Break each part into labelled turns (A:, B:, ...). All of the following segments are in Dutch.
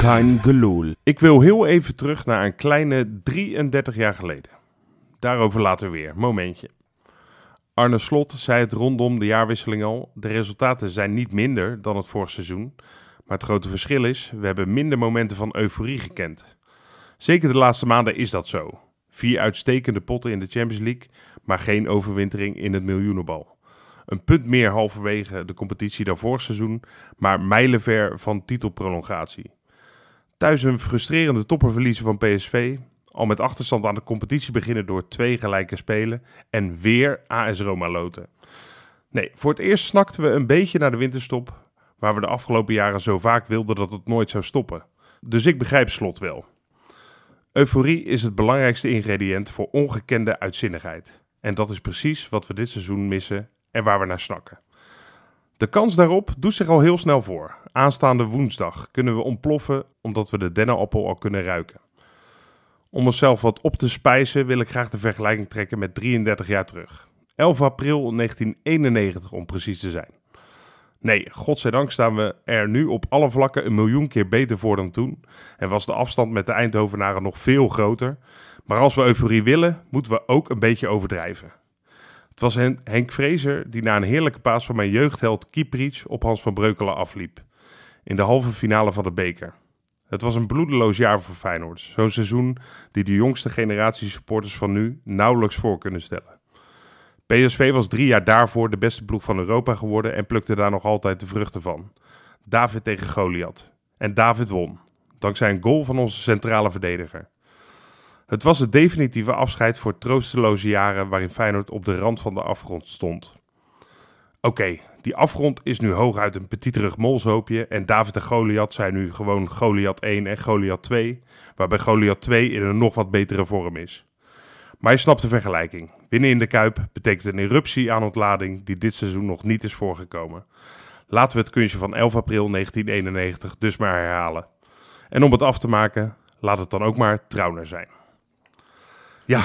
A: Kein Geloel. Ik wil heel even terug naar een kleine 33 jaar geleden. Daarover later weer, momentje. Arne Slot zei het rondom de jaarwisseling al: de resultaten zijn niet minder dan het vorig seizoen. Maar het grote verschil is: we hebben minder momenten van euforie gekend. Zeker de laatste maanden is dat zo. Vier uitstekende potten in de Champions League, maar geen overwintering in het miljoenenbal. Een punt meer halverwege de competitie dan vorig seizoen, maar mijlenver van titelprolongatie. Thuis een frustrerende topperverliezen van PSV. Al met achterstand aan de competitie beginnen door twee gelijke spelen. En weer AS Roma loten. Nee, voor het eerst snakten we een beetje naar de winterstop. Waar we de afgelopen jaren zo vaak wilden dat het nooit zou stoppen. Dus ik begrijp slot wel. Euforie is het belangrijkste ingrediënt voor ongekende uitzinnigheid. En dat is precies wat we dit seizoen missen en waar we naar snakken. De kans daarop doet zich al heel snel voor. Aanstaande woensdag kunnen we ontploffen omdat we de dennenappel al kunnen ruiken. Om onszelf wat op te spijzen wil ik graag de vergelijking trekken met 33 jaar terug. 11 april 1991 om precies te zijn. Nee, godzijdank staan we er nu op alle vlakken een miljoen keer beter voor dan toen. En was de afstand met de Eindhovenaren nog veel groter. Maar als we euforie willen, moeten we ook een beetje overdrijven. Het was Hen- Henk Vrezer die na een heerlijke paas van mijn jeugdheld Kieprits op Hans van Breukelen afliep. In de halve finale van de beker. Het was een bloedeloos jaar voor Feyenoord. Zo'n seizoen die de jongste generatie supporters van nu nauwelijks voor kunnen stellen. PSV was drie jaar daarvoor de beste ploeg van Europa geworden en plukte daar nog altijd de vruchten van. David tegen Goliath. En David won. Dankzij een goal van onze centrale verdediger. Het was het definitieve afscheid voor troosteloze jaren waarin Feyenoord op de rand van de afgrond stond. Oké, die afgrond is nu hooguit een petiterig molshoopje en David en Goliath zijn nu gewoon Goliath 1 en Goliath 2, waarbij Goliath 2 in een nog wat betere vorm is. Maar je snapt de vergelijking. Winnen in de Kuip betekent een eruptie aan ontlading die dit seizoen nog niet is voorgekomen. Laten we het kunstje van 11 april 1991 dus maar herhalen. En om het af te maken, laat het dan ook maar trouwner zijn. Ja,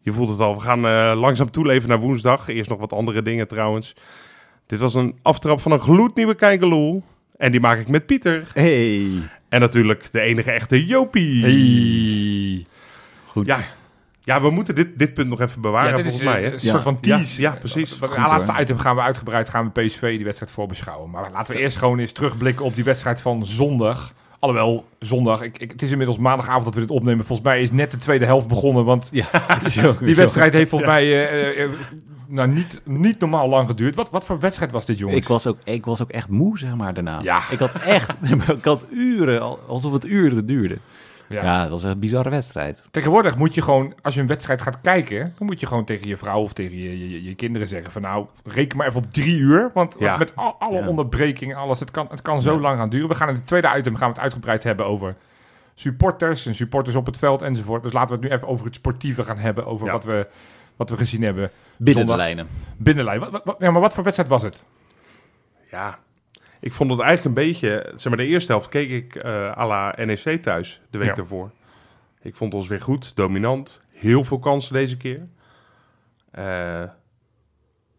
A: je voelt het al. We gaan eh, langzaam toeleven naar woensdag. Eerst nog wat andere dingen trouwens. Dit was een aftrap van een gloednieuwe Kijkeloel. En die maak ik met Pieter.
B: Hey.
A: En natuurlijk de enige echte Jopie.
B: Hey. Goed.
A: Ja. ja, we moeten dit, dit punt nog even bewaren
C: ja, dit is eh,
A: volgens mij. Hè?
C: een, een soort van
A: Ja,
C: tease.
A: ja, precies.
C: Wat we
B: Goed,
C: laatste
B: hoor.
C: item gaan we uitgebreid gaan we PSV die wedstrijd voorbeschouwen. Maar laten we eerst gewoon eens terugblikken op die wedstrijd van zondag. Alhoewel, zondag. Ik, ik, het is inmiddels maandagavond dat we dit opnemen. Volgens mij is net de tweede helft begonnen. Want die wedstrijd heeft volgens mij eh, eh, nou, niet, niet normaal lang geduurd. Wat, wat voor wedstrijd was dit, jongens?
B: Ik was, ook, ik was ook echt moe, zeg maar, daarna.
C: Ja.
B: Ik had echt... ik had uren, al- alsof het uren duurde.
C: Ja.
B: Ja, dat was een bizarre wedstrijd.
C: Tegenwoordig moet je gewoon, als je een wedstrijd gaat kijken, dan moet je gewoon tegen je vrouw of tegen je, je, je- je kinderen zeggen van nou, reken maar even op drie uur. Want
A: Ja.
C: met al- alle
B: Ja.
C: onderbrekingen, alles, het kan, het kan zo lang gaan duren. We gaan in het tweede item gaan we het uitgebreid hebben over supporters en supporters op het veld enzovoort. Dus laten we het nu even over het sportieve gaan hebben, over
A: Ja.
C: wat, we, wat we gezien hebben.
B: Binnen
C: Zondag.
B: de lijnen.
C: Binnenlijn. Wat, wat- wat- ja, maar wat voor wedstrijd was het?
A: Ja. Ik vond het eigenlijk een beetje... Zeg maar, de eerste helft keek ik eh à la NEC thuis de week
C: Ja.
A: daarvoor. Ik vond ons weer goed, dominant. Heel veel kansen deze keer. Eh,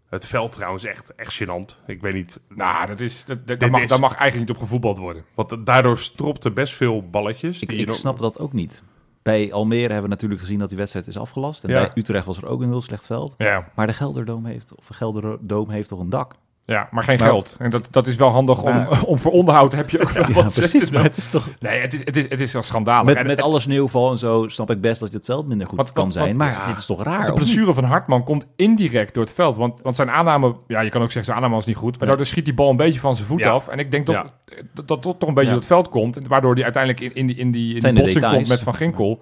A: het veld trouwens echt, echt gênant. Ik weet niet...
C: Nou, dat is, dat, dat,
A: Dit
C: daar, mag,
A: is-
C: daar mag eigenlijk niet op gevoetbald worden.
A: Want daardoor stropte best veel balletjes.
B: Ik,
A: die
B: ik
A: je nog-
B: snap dat ook niet. Bij Almere hebben we natuurlijk gezien dat die wedstrijd is afgelast. En
A: Ja.
B: bij Utrecht was er ook een heel slecht veld.
C: Ja,
B: Maar de Gelderdoom heeft, of Gelderdoom heeft toch een dak?
C: ja maar geen
B: Maar-
C: geld. En dat, dat is wel handig om,
B: Maar-
C: om voor onderhoud heb je ook wel wat te
B: precies.
C: zeggen.
B: Maar het is toch...
C: Nee, het is, het is, het is wel schandalig.
B: Met,
C: En-
B: met
C: en
B: alle sneeuwval en zo snap ik best dat het veld minder goed
C: Wat-
B: kan
C: wat- wat-
B: zijn. Maar
A: ja.
B: dit is toch raar?
C: de
B: of niet?
C: blessure van Hartman komt indirect door het veld. Want, want zijn aanname, ja, je kan ook zeggen zijn aanname was niet goed. Maar
B: Nee.
C: daardoor schiet die bal een beetje van zijn voet
A: Ja.
C: af. En ik denk toch,
A: Ja.
C: dat dat toch- toch een beetje
B: Ja.
C: door het veld komt. en Waardoor hij uiteindelijk in, in die, in die, in die
B: Zijn de
C: botsing
B: details.
C: komt met Van Ginkel.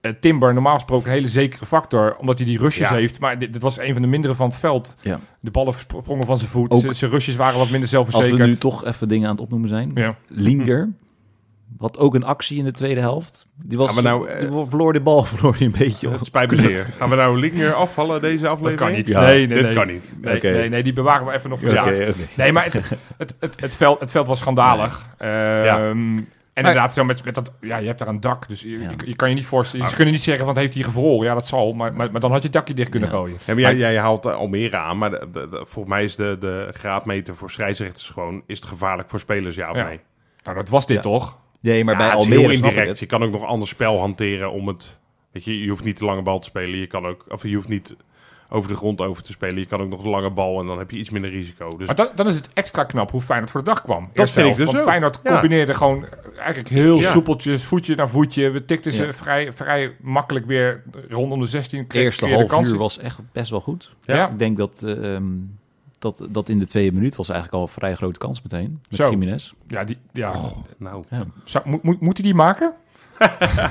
C: eh, Timber normaal gesproken een hele zekere factor. Omdat hij die rushes
A: Ja.
C: heeft. Maar dit, dit was een van de mindere van het veld.
D: Ja.
C: De ballen sprongen van zijn voet.
D: Ook-
C: Zijn- Zijn rushes waren wat minder
D: Als we
C: zelfverzekerd.
D: nu toch even dingen aan het opnoemen zijn.
C: Ja.
D: Linger had ook een actie in de tweede helft. Die was
A: Gaan we nou, eh,
D: die verloor de bal verloor die een beetje.
A: Het spijt me zeer. Gaan we nou Linger afvallen deze aflevering?
C: kan niet.
D: Ja.
C: nee, nee,
A: Dit
C: nee.
A: kan niet.
C: Nee,
D: Oké.
C: nee, nee, die bewaren we even nog voor zaken. Nee, maar het, het, het, het, veld, het veld was schandalig. Ehm,
A: Ja.
C: En inderdaad, zo met, met dat, ja, je hebt daar een dak, dus je,
D: Ja.
C: je, je kan je niet voorstellen. Ze kunnen niet zeggen, want heeft hij gevroren? Ja, dat zal, maar, maar, maar dan had je het dakje dicht kunnen
D: Ja.
C: gooien.
A: Ja, maar jij, jij haalt eh, Almere aan, maar de- de- de- volgens mij is de, de graadmeter voor scheidsrechters gewoon... is het gevaarlijk voor spelers, ja of
C: Ja.
A: nee?
C: Nou, dat was dit
D: Ja.
C: toch?
D: Nee, maar
A: Ja,
D: bij
A: het is
D: Almere
A: heel
D: snap ik
A: indirect.
D: het.
A: Je kan ook nog ander spel hanteren om het... Weet je, je hoeft niet de lange bal te spelen. Je, kan ook, of je hoeft niet over de grond over te spelen. Je kan ook nog de lange bal en dan heb je iets minder risico. Dus
C: Maar dan, dan is het extra knap hoe Feyenoord voor de dag kwam. Eerste
A: vind ik dus
C: Want
A: ook.
C: Feyenoord
A: Ja.
C: combineerde gewoon eigenlijk heel
A: Ja.
C: soepeltjes, voetje naar voetje. We tikten ze
D: Ja.
C: vrij, vrij makkelijk weer rondom de 16.
D: De eerste
C: half
D: half uur was echt best wel goed.
C: Ja.
D: Ik denk dat, eh, ehm, dat, dat in de tweede minuut was eigenlijk al een vrij grote kans meteen. Met
C: Zo.
D: Jiménez.
C: Ja, die, ja.
A: nou,
C: Zou, moet, moet, moet hij die maken? ja,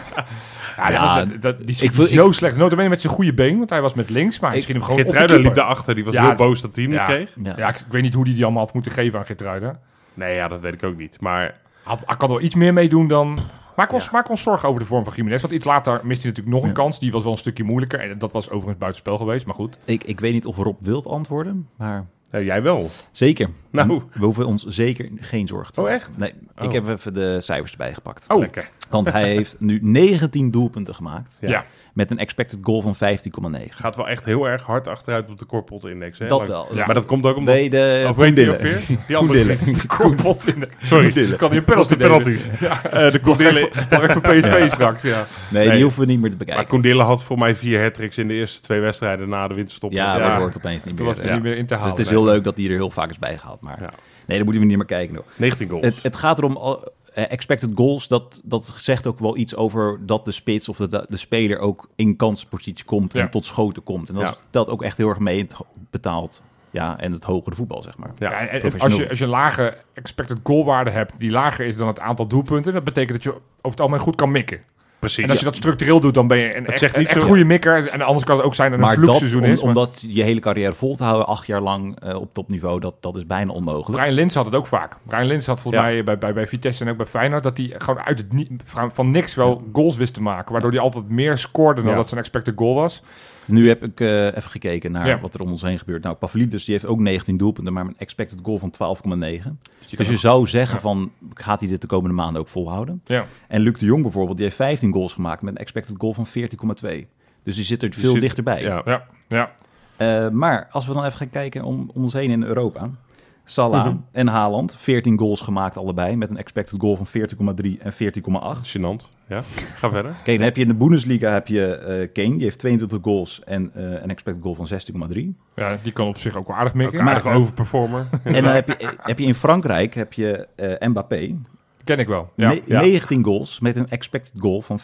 C: dat
D: Ja,
C: was- dat, dat- die is
D: ik wil-
C: zo slecht. Nota bene met zijn goede been, want hij was met links, maar hij
D: Ik-
C: schiet hem gewoon op de
A: Geertruida liep
C: keeper.
A: daarachter. Die was
C: Ja,
A: heel
C: dat-
A: boos dat hij hem
C: ja.
A: niet kreeg.
D: Ja.
C: Ja, ik, ik weet niet hoe hij die allemaal had moeten geven aan Geertruiden.
A: Nee, ja, dat weet ik ook niet. Maar
C: Had, hij kan wel iets meer meedoen dan... Maak ons,
A: Ja.
C: maak ons zorgen over de vorm van Jiménez. Want iets later miste hij natuurlijk nog een
D: Ja.
C: kans. Die was wel een stukje moeilijker. En dat was overigens buitenspel geweest, maar goed.
D: Ik, ik weet niet of Rob wilt antwoorden, maar
A: nou, jij wel.
D: zeker.
A: Nou.
D: We hoeven ons zeker geen zorgen te
A: Oh,
D: maken.
A: echt?
D: Nee,
A: Oh.
D: ik heb even de cijfers erbij gepakt.
C: Oh,
A: Lekker.
D: Want hij heeft nu 19 doelpunten gemaakt.
A: Ja.
C: ja.
D: Met een expected goal van 15,9.
A: Gaat wel echt heel erg hard achteruit op de korpot-index. hè?
D: Dat
A: Lang-
D: wel.
C: Ja.
A: Maar dat komt ook omdat...
D: Nee, de
A: Of Oh, weet je ook
D: Koendille.
A: weer? Die andere
C: De kopot in de...
A: Sorry,
C: Ik Kan hij
A: dat
C: een penalty
A: is de penalties. Eh, de Koendille,
C: Pak voor PSV straks, ja.
D: Nee,
A: Nee.
D: die hoeven we niet meer te
A: maar
D: bekijken.
A: Koendille had voor mij vier hat in de eerste twee wedstrijden na de winterstop.
D: Ja,
C: Ja.
D: dat hoort opeens niet meer.
C: Toen was hij
D: eh.
C: niet meer in te
D: Dus
C: halen.
D: het is heel leuk dat die er heel vaak is bijgehaald. Maar
A: Ja.
D: nee, daar moeten we niet meer kijken. hoor.
A: 19 goals.
D: Het, het gaat erom, al- eh, expected goals, dat, dat zegt ook wel iets over dat de spits of dat de, de speler ook in kanspositie komt en
C: Ja.
D: tot schoten komt. En dat
A: Ja.
D: telt ook echt heel erg mee in het ho- betaald ja, en het hogere voetbal, zeg maar.
A: Ja.
C: Ja, en- en als,
D: professioneel.
C: je, als je een lage expected goalwaarde hebt die lager is dan het aantal doelpunten, dat betekent dat je over het algemeen goed kan mikken.
A: Precies.
C: En als je dat structureel doet, dan ben je een, echt,
A: zegt
C: een
A: niet
C: echt
A: zo-
C: goede mikker. En anders kan het ook zijn dat het een
D: Maar dat,
C: vloekseizoen
D: om-
C: is. Maar
D: omdat je hele carrière vol te houden, acht jaar lang eh, op topniveau, dat, dat is bijna onmogelijk.
C: Brian Lins had het ook vaak. Brian Lins had volgens
A: Ja.
C: mij bij, bij, bij Vitesse en ook bij Feyenoord... dat hij gewoon uit het niet, van van niks wel goals wist te maken. Waardoor hij altijd meer scoorde dan
A: Ja.
C: dat zijn expected goal was.
D: Nu heb ik eh, even gekeken naar
C: Ja.
D: wat er om ons heen gebeurt. Nou, Pavlidis die heeft ook 19 doelpunten, maar een expected goal van 12,9.
C: je
D: Dus je zou zeggen van, gaat hij dit de komende maanden ook volhouden?
C: Ja.
D: En Luc de Jong bijvoorbeeld, die heeft 15 goals gemaakt met een expected goal van 14,2. Dus die zit er veel
A: zit-
D: dichterbij.
A: Ja.
C: Ja, ja.
D: Eh, maar als we dan even gaan kijken om, om ons heen in Europa. Salah
C: Mhm.
D: en Haaland, 14 goals gemaakt allebei met een expected goal van 14,3 en 14,8.
A: Gênant. Ja. Ga verder.
D: Kijk, dan heb je in de Bundesliga heb je eh, Kane, die heeft 22 goals en eh, een expected goal van 16,3.
C: ja, die kan op zich ook wel aardig mikken.
A: Aardig overperformer.
D: En dan heb je, eh, heb je in Frankrijk heb je eh, Mbappé,
C: Ken ik wel. Ja,
D: ne-
A: ja.
D: 19 goals met een expected goal van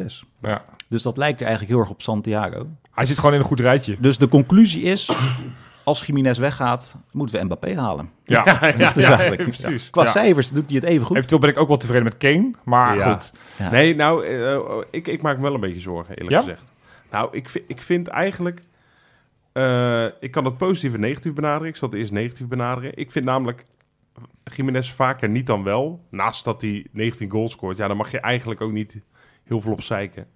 D: 15,6.
C: ja.
D: Dus dat lijkt er eigenlijk heel erg op Santiago.
C: Hij zit gewoon in een goed rijtje.
D: Dus de conclusie is, als Jiménez weggaat, moeten we Mbappé halen.
C: Ja,
D: Dat is eigenlijk.
A: precies.
D: Qua
C: Ja.
D: cijfers doet hij het even goed.
C: Eventueel ben ik ook wel tevreden met Kane. Maar
A: Ja.
C: goed.
D: Ja.
A: Nee, nou, eh, ik, ik maak me wel een beetje zorgen, eerlijk
C: Ja?
A: gezegd. Nou, ik, vi- ik vind eigenlijk... eh, ik kan het positief en negatief benaderen. Ik zal het eerst negatief benaderen. Ik vind namelijk Jiménez vaker niet dan wel. Naast dat hij 19 goals scoort. Ja, dan mag je eigenlijk ook niet heel veel op zeiken.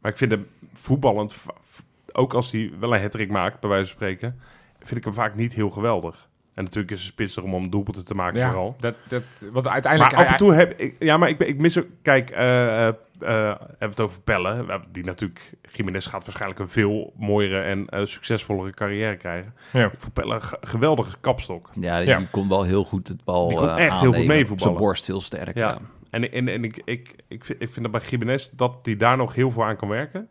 A: Maar ik vind hem voetballend... va- v- Ook als hij wel een hattrick maakt, bij wijze van spreken... vind ik hem vaak niet heel geweldig. En natuurlijk is het spits erom om doelpunten te maken
C: Ja,
A: vooral.
C: dat, dat, want uiteindelijk...
A: Maar af en toe heb ik... Ja, maar ik, ben- ik mis ook... Kijk, eh eh, eh, hebben we het over Pelle. We- Die natuurlijk... Jiménez gaat waarschijnlijk een veel mooiere en eh, succesvollere carrière krijgen.
C: Ja.
A: Ik vond Pelle een ge- geweldige kapstok.
D: Ja, die,
C: Ja.
D: die kon wel heel goed het bal
A: Die kon
D: eh,
A: echt heel goed
D: aannemen.
A: meevoetballen.
D: Zijn borst heel sterk.
A: Ja.
D: Ja.
A: En, en, en ik, ik, ik, vind, ik vind dat bij Jiménez dat hij daar nog heel veel aan kan werken.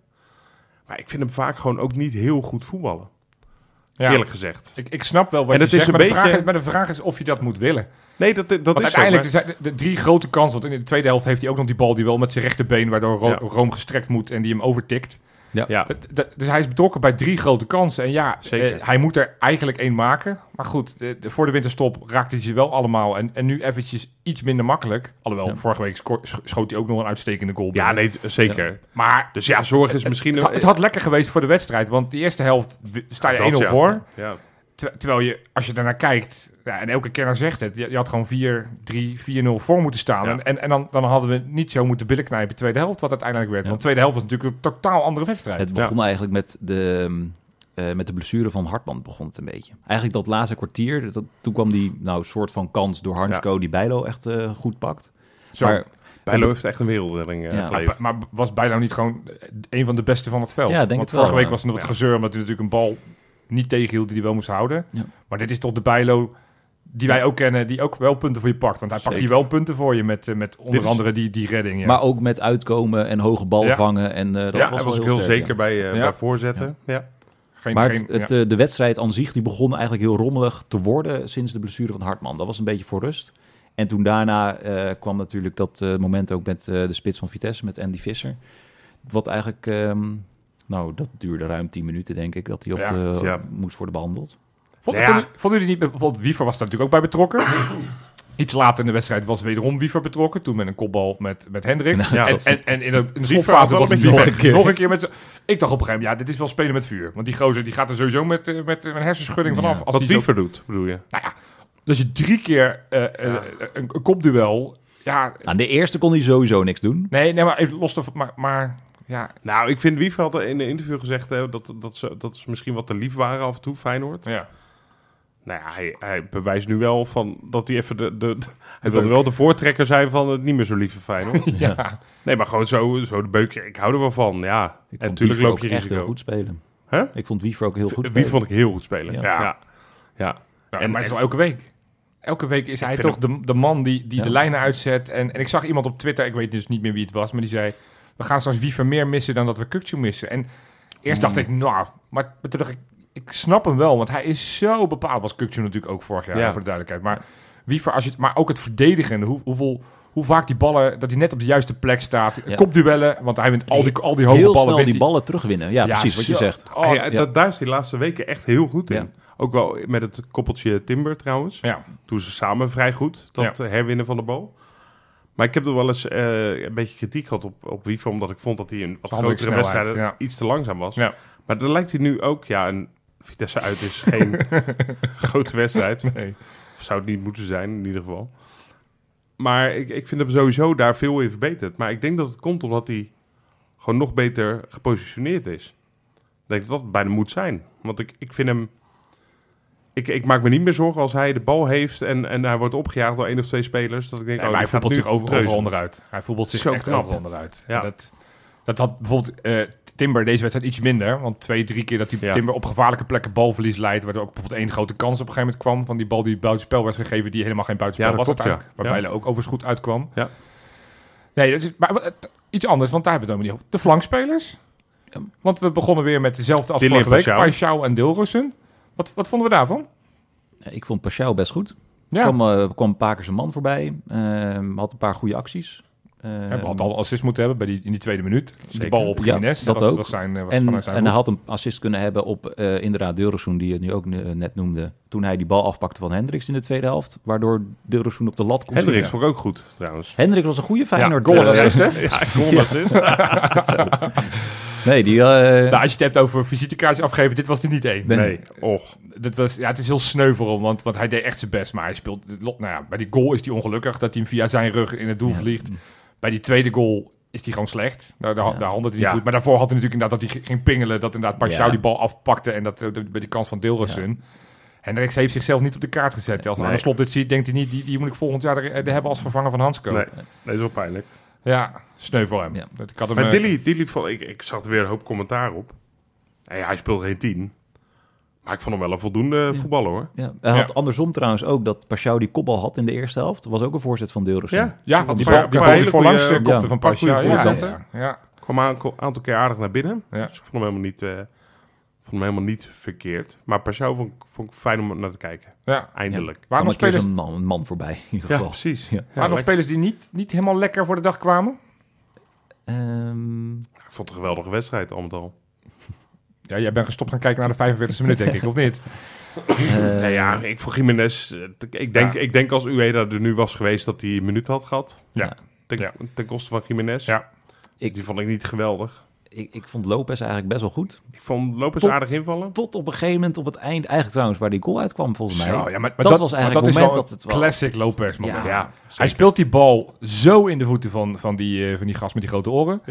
A: Maar ik vind hem vaak gewoon ook niet heel goed voetballen.
C: Ja.
A: Eerlijk gezegd.
C: Ik, ik snap wel wat
A: En
C: je
A: het is
C: zegt,
A: een
C: maar, de vraag
A: beetje-
C: is, maar de vraag is of je dat moet willen.
A: Nee, dat, dat is
C: want
A: zo,
C: uiteindelijk er zijn de, de drie grote kansen. Want in de tweede helft heeft hij ook nog die bal die wel met zijn rechterbeen... waardoor Ro-
A: Ja.
C: Room gestrekt moet en die hem overtikt.
A: Ja,
C: Het- de- Dus hij is betrokken bij drie grote kansen. En ja,
A: Zeker.
C: eh, hij moet er eigenlijk één maken. Maar goed, eh, de- voor de winterstop raakt hij ze wel allemaal. En, en nu eventjes iets minder makkelijk. Alhoewel,
B: Ja.
C: vorige week sco- sch- schoot hij ook nog een uitstekende goal.
A: ja
C: binnen.
A: nee, t- zeker.
C: Maar
A: Dus ja, zorg is misschien...
C: het, had- het had lekker geweest voor de wedstrijd. Want de eerste helft w- sta je
A: Dat,
C: 1-0
A: ja.
C: voor.
A: Ja.
C: Ter- terwijl je, als je daarnaar kijkt... Ja, en elke kenner zegt het. Je, je had gewoon 4, 3, 4-0 voor moeten staan.
A: Ja.
C: En, en, en dan, dan hadden we niet zo moeten billen knijpen. Tweede helft, wat uiteindelijk werd. Want de tweede helft was natuurlijk een totaal andere wedstrijd.
A: Ja.
D: Het begon eigenlijk met de, eh, met de blessure van Hartman begon het een beetje. Eigenlijk dat laatste kwartier, dat, toen kwam die nou, soort van kans door Harnsko die Bijlo echt eh, goed pakt.
C: Zo.
D: Maar
A: Bijlo heeft echt een wereldredding eh,
D: Ja.
C: Maar,
A: geleverd.
C: Ba- maar was Bijlo niet gewoon eh, een van de beste van het veld?
D: Ja, denk
C: Want
D: het
C: vorige
D: wel,
C: week
D: ja.
C: was er wat gezeur omdat hij natuurlijk een bal niet tegenhield die hij wel moest houden.
D: Ja.
C: Maar dit is toch de Bijlo die wij ook kennen, die ook wel punten voor je pakt. Want hij pakt hier
A: Zeker.
C: wel punten voor je met, eh, met onder
A: Dit is-
C: andere die, die redding. Ja.
D: Maar ook met uitkomen en hoge bal
C: Ja.
D: vangen. En, eh, dat
C: Ja,
D: was
A: Hij
D: wel
A: was ook heel
D: heel sterk,
A: zeker bij, eh,
C: Ja.
A: bij voorzetten. Ja.
C: geen,
D: Maar
C: geen-
D: het, het,
C: ja.
D: eh, de wedstrijd aan zich die begon eigenlijk heel rommelig te worden sinds de blessure van Hartman. Dat was een beetje voor rust. En toen daarna eh, kwam natuurlijk dat eh, moment ook met eh, de spits van Vitesse, met Andy Visser. Wat eigenlijk, ehm, nou dat duurde ruim 10 minuten denk ik, dat hij op
C: Ja,
D: de-
A: ja.
D: moest worden behandeld.
C: Vond-
A: Nou ja.
C: vonden, vonden jullie niet, bijvoorbeeld Wiever was daar natuurlijk ook bij betrokken. Iets later in de wedstrijd was wederom Wiever betrokken. Toen met een kopbal met, met Hendrik.
A: ja,
C: en,
A: Nou, dat-
C: en, en in de, in de
A: had
C: slotfase
A: wel
C: was
A: een
C: het
A: beetje
C: nog een keer. Nog een keer met z'n- Ik dacht op een gegeven moment, ja, dit is wel spelen met vuur. Want die gozer die gaat er sowieso met, eh, met eh, een hersenschudding vanaf. als
A: Wat
C: die zo-
A: Wiever doet, bedoel je?
C: Nou ja, dus je drie keer eh, eh, een, een kopduel. Ja,
D: Aan de eerste kon hij sowieso niks doen.
C: nee, nee, maar even los daarvan. Maar, maar ja,
A: Nou, ik vind Wiever had in een interview gezegd hè, dat, dat, ze, dat ze misschien wat te lief waren af en toe, Feyenoord.
C: ja.
A: Nou ja, hij, hij bewijst nu wel van dat hij even de... de hij wilde wel de voortrekker zijn van het niet meer zo lieve Feyenoord.
C: ja.
A: nee, maar gewoon zo, zo de beukje. Ik hou er wel van, ja.
D: Ik
A: En
D: vond
A: natuurlijk
D: Wiever
A: loop je
D: ook echt heel
A: risico.
D: goed spelen.
A: Hè?
D: Ik vond Wiever ook heel goed
A: Wie
D: spelen.
A: vond ik heel goed spelen.
D: Ja.
A: Ja.
C: Ja.
A: ja.
C: Nou,
A: En-
C: maar het is wel elke week. Elke week is hij
A: vind
C: toch de, de man die, die
D: Ja.
C: de lijnen uitzet. En, en ik zag iemand op Twitter, ik weet dus niet meer wie het was, maar die zei... We gaan straks Wiever meer missen dan dat we Kukcu missen. En eerst dacht
D: Hmm.
C: ik, nou, maar toen dacht ik, ik snap hem wel. Want hij is zo bepaald. Was Kukcu natuurlijk ook vorig jaar,
A: Ja.
C: voor de duidelijkheid. Maar Wiever, als je, het- maar ook het verdedigen. Hoe, hoeveel, hoe vaak die ballen, dat hij net op de juiste plek staat.
D: Ja.
C: Kopduellen, want hij wint al die, al die hoge
D: heel
C: ballen.
D: snel
C: wint
D: die
C: hij.
D: ballen terugwinnen. Ja, precies wat je
C: zo-
D: zegt. eh,
C: Oh,
A: Hey, dat, daar is hij de laatste weken echt heel goed in.
D: Ja.
A: Ook wel met het koppeltje Timber trouwens.
C: ja.
A: Doen ze samen vrij goed, dat herwinnen van de bal. Maar ik heb er wel eens eh, een beetje kritiek gehad op, op Wiever... omdat ik vond dat hij in wat
C: Andere
A: grotere
C: snelheid,
A: wedstrijden
C: ja.
A: iets te langzaam was.
C: Ja.
A: Maar dan lijkt hij nu ook... Ja, en Vitesse uit is geen grote wedstrijd.
C: Nee.
A: Of Zou het niet moeten zijn, in ieder geval. Maar ik, ik vind hem sowieso daar veel in verbeterd. Maar ik denk dat het komt omdat hij gewoon nog beter gepositioneerd is. Ik denk dat dat bijna moet zijn. Want ik, ik vind hem... Ik, ik maak me niet meer zorgen als hij de bal heeft en, en hij wordt opgejaagd door één of twee spelers. Dat ik denk,
C: Nee,
A: oh,
C: maar
A: die
C: hij
A: gaat
C: voetbalt
A: nu
C: zich over,
A: treuzelen.
C: overal onderuit. Hij voetbalt zich
A: Zo
C: echt
A: knap,
C: overal
A: hè?
C: onderuit.
A: Ja.
C: Dat, dat had bijvoorbeeld eh, Timber deze wedstrijd iets minder. Want twee, drie keer dat die
A: Ja.
C: Timber op gevaarlijke plekken balverlies leidt. Waardoor ook bijvoorbeeld één grote kans op een gegeven moment kwam. Van die bal die buitenspel werd gegeven. Die helemaal geen buitenspel
A: Ja, dat
C: was
A: klopt, ja.
C: uiteindelijk. Waar
A: Ja.
C: Bijlo ook overigens goed uitkwam.
A: Ja.
C: Nee, dat is, maar het- iets anders. Want daar hebben we het helemaal niet over. De flankspelers.
D: Ja.
C: Want we begonnen weer met dezelfde als
A: Dilly en
C: vorige week.
A: Paschal.
C: Paschal en Dilrussen. Wat, wat vonden we daarvan?
D: Ik vond Pashao best goed.
C: Ja,
D: kwam, eh, kwam een paar keer zijn man voorbij. Ehm, had een paar goede acties. Ehm,
C: hij had al assist moeten hebben bij die, in die tweede minuut. Die
A: Zeker.
C: bal op
D: Ja,
C: Gines.
D: dat
C: was,
D: ook.
C: was zijn, eh, was
D: en,
C: vanuit zijn
D: en hij
C: voet.
D: had een assist kunnen hebben op eh, inderdaad Deurossoen, die je nu ook eh, net noemde. Toen hij die bal afpakte van Hendricks in de tweede helft. Waardoor Deurossoen op de lat kon
A: Hendricks
D: schieten.
A: vond ik ook goed, trouwens.
D: Hendricks was een goede Feyenoord.
C: goal en
D: eh,
C: assist, hè?
A: Ja, goal en assist.
D: Nee, die... eh,
C: Nou, als je het hebt over visitekaartjes afgeven, dit was er niet één.
D: Nee.
A: Nee, och.
C: Dit was, ja, het is heel sneu voor hem, want, want hij deed echt zijn best. Maar hij speelt, nou ja, bij die goal is hij ongelukkig dat hij hem via zijn rug in het doel vliegt. Bij die tweede goal is hij gewoon slecht. Nou, Daar, daar,
D: Ja.
C: daar handelt hij niet
A: Ja.
C: goed. Maar daarvoor had hij natuurlijk inderdaad dat hij ging pingelen. Dat inderdaad Pashao
D: Ja.
C: die bal afpakte en dat eh, de- bij die kans van Deelrussen. Hendricks heeft zichzelf niet op de kaart gezet. Als hij
A: Nee.
C: aan de slot dit ziet, denkt hij niet, die, die moet ik volgend jaar er- er hebben als vervanger van Hansko.
A: Nee, dat is wel pijnlijk.
C: Ja, sneu voor hem.
D: Ja.
C: Dat, ik had hem
A: Maar
C: eh,
A: Dilly, Dilly vond, ik, ik zat weer een hoop commentaar op. Nee, hij speelde geen tien. Maar ik vond hem wel een voldoende voetballer hoor.
D: ja. Hij had
C: Ja.
D: andersom trouwens ook dat Pashao die kopbal had in de eerste helft. was ook een voorzet van Deurossoen.
A: Ja.
C: Ja, want die
A: Een paar-
C: bal,
A: een
C: die bal
A: paar
C: die
A: hele
C: voorlangs
A: goeie-
C: eh, kopte
D: ja,
C: van
A: een paar goeie
C: Pasja. Ja, ja,
A: voorzetten.
C: ja. ja.
A: Kwam een aantal- aantal keer aardig naar binnen.
C: Ja.
A: Dus ik vond hem helemaal niet, eh, ik vond hem helemaal niet verkeerd. Maar Pashao vond, ik- vond ik fijn om naar te kijken.
C: ja.
A: Eindelijk. Ja,
D: Waarom
C: Waarom
D: spelers...
C: spelers,
D: dus een man, een man voorbij in ieder geval.
A: precies.
D: Ja.
A: Ja.
C: waren nog
A: lekker.
C: spelers die niet, niet helemaal lekker voor de dag kwamen?
D: Ehm,
A: ik vond het een geweldige wedstrijd, al met al.
C: Ja, jij bent gestopt gaan kijken naar de 45e minuut, denk ik, of niet?
A: Nou ja, ik voor Jiménez. eh, t- Ik denk,
C: Eh. Ja.
A: ik denk als Ueda er nu was geweest dat hij een minuut had gehad.
C: Ja.
A: Ten,
C: Ja.
A: ten koste van Jiménez.
C: Ja.
A: Ik, die vond ik niet geweldig.
D: Ik, ik vond Lopez eigenlijk best wel goed.
A: Ik vond Lopez
D: Tot-
A: aardig invallen.
D: Tot op een gegeven moment op het eind, eigenlijk trouwens waar die goal uitkwam volgens mij.
C: Zo, ja, maar, maar
D: dat was eigenlijk
C: maar dat
D: het moment
C: is wel
D: dat
C: een
D: het wel-
C: classic Lopez moment.
D: Ja.
A: Ja,
C: Hij speelt die bal zo in de voeten van, van, die, eh, van die gast met die grote oren.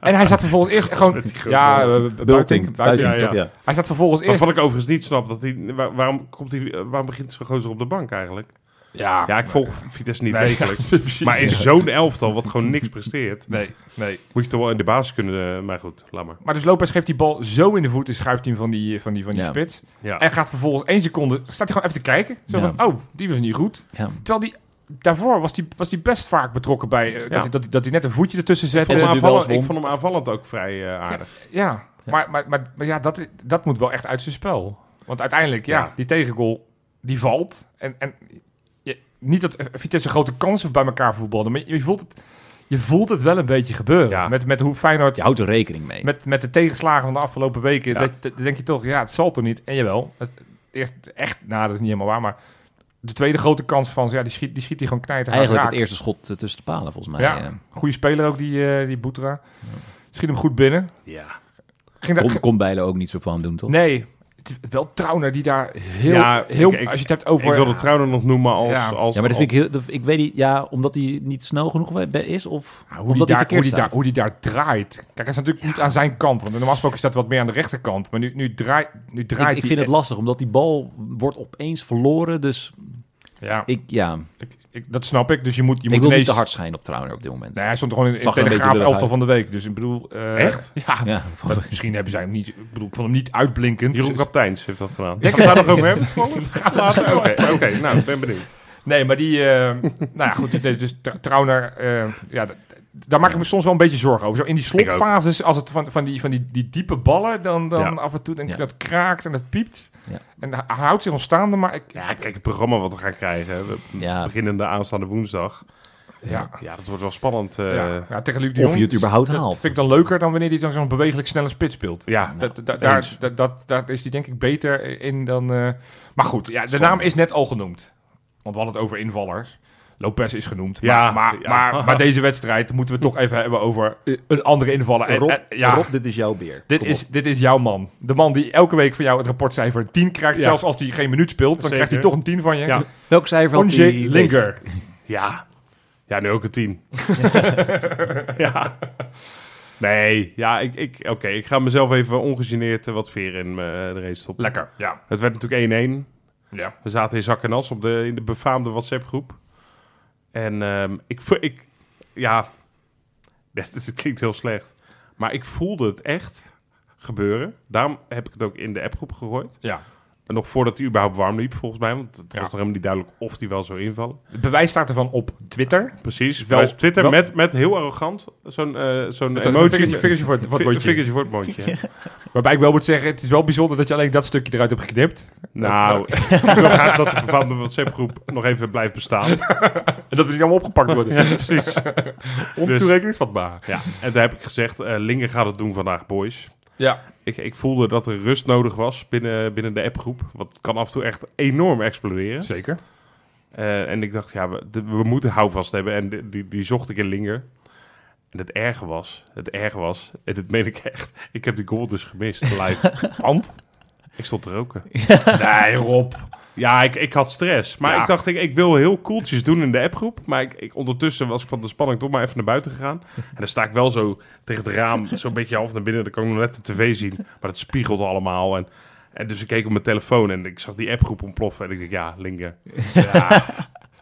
C: en hij zat vervolgens eerst gewoon...
A: grote
C: Ja, eh,
A: oren.
C: buiting,
B: Bulting.
C: buiting.
A: ja, ja.
B: toch? Ja.
C: Hij zat vervolgens eerst...
A: Waarvan ik overigens niet snap. Dat hij, waar- waarom, komt hij, eh, waarom begint zo'n gozer op de bank eigenlijk?
C: Ja,
A: Ja, ik volg Vitesse niet
C: Nee,
A: eigenlijk.
C: ja, precies.
A: maar in zo'n elftal, wat gewoon niks presteert,
C: Nee, nee.
A: moet je toch wel in de basis kunnen. eh, Maar goed, laat maar.
C: Maar dus Lopez geeft die bal zo in de voeten, schuift hij hem van die, van die, van die
D: Ja.
C: spits.
A: Ja.
C: En gaat vervolgens één seconde... Staat hij gewoon even te kijken. Zo
D: Ja.
C: van, oh, die was niet goed.
D: Ja.
C: Terwijl die... Daarvoor was hij was die best vaak betrokken bij... eh,
A: Ja.
C: dat, hij, dat, hij, dat hij net een voetje ertussen zette.
A: Ik vond, hem
D: duels
A: aanvallend,
D: won.
A: ik vond hem aanvallend ook vrij eh, aardig.
C: Ja, Maar, maar, maar, maar ja, dat, dat moet wel echt uit zijn spel. Want uiteindelijk, ja,
A: Ja.
C: die tegengoal, die valt. En, en je, niet dat eh, Vitesse grote kansen bij elkaar voetbalde, maar je, je voelt, het, je voelt het wel een beetje gebeuren.
A: Ja.
C: Met, met hoe Feyenoord,
D: Je houdt er rekening mee.
C: met, met de tegenslagen van de afgelopen weken,
A: Ja.
C: dat, dat- denk je toch, ja, het zal toch niet. En jawel, het, eerst, echt, nou, dat is niet helemaal waar, maar de tweede grote kans van, ja, die schiet die, schiet die gewoon knijter
D: eigenlijk het eerste schot eh, tussen de palen volgens mij.
C: Ja,
D: eh.
C: goede speler ook, die, eh, die Boetra. Schiet hem goed binnen.
A: Ja,
C: Ging
D: Kon, kon Bijlen ook niet zo van doen, toch?
C: Nee, het is wel Trauner die daar heel...
A: Ja,
C: heel
A: ik- ik-
C: als je het hebt over...
A: ik wilde Trouwen nog noemen als...
C: Ja.
A: als
D: Ja, maar dat vind ik heel... dat- ik weet niet, ja, omdat hij niet snel genoeg we- is of
C: Ja, Ah, hoe, die
D: omdat hij
C: daar,
D: verkeerd
C: hoe, die daar,
D: staat.
C: hoe die daar draait. Kijk, hij staat natuurlijk niet aan zijn kant. Want normaal gesproken staat hij wat meer aan de rechterkant. Maar nu, nu, draai, nu
D: Ik,
C: draait
D: ik vind het
C: hij...
D: lastig, omdat die bal wordt opeens verloren. Dus
C: ja,
D: ik, ja,
C: ik, ik- dat snap ik. Dus je moet, je
D: ik
C: moet
D: wil
C: ineens...
D: niet te hard schijnen op Trauner op dit moment.
C: Nee, hij stond gewoon in, in
D: Zag er een beetje
C: Telegraaf
D: lullig
C: elftal van de week. Dus ik bedoel... eh,
A: Echt?
C: Ja.
D: Ja,
C: Maar Misschien hebben zij hem niet... Ik bedoel, ik vond hem niet uitblinkend.
A: Jeroen
C: Dus-
A: Kapteins heeft dat gedaan.
C: Denk-
A: Denk daar nog over hebben? Gaan we later. Oké, oké, nou, ik ben benieuwd.
C: Nee, maar die... eh, nou ja, goed. Dus, dus Tra- Trauner... eh, ja, dat- daar maak ik me soms wel een beetje zorgen over. Zo in die
A: ook.
C: slotfases, als het van, van, die, van die, die diepe ballen... dan, dan
A: Ja.
C: af en toe denk ik
D: Ja.
C: dat kraakt en dat piept.
D: Ja.
C: En hij hij houdt zich ontstaande, maar ik...
A: Ja, kijk, het programma wat we gaan krijgen. We
D: Ja.
A: beginnen de aanstaande woensdag.
C: ja,
A: Ja, dat wordt wel spannend. eh,
C: ja. Ja, tegen Luc de
D: Of
C: Jong...
D: je het überhaupt
C: dat
D: haalt.
C: vind ik dan leuker dan wanneer hij dan zo'n bewegelijk snelle spits speelt.
A: ja.
C: Dat, dat- daar,
A: Ah, nou, eens.
C: dat, dat, daar is hij denk ik beter in dan... eh, Maar goed, ja, de naam is net al genoemd. Want we hadden het over invallers. Lopez is genoemd. Maar,
A: Ja,
C: maar,
A: ja.
C: Maar, maar deze wedstrijd moeten we toch even hebben over een andere invaller. En-
D: Rob,
C: en- Eh, ja,
D: Rob, dit is jouw beer.
C: dit,
D: Kom
C: is, dit is jouw man. De man die elke week van jou het rapportcijfer 10 krijgt.
A: Ja.
C: Zelfs als hij geen minuut speelt, dan
A: Zeker.
C: krijgt hij toch een 10 van je.
A: Ja.
D: op. Welk cijfer had
C: Onge
D: hij?
C: Linger.
A: Ja. Ja, nu ook een tien. ja. Nee, ja, ik, ik, oké, ik ga mezelf even ongegeneerd eh, wat veren in eh, de race stoppen.
C: Lekker, ja.
A: Het werd natuurlijk 1-1.
C: ja.
A: We zaten in zak en as op de, in de befaamde WhatsApp-groep. En ehm, ik, vo- ik... Ja, dat, dat klinkt heel slecht. Maar ik voelde het echt gebeuren. Daarom heb ik het ook in de appgroep gegooid.
C: ja.
A: En nog voordat hij überhaupt warm liep, volgens mij. Want het was
C: Ja.
A: nog helemaal niet duidelijk of hij wel zou invallen.
C: Het bewijs staat ervan op Twitter.
A: Precies.
C: Wel-
A: Wel, Twitter
C: wel-
A: met, met heel arrogant zo'n eh zo'n
C: Zo'n
A: emoji.
C: vingertje- vingertje voor het- voor het
A: Vi-
C: mondje.
A: vingertje voor het mondje. hè.
C: Waarbij ik wel moet zeggen, het is wel bijzonder dat je alleen dat stukje eruit hebt geknipt.
A: Nou, ik wil graag dat de befaamde WhatsApp-groep nog even blijft bestaan.
C: En dat we niet allemaal opgepakt worden.
A: Ja, dus. precies.
C: Ontoerekeningsvatbaar.
A: Ja, en daar heb ik gezegd, eh Linge gaat het doen vandaag, boys.
C: Ja.
A: Ik, ik voelde dat er rust nodig was binnen, binnen de appgroep. Want het kan af en toe echt enorm exploderen.
C: Zeker.
A: Eh, en ik dacht, ja, we, de- we moeten houvast hebben. En die, die, die zocht ik in Linger. En het erge was, het erge was, en dat meen ik echt, ik heb die goal dus gemist live.
C: Want?
A: ik stond te roken.
C: Nee, Rob.
A: Ja, ik, ik had stress. Maar
C: Ja.
A: ik dacht, ik, ik wil heel koeltjes doen in de appgroep. Maar ik, ik, ondertussen was ik van de spanning toch maar even naar buiten gegaan. En dan sta ik wel zo tegen het raam, zo'n beetje half naar binnen. Dan kan ik nog net de tv zien. Maar het spiegelt allemaal. En, en dus ik keek op mijn telefoon en ik zag die appgroep ontploffen. En ik dacht, ja, linker. Ja.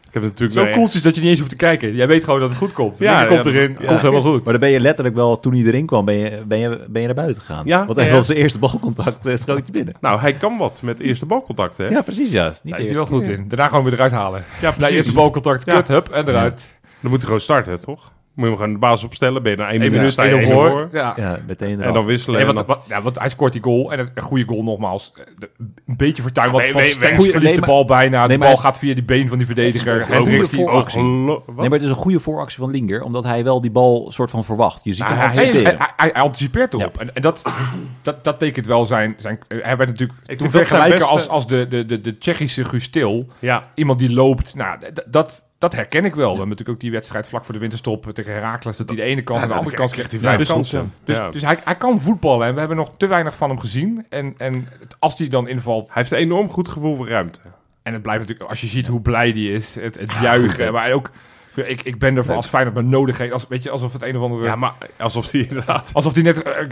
A: Ik heb natuurlijk
C: Zo
A: wel echt-
C: cool is dat je niet eens hoeft te kijken. Jij weet gewoon dat het goed komt.
A: Ja,
C: Ja,
A: ja,
C: komt
A: dat-
C: erin.
A: ja.
C: Komt helemaal goed.
D: Maar dan ben je letterlijk wel, toen hij erin kwam, ben je, ben je, ben je naar buiten gegaan.
A: Ja,
D: Want hij
A: ja.
D: was zijn eerste balcontact, eh, schoot je binnen.
A: Nou, hij kan wat met eerste balcontact, hè?
D: Ja, precies, ja. Niet
C: Daar
D: de
C: is hij
D: eerste
C: wel goed in. Daarna gewoon weer eruit halen.
A: Ja,
C: Na eerste balcontact,
A: Ja.
C: kut, hup, en eruit.
A: Dan moet hij gewoon starten, toch? Moet je hem gewoon de baas opstellen. Ben je na één
C: Eén
A: minuut,
C: minuut,
A: sta je
C: één
A: één
C: voor.
A: voor.
C: Ja.
D: Ja, meteen
A: En dan wisselen.
C: Nee,
A: en
C: want,
A: dan-
C: wat- ja, want hij scoort die goal. En het- een goede goal nogmaals. Eh, De- Een beetje vertuigd.
A: Ja,
C: Want
A: nee,
C: Van
A: nee,
C: Stengs
A: nee.
C: verliest de
D: Nee,
C: bal bijna. De
D: nee,
C: bal
D: maar-
C: gaat via die been van die verdediger.
A: Ook
C: Hendricks die ook...
A: ook gelo- wat?
D: Nee, maar het is een goede vooractie van Linger, omdat hij wel die bal soort van verwacht. Je ziet
A: Nou,
D: hem
A: hij-
C: Ah, Hij,
D: anticiperen.
C: hij- hij- hij anticipeert erop. En, en dat, dat, dat tekent wel zijn... zijn hij werd natuurlijk
A: vind
C: toen
A: dat zijn
C: vergelijken
A: beste-
C: als, als de, de, de, de Tsjechische Gustil.
A: Ja,
C: Iemand die loopt. Nou, d- d- dat, dat herken ik wel. We hebben natuurlijk ook die wedstrijd vlak voor de winterstop tegen Herakles. Dat hij de ene kant en de andere kant krijgt.
A: hij
C: Ja,
A: vijf
C: dus-
A: kansen.
C: Dus,
A: Ja.
C: dus hij, hij kan voetballen en we hebben nog te weinig van hem gezien. En, en het- als hij dan invalt,
A: Hij heeft een enorm goed gevoel voor ruimte.
C: en het blijft natuurlijk, als je ziet hoe blij die is, het, het juichen. maar ook, ik, ik ben er voor als Feyenoord me nodig heeft. Als, weet je, alsof het een of andere...
A: Ja, maar alsof hij inderdaad...
C: Alsof die net eh,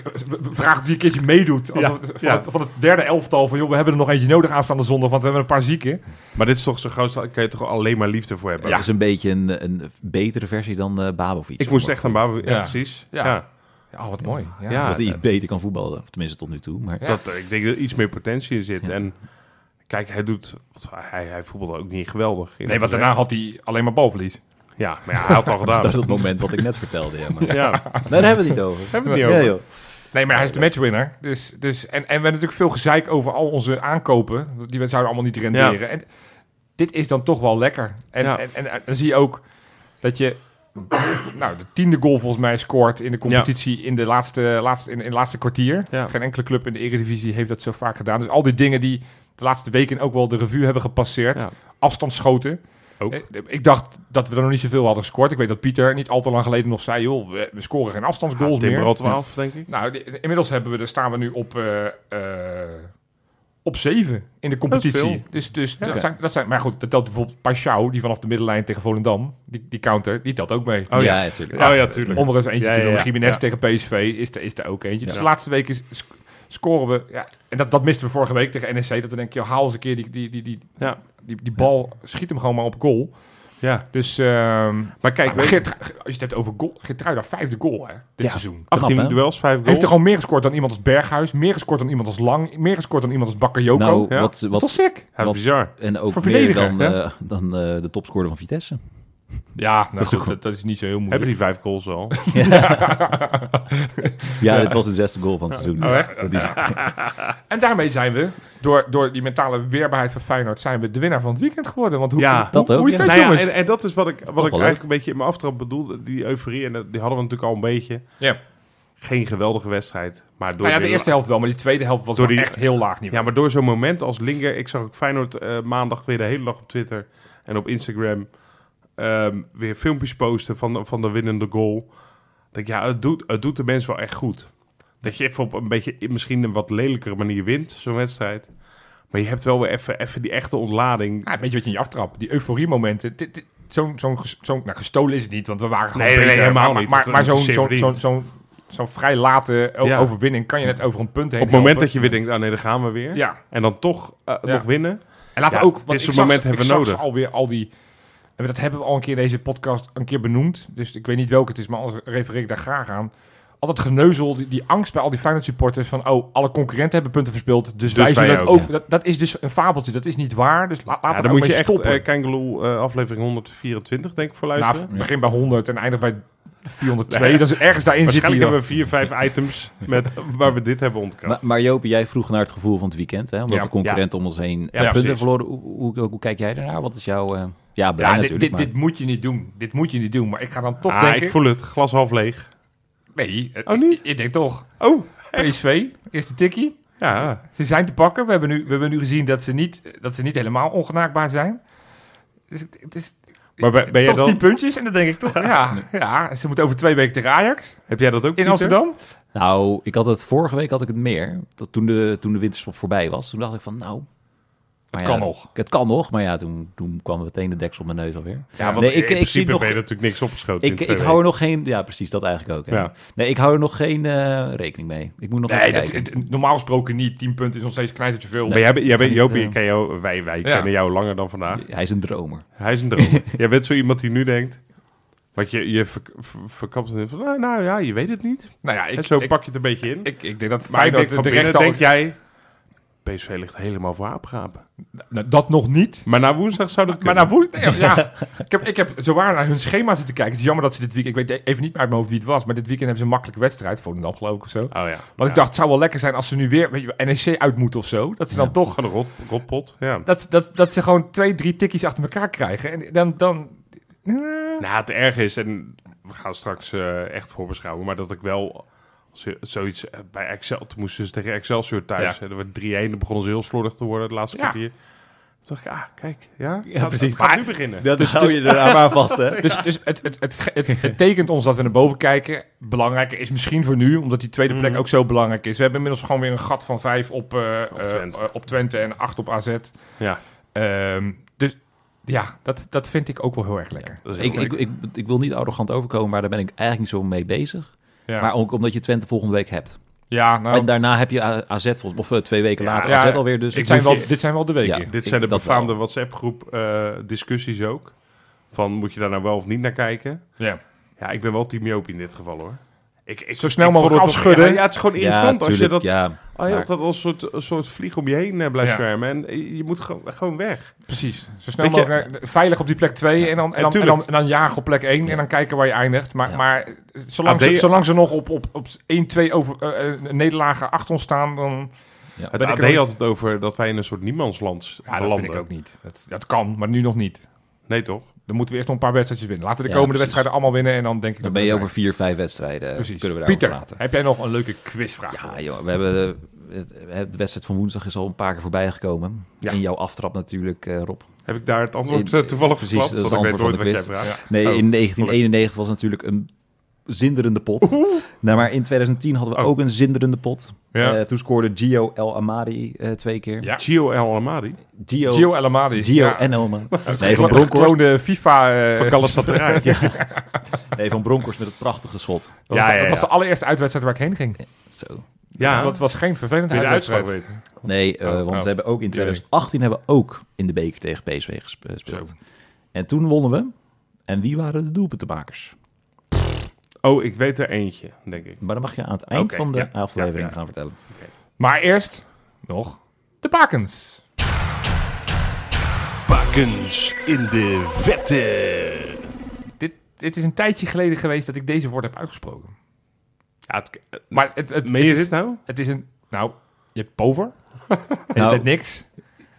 C: vraagt wie een keertje meedoet. Alsof-
A: Ja,
C: van,
A: ja.
C: Het, van het derde elftal van, joh, we hebben er nog eentje nodig aanstaande zondag, want we hebben een paar zieken.
A: Maar dit is toch zo'n grootste... Daar kan je toch alleen maar liefde voor hebben? Dus
D: Dat is een beetje een, een betere versie dan eh Babovic.
A: Ik moest echt aan Babo... Ja,
C: Ja.
A: precies. Ja.
C: Ja. Ja, Oh, wat mooi. Ja.
A: Ja.
D: dat hij iets beter kan voetballen, of tenminste tot nu toe. Maar
C: Ja.
A: Dat, eh, ik denk dat er iets meer potentie in zit. En kijk, hij doet... wat- Hij, hij voetbalde ook niet geweldig.
C: Nee, want daarna had hij alleen maar balverlies.
A: Ja, maar ja, hij had het al gedaan.
D: dat is het moment wat ik net vertelde. Ja, maar.
A: Ja,
D: Nou, Daar hebben we het niet over.
A: hebben we het niet
D: Ja,
A: over.
D: joh.
C: Nee, maar hij is de matchwinner. Dus, dus, en, en we hebben natuurlijk veel gezeik over al onze aankopen. want Die zouden allemaal niet renderen. En dit is dan toch wel lekker. En,
A: Ja.
C: en, en, eh, dan zie je ook dat je nou, de tiende goal volgens mij scoort in de competitie in, de laatste, laatste, in, in het laatste kwartier.
A: Ja.
C: Geen enkele club in de Eredivisie heeft dat zo vaak gedaan. Dus al die dingen die de laatste weken ook wel de revue hebben gepasseerd.
A: Ja.
C: Afstandsschoten.
A: Ook.
C: Eh, Ik dacht dat we er nog niet zoveel hadden gescoord. Ik weet dat Pieter niet al te lang geleden nog zei... joh, we, we scoren geen afstandsgoals
A: Timber
C: meer.
A: al 12, denk ik.
C: Nou, die- inmiddels hebben we, er staan we nu op, eh, eh, op zeven in de
A: veel.
C: competitie. Dus, dus dat,
D: Oké.
C: zijn, dat zijn... Maar goed, dat telt bijvoorbeeld Pashao, die vanaf de middenlijn tegen Volendam, die, die counter, die telt ook mee.
A: Oh ja.
D: ja, natuurlijk.
A: Oh ja, tuurlijk.
C: Om er eens eentje
A: Ja,
C: te
A: ja,
C: noemen.
A: ja.
C: Jiménez
A: Ja.
C: tegen PSV is er, is er ook eentje. Dus de laatste weken is- sc- scoren we... Ja, en dat, dat misten we vorige week tegen NEC. Dat we denken, joh, haal eens een keer die, die, die, die,
A: Ja.
C: die, die bal. Schiet hem gewoon maar op goal.
A: Ja.
C: Dus ehm
A: Maar kijk,
C: maar
A: weet je,
C: Geert, als je het hebt over goal... Geertruida, vijfde goal hè, dit seizoen.
A: 18
D: knap, hè?
A: duels, 5 goals.
C: Heeft er gewoon meer gescoord dan iemand als Berghuis, meer gescoord dan iemand als Lang, meer gescoord dan iemand als Bakayoko.
D: Nou,
A: ja.
D: wat,
C: dat is
D: wat,
C: toch sick?
A: Ja,
D: wat-
A: bizar.
D: en ook
C: voor
D: meer
C: verdediger,
D: dan,
A: hè?
D: eh, dan eh, de topscorer van Vitesse.
C: Ja, nou
D: is
C: goed,
D: ook-
C: dat, dat is niet zo heel
A: Hebben
C: moeilijk.
A: die 5 goals al? Nou
D: Ja, dit was de zesde goal van het seizoen.
A: Oh, echt?
D: Dat is-
C: En daarmee zijn we, door, door die mentale weerbaarheid van Feyenoord, zijn we de winnaar van het weekend geworden. Want hoe,
A: Ja,
C: hoe,
D: dat
C: hoe
D: ook,
C: is dat,
A: Nou ja,
C: jongens?
A: en, en dat is wat ik, wat ik
D: wel
A: eigenlijk een beetje in mijn aftrap bedoelde. Die euforie, en dat- die hadden we natuurlijk al een beetje.
C: ja.
A: Geen geweldige wedstrijd. Maar door,
C: Nou ja, de
A: die-
C: eerste helft wel, maar die tweede helft was
A: Door
C: wel
A: die-
C: echt heel laag niveau.
A: ja, maar door zo'n moment als Linger... Ik zag ook Feyenoord eh, maandag weer de hele dag op Twitter en op Instagram... ehm, weer filmpjes posten van, de- van de winnende goal. Dat ja, het doet, het doet de mens wel echt goed. Dat je even op een beetje, misschien een wat lelijkere manier wint, zo'n wedstrijd. Maar je hebt wel weer even, even die echte ontlading.
C: Ja, weet je wat je in je aftrap, die euforie-momenten. dit- dit- Zo'n, zo'n, ges- zo'n, nou, gestolen is het niet, want we waren gewoon
A: Nee, nee,
C: beter.
A: helemaal
C: Maar- maar,
A: niet.
C: Maar,
A: Dat
C: maar
A: is
C: zo'n,
A: zeer
C: zo'n,
A: verdiend.
C: zo'n, zo'n, zo'n vrij late o-
A: Ja.
C: overwinning kan je net over een punt heen
A: Op het moment
C: helpen.
A: dat je weer denkt, ah nee, daar gaan we weer.
C: Ja,
A: En dan toch eh,
C: Ja.
A: nog winnen.
C: En laten
A: Ja,
C: we ook, want
A: dit
C: ik
A: soort
C: zag-
A: momenten hebben
C: ik
A: we
C: zag
A: nodig.
C: alweer al die, en dat hebben we al een keer in deze podcast een keer benoemd. Dus ik weet niet welke het is, maar anders refereer ik daar graag aan. Altijd geneuzel, die, die angst bij al die Feyenoord supporters van, oh, alle concurrenten hebben punten verspeeld, dus, wij
A: wij
C: zullen dat
A: ook,
C: ook. Dat, dat is dus een fabeltje, dat is niet waar. Dus la,
A: Ja,
C: laten
A: dan
C: we
A: moet
C: mee
A: je echt
C: stoppen.
A: eh, Kangaloo eh, aflevering 124 denk ik voor
C: Nou,
A: luisteren.
C: begin bij 100 en eindig bij 402. Dat is ergens daarin zit
A: Waarschijnlijk
C: die.
A: hebben we vier, vijf items met, waar we dit hebben
D: maar,
A: ontkracht.
D: maar Joop, jij vroeg naar het gevoel van het weekend, hè? omdat
C: Ja.
D: de concurrenten om ons heen eh, punten
A: precies.
D: verloren. Hoe, hoe, hoe kijk jij daarnaar? Wat is jouw... eh, ja, blij
C: Ja, dit,
D: natuurlijk.
C: dit,
D: maar-
C: dit moet je niet doen. Dit moet je niet doen. Maar ik ga dan toch
A: Ah,
C: denken...
A: ik voel het, glas half leeg.
C: Nee, het-
A: Oh, niet?
C: Ik, ik denk toch.
A: Oh,
C: PSV, eerste tikkie.
A: ja.
C: Ze zijn te pakken. We hebben nu, we hebben nu gezien dat ze, niet, dat ze niet helemaal ongenaakbaar zijn. Dus, het- het is
A: Maar ben, ben jij
C: toch tien
A: dan,
C: puntjes. En dan denk ik toch, ja, ja, ze moeten over twee weken tegen Ajax
A: heb jij dat ook,
C: in
A: Pieter?
C: Amsterdam.
D: Nou, ik had het vorige week had ik het meer. Dat toen, de, toen de winterstop voorbij was, toen dacht ik van nou. Het
C: kan nog.
D: Het kan nog, maar ja, toen, toen kwam meteen de deksel op mijn neus alweer.
A: Ja, want
D: Nee,
A: in
D: ik- ik
A: principe
D: zie nog-
A: ben je natuurlijk niks opgeschoten in
D: Ik,
A: twee
D: ik hou er
A: weken.
D: nog geen. Ja, precies, dat eigenlijk ook. Hè.
A: Ja.
D: Nee, ik hou er nog geen eh, rekening mee. Ik moet nog
C: Nee,
D: even
C: dat,
D: kijken.
C: het- normaal gesproken niet. Tien punten is nog steeds knijtertje veel.
A: Maar jij, bent- jij bent,
D: Niet,
A: Jopie,
D: eh,
A: ik ken jou, wij, wij
C: Ja.
A: kennen jou langer dan vandaag.
D: Hij is een dromer.
A: Hij is een droom. jij bent zo iemand die nu denkt... Wat je, je verk- ver- verkapt en van, nou, nou ja, je weet het niet.
C: Nou ja, ik,
A: en zo
C: ik,
A: pak je het een beetje in.
C: ik, ik denk dat
A: maar ik denk
C: Feyenoord
A: van
C: de
A: binnen,
C: rechter...
A: denk jij... PSV ligt helemaal voor aapgapen.
C: Nou, dat nog niet.
A: Maar na woensdag zou dat
C: Maar
A: kunnen.
C: naar woensdag, ja. Ik, heb, ik heb zowaar naar hun schema zitten kijken. Het is jammer dat ze dit weekend, ik weet even niet meer uit mijn hoofd wie het was, maar dit weekend hebben ze een makkelijke wedstrijd, Volendam geloof ik of zo. Want
A: Oh ja.
C: ik dacht, het zou wel lekker zijn als ze nu weer, weet je, wel, NEC uit moeten of zo. Dat ze dan toch,
A: Gewoon een rot, rotpot. Ja.
C: dat, dat, dat ze gewoon twee, drie tikkies achter elkaar krijgen. En dan, dan
A: Nou, het erg is, en we gaan straks eh, echt voorbeschouwen, maar dat ik wel als je zoiets eh, bij Excel, toen moesten ze tegen Excelsior thuis,
C: Ja.
A: hè, er werd 3-1, dan begonnen ze heel slordig te worden het laatste
C: Ja.
A: kwartier. Toen dacht ik, ah, kijk, ja,
D: Ja,
A: gaat,
D: precies.
A: het gaat nu beginnen.
D: Dat hou je er aan maar vast, hè?
C: Dus, dus het, het, het, ge- het, het tekent ons dat we naar boven kijken. Belangrijker is misschien voor nu, omdat die tweede plek
A: Mhm.
C: ook zo belangrijk is. We hebben inmiddels gewoon weer een gat van vijf op, eh, eh,
A: Twente.
C: eh, op Twente en acht op AZ.
A: Ja,
C: Ehm, dus ja, dat, dat vind ik ook wel heel erg lekker.
A: Dus dat is
D: Ik,
A: heel
D: ik,
A: leuk.
D: ik, ik wil niet arrogant overkomen, maar daar ben ik eigenlijk niet zo mee bezig.
C: Ja,
D: Maar ook omdat je Twente volgende week hebt.
C: ja nou,
D: En daarna heb je A- AZ volgens of eh, twee weken
A: Ja,
D: later
C: ja,
D: AZ alweer. Dus
C: ik zijn wel,
D: moet je-
C: dit zijn wel de weken.
D: Ja.
A: Dit
D: ik-
A: zijn de
D: dat
A: befaamde
D: wel.
A: WhatsApp-groep eh, discussies ook. Van, moet je daar nou wel of niet naar kijken?
C: Ja.
A: Ja, ik ben wel Team Joop in dit geval, hoor. Ik, ik,
C: Zo snel
A: ik
C: mogelijk
A: vond het toch-
C: afschudden.
A: Ja, ja, het is gewoon
D: ja,
A: irritant als je
D: tuurlijk,
A: dat
D: Ja,
A: Oh, je
D: Maar-
A: dat als soort, als soort vlieg om je heen eh, blijft
C: Ja.
A: zwermen. En eh, je moet gewoon, gewoon weg.
C: Precies. Zo snel
A: Weet je-
C: mogelijk naar- veilig op die plek 2 en, dan, en,
A: En
C: dan, en,
A: tuurlijk.
C: dan, en dan jagen op plek 1 en dan kijken waar je eindigt. Maar,
D: Ja.
C: maar zolang,
A: AD
C: ze, zolang ze nog op, op, op 1, 2 over, eh, eh, nederlagen achter ons staan, dan...
A: Het
C: Ben ik
A: AD
C: er
A: had het over dat wij in een soort niemandsland s-
C: Ja, dat
A: belanden.
C: vind ik ook niet. Dat, dat kan, maar nu nog niet.
A: Nee, toch?
C: Dan moeten we eerst nog een paar wedstrijdjes winnen. Laten we de
D: Ja,
C: komende
D: precies.
C: wedstrijden allemaal winnen en dan denk ik
D: dan
C: dat
D: ben je
C: we
D: over vier, vijf wedstrijden. eh,
C: zijn. Precies.
D: Kunnen we daarover
C: Pieter,
D: praten.
C: heb jij nog een leuke quizvraag voor
D: Ja,
C: ons?
D: joh, we hebben, eh, het- het- de wedstrijd van woensdag is al een paar keer voorbij gekomen.
A: Ja.
D: In jouw aftrap natuurlijk, eh, Rob.
A: Heb ik daar het antwoord
D: Nee,
A: eh, toevallig
D: precies,
A: verklapt?
D: dat is
A: Want ik
D: het
A: weet nooit
D: antwoord
A: wat jij
D: van de
A: vraagt.
D: Nee,
A: Oh,
D: in 1991 was natuurlijk een zinderende pot. Nou, maar in 2010 hadden we
A: Oh.
D: ook een zinderende pot.
C: Ja.
D: Eh, toen scoorde Gio El Amadi eh, twee keer.
C: Ja.
A: Gio El Amadi
D: Gio,
C: Gio El Amadi.
D: Gio
C: Ja.
D: en Elman. Nee, van
C: Een
D: Bronckhorst.
C: gekloonde FIFA... eh,
A: van Galatasaray.
D: Nee, van Bronckhorst met het prachtige schot.
C: dat,
A: Ja,
C: was,
A: ja,
C: dat was
A: ja.
C: de allereerste uitwedstrijd waar ik heen ging.
D: Zo.
A: Ja,
C: Dat was geen vervelende
A: wil je de uitslag
C: uitwedstrijd.
A: weten.
D: Nee, eh,
C: Oh,
D: want
C: oh.
D: we hebben ook in
C: Die weet ik.
D: 2018 hebben we ook in de beker tegen PSV gesp- eh, gespeeld.
C: Zo.
D: En toen wonnen we. En wie waren de doelpuntenmakers?
A: Oh, ik weet er eentje, denk ik.
D: Maar dat mag je aan het eind
A: Oké,
D: van de
A: ja.
D: aflevering
A: Ja, ja.
D: gaan vertellen.
C: Maar eerst nog de bakens.
A: Bakens in de vette.
C: Dit, dit is een tijdje geleden geweest dat ik deze woord heb uitgesproken.
A: Ja, het,
C: Maar het, het,
A: meen je
C: het, is,
A: dit nou? Oh.
C: het is een... Nou, je hebt pover. En
D: Nou.
C: je hebt niks.
A: Ah.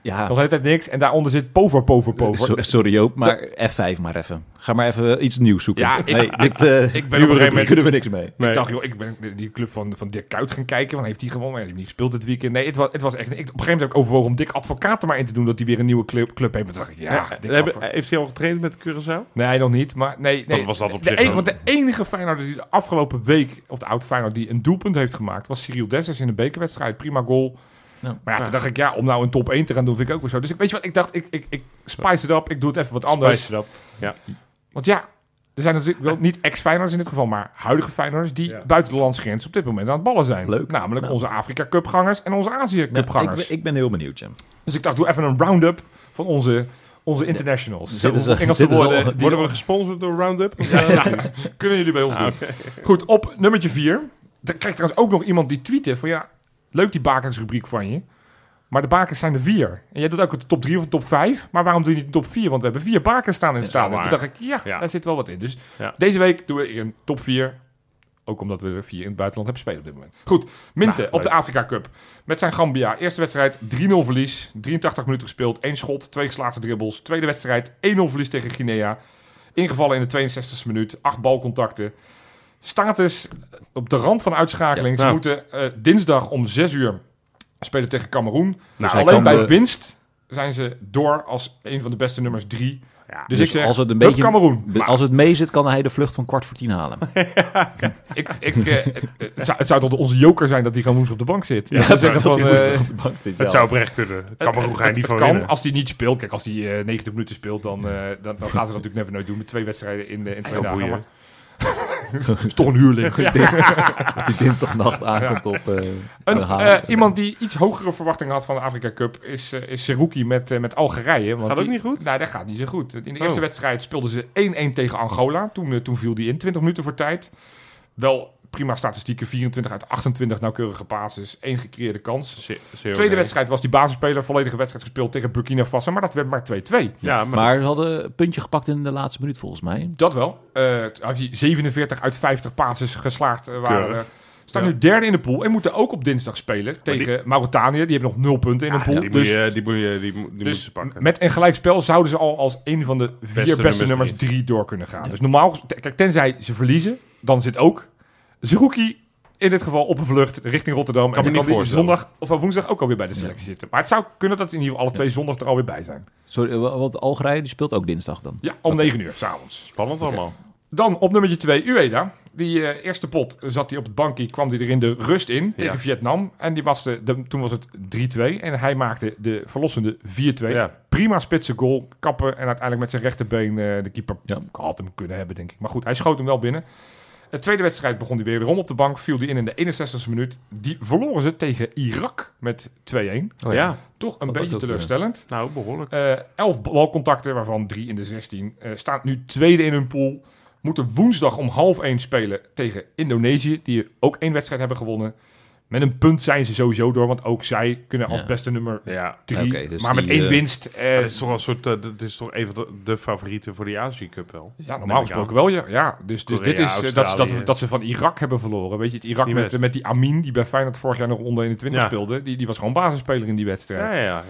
D: Ja,
C: Nog altijd niks. En daaronder zit pover, pover, pover.
D: So- sorry Joop, maar F5 maar even. Ga maar even iets nieuws zoeken.
C: Ja, ik-
D: nee, dit, eh,
C: ik ben op
D: nieuwe
C: een gegeven
D: rubriek
C: moment-
D: kunnen we niks mee.
A: Nee.
C: Ik dacht, joh, ik ben die club van, van Dirk Kuyt gaan kijken. Want heeft hij gewonnen? Ja, die heeft niet gespeeld dit weekend. Nee, het was, het was echt... Ik, op een gegeven moment heb ik overwogen om Dick Advocaat er maar in te doen... dat hij weer een nieuwe club, club heeft. Maar toen dacht ik, ja, Dick
A: Hebben-
C: Advocaat.
A: heeft hij al getraind met Curaçao?
C: Nee, nog niet. Maar nee, nee.
A: was dat op
C: de
A: zich
C: en-
A: wel-
C: Want de enige Feyenoord die de afgelopen week... of de oud Feyenoord die een doelpunt heeft gemaakt... was Cyril Dessers in de bekerwedstrijd. Prima goal.
D: Ja.
C: Maar ja, toen dacht ik, ja, om nou een top 1 te gaan doen... vind ik ook weer zo. Dus ik, weet je wat? Ik dacht, ik, ik, ik spice het op. Ik doe het even wat anders.
A: Spice dat.
C: Want ja, er zijn natuurlijk wel niet ex-Feyenoorders in dit geval, maar huidige Feyenoorders die
A: Ja.
C: buiten de landsgrens op dit moment aan het ballen zijn.
D: Leuk.
C: Namelijk
D: Nou.
C: onze Afrika Cupgangers en onze Azië
D: Nou,
C: Cupgangers.
D: ik, ben- ik ben heel benieuwd, Jim.
C: Dus ik dacht, doe even een round-up van onze, onze internationals. Zo,
D: Zitten ze-
C: hoeveel Engelse
D: zitten ze
C: woorden.
D: al-
C: die-
A: Worden we gesponsord door Roundup? eh?
C: kunnen jullie bij ons
A: Ah,
C: doen. Goed, op nummertje 4. Dan krijg ik trouwens ook nog iemand die tweette van ja, leuk die bakensrubriek van je. Maar de bakens zijn er vier. En jij doet ook de top 3 of de top 5. Maar waarom doe je niet de top 4? Want we hebben vier bakens staan in het
A: is wel
C: stadion. Toen
A: waar.
C: dacht ik, ja,
A: Ja.
C: daar zit wel wat in. Dus
A: Ja.
C: deze week doen we een top 4. Ook omdat we er vier in het buitenland hebben spelen op dit moment. Goed, Minte
A: Nou,
C: op de
A: leuk.
C: Afrika Cup. Met zijn Gambia. Eerste wedstrijd 3-0 verlies. 83 minuten gespeeld. 1 schot, 2 geslaagde dribbles. Tweede wedstrijd 1-0 verlies tegen Guinea. Ingevallen in de 62e minuut. 8 balcontacten. Status op de rand van
A: Ja,
C: uitschakeling. Ze
A: nou.
C: moeten eh, dinsdag om 6 uur spelen tegen Cameroen. Dus
A: Nou,
C: Alleen bij
D: de-
C: winst zijn ze door als een van de beste nummers 3.
A: Ja.
C: Dus,
D: Dus
C: ik zeg,
D: als het een
C: hup
D: beetje-
C: Cameroen.
D: Be- Als het mee zit, kan hij de vlucht van kwart voor tien halen.
C: Ik, ik, eh, eh, het, zou, het zou tot onze joker zijn dat die gewoon woensdag op de bank zit. Ja,
A: dat
C: zeggen
A: zou-
C: van,
A: dat
C: eh,
A: Het zou oprecht kunnen. Cameroen ga je niet
C: het
A: van
C: kan,
A: winnen.
C: als die niet speelt. Kijk, als die eh, 90 minuten speelt, dan, eh, dan, dan gaan ze dat natuurlijk never nooit doen. Met twee wedstrijden in, eh, in twee
A: Oh,
C: dagen.
A: boeien.
C: Maar het is toch een huurling.
D: Dat die dinsdagnacht aankomt op eh
C: Een,
D: aan
C: eh,
D: Halen.
C: iemand die iets hogere verwachtingen had van de Afrika Cup is, eh, is Seruki met, eh, met Algerije. Want
A: Gaat ook
C: die-
A: niet goed?
C: Nou, dat gaat niet zo goed. In de eerste
A: Oh.
C: wedstrijd speelden ze 1-1 tegen Angola. Toen, eh, toen viel die in, 20 minuten voor tijd. Wel prima statistieken. 24 uit 28 nauwkeurige basis. één gecreëerde kans.
A: Ze- ze-
C: Tweede
A: nee.
C: wedstrijd was die basisspeler. Volledige wedstrijd gespeeld tegen Burkina Faso. Maar dat werd maar 2-2.
A: Ja, maar,
D: Maar ze hadden een puntje gepakt in de laatste minuut volgens mij.
C: Dat wel. Eh, had hij 47 uit 50 passes geslaagd eh, waren.
A: Keurig.
C: eh, staan
A: Ja.
C: nu derde in de pool en moeten ook op dinsdag spelen tegen Mauritanië. Die hebben nog nul punten in de pool.
A: Ah, die,
C: dus
A: moet je, die, moet je, die, moet- die moeten
C: dus
A: ze pakken.
C: met een gelijkspel zouden ze al als een van de vier beste,
A: nummers
C: nummers drie door kunnen gaan. Dus normaal, ges- t- kijk, tenzij ze verliezen, dan zit ook Zerouki in dit geval op een vlucht richting
A: Kan
C: Rotterdam. en
A: me
C: dan
A: niet
C: kan die
A: voorstellen.
C: zondag of woensdag ook alweer bij de selectie zitten. Maar het zou kunnen dat ze in ieder geval alle twee zondag er alweer bij zijn.
D: Sorry, eh, want Algerije die speelt ook dinsdag dan.
C: Ja, om 9 uur s'avonds.
A: Spannend allemaal.
C: Dan op nummertje 2, Ueda. Die eh, eerste pot zat hij op het bankje, kwam hij er in de rust in tegen
A: Ja.
C: Vietnam. En die was de, de- toen was het 3-2 en hij maakte de verlossende 4-2.
A: Ja.
C: Prima spitse goal, kappen en uiteindelijk met zijn rechterbeen eh, de keeper
D: Ja.
C: had hem kunnen hebben, denk ik. Maar goed, hij schoot hem wel binnen. De tweede wedstrijd begon hij weer om op de bank, viel hij in in de 61ste minuut. Die verloren ze tegen Irak met 2-1.
A: ja.
C: Toch een
D: Oh Dat was
C: beetje
D: ook, eh,
C: teleurstellend.
A: nou behoorlijk.
C: Eh, elf balcontacten, waarvan drie in de 16. Eh, staat nu tweede in hun pool. Moeten woensdag om half één spelen tegen Indonesië, die ook één wedstrijd hebben gewonnen. Met een punt zijn ze sowieso door, want ook zij kunnen als
D: Ja.
C: beste nummer
A: Ja.
C: drie.
D: Oké, dus
C: maar
D: die,
C: met één
D: eh,
C: winst. eh,
A: Het is toch een soort, eh, dit is toch even de, de favoriete voor die Azië Cup wel.
C: ja,
A: Neem ik
C: normaal
A: aan.
C: gesproken wel, ja. ja dus dus
A: Korea,
C: dit is eh, dat, ze- dat,
A: Australië.
C: dat ze van Irak hebben verloren. Weet je, het Irak
A: Niet
C: met,
A: best.
C: eh, met die Amin, die bij Feyenoord vorig jaar nog onder 21
A: Ja.
C: speelde. Die, die was gewoon basisspeler in die wedstrijd.
A: Ja, ja, ja.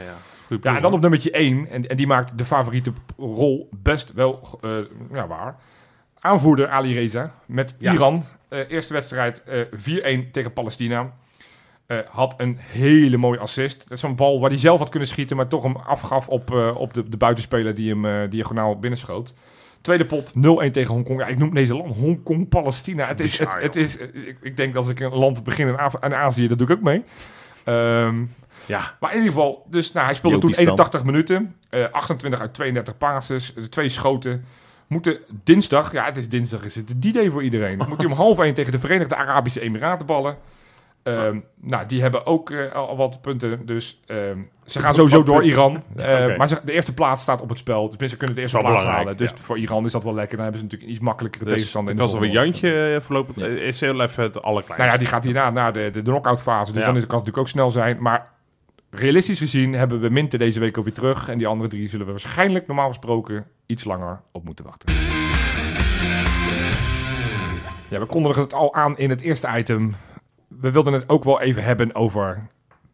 A: Goed
C: Ja, en dan op nummertje 1. En, en die maakt de favoriete rol best wel eh, ja, waar. Aanvoerder Ali Reza met
A: Ja.
C: Iran. Eh, eerste wedstrijd eh 4-1 tegen Palestina. Eh, had een hele mooie assist. Dat is zo'n bal waar hij zelf had kunnen schieten, maar toch hem afgaf op, eh, op de, de buitenspeler die hem eh, diagonaal binnenschoot. Tweede pot, 0-1 tegen Hongkong. Ja, ik noem deze land Hongkong, Palestina. Het is, het,
A: Bizar,
C: het is, eh, ik, ik denk als ik een land begin in Af- aan Azië, dat doe ik ook mee. Ehm,
A: Ja,
C: maar in ieder geval, dus, nou, hij speelde
D: Jopie
C: toen
D: Stam.
C: 81 minuten. eh, 28 uit 32 passes, eh, twee schoten. Moeten dinsdag, ja het is dinsdag, is het die day voor iedereen. Moet hij om half 1 tegen de Verenigde Arabische Emiraten ballen. Ehm, nou, die hebben ook eh, al al wat punten. Dus ehm, ze gaan sowieso door Iran. Eh,
A: oké.
C: Maar ze- de eerste plaats staat op het spel. Dus mensen kunnen de eerste
A: Is wel
C: plaats
A: belangrijk,
C: halen. Dus
A: ja.
C: voor Iran is dat wel lekker. Dan hebben ze natuurlijk een iets makkelijkere
A: dus
C: tegenstander.
A: dan
C: in
A: kan
C: de
A: er een
C: volgende
A: Jantje eh, voorlopig. eh, Is heel even het allerkleinste.
C: nou ja, die gaat hierna naar de, de knock-out fase. Dus
A: Ja.
C: dan is, kan het natuurlijk ook snel zijn. Maar realistisch gezien hebben we Minte deze week ook weer terug. En die andere drie zullen we waarschijnlijk normaal gesproken iets langer op moeten wachten. Ja, we kondigen het al aan in het eerste item. We wilden het ook wel even hebben over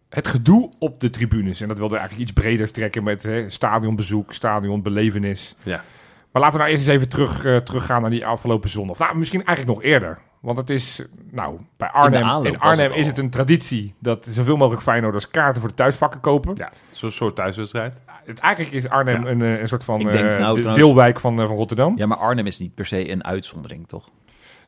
C: het gedoe op de tribunes. En dat wilden we eigenlijk iets breder strekken met hè, stadionbezoek, stadionbelevenis.
A: Ja.
C: Maar laten we nou eerst eens even terug, eh, teruggaan naar die afgelopen zondag. Nou, misschien eigenlijk nog eerder. Want het is, eh, nou, bij Arnhem, in,
D: aanloop was
C: Arnhem
D: het al.
C: is het een traditie dat zoveel mogelijk Feyenoorders kaarten voor de thuisvakken kopen.
A: Ja, zo'n soort thuiswedstrijd.
C: Het, eigenlijk is Arnhem
A: Ja.
C: een, eh, een soort van
D: Ik denk
C: eh,
D: nou
C: de-
D: trouwens-
C: deelwijk van, eh, van Rotterdam.
D: Ja, maar Arnhem is niet per se een uitzondering, toch?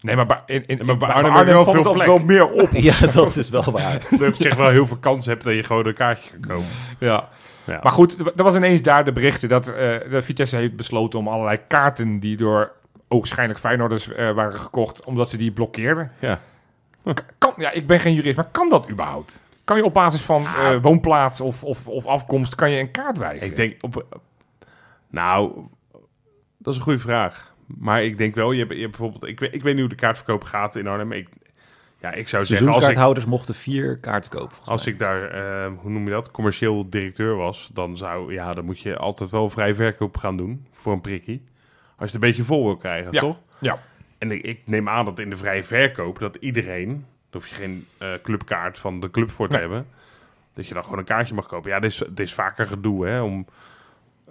C: Nee, maar bij, in, in,
A: maar bij
C: bij
A: Arnhem heb je wel
C: valt
A: veel
C: het
A: plek.
C: altijd wel meer op.
D: Ja, dat is wel waar.
A: Dat je echt wel heel veel kans hebt dat je gewoon een kaartje kan kopen.
C: Ja.
A: Ja.
C: Maar goed, er er was ineens daar de berichten dat eh, de Vitesse heeft besloten om allerlei kaarten die door oogschijnlijk Feyenoorders eh, waren gekocht, omdat ze die blokkeerden.
A: Ja.
C: K- Kan, ja, ik ben geen jurist, maar kan dat überhaupt? Kan je op basis van eh, woonplaats of, of, of afkomst kan je een kaart wijzigen?
A: Ik denk op. Nou, dat is een goede vraag. Maar ik denk wel, je hebt, je hebt bijvoorbeeld. Ik weet, ik weet niet hoe de kaartverkoop gaat in Arnhem. Ik, ja, ik zou zeggen, als ik,
D: Seizoenskaarthouders mochten vier kaarten kopen. volgens
A: als
D: mij.
A: ik daar, eh, hoe noem je dat, commercieel directeur was, dan zou, ja, dan moet je altijd wel vrij verkoop gaan doen voor een prikkie. Als je het een beetje vol wil krijgen,
C: Ja.
A: toch?
C: Ja.
A: En ik, ik neem aan dat in de vrije verkoop dat iedereen, dan hoef je geen eh, clubkaart van de club voor te
C: Nee.
A: hebben, dat je dan gewoon een kaartje mag kopen. Ja, dit is, dit is vaker gedoe, hè? Om,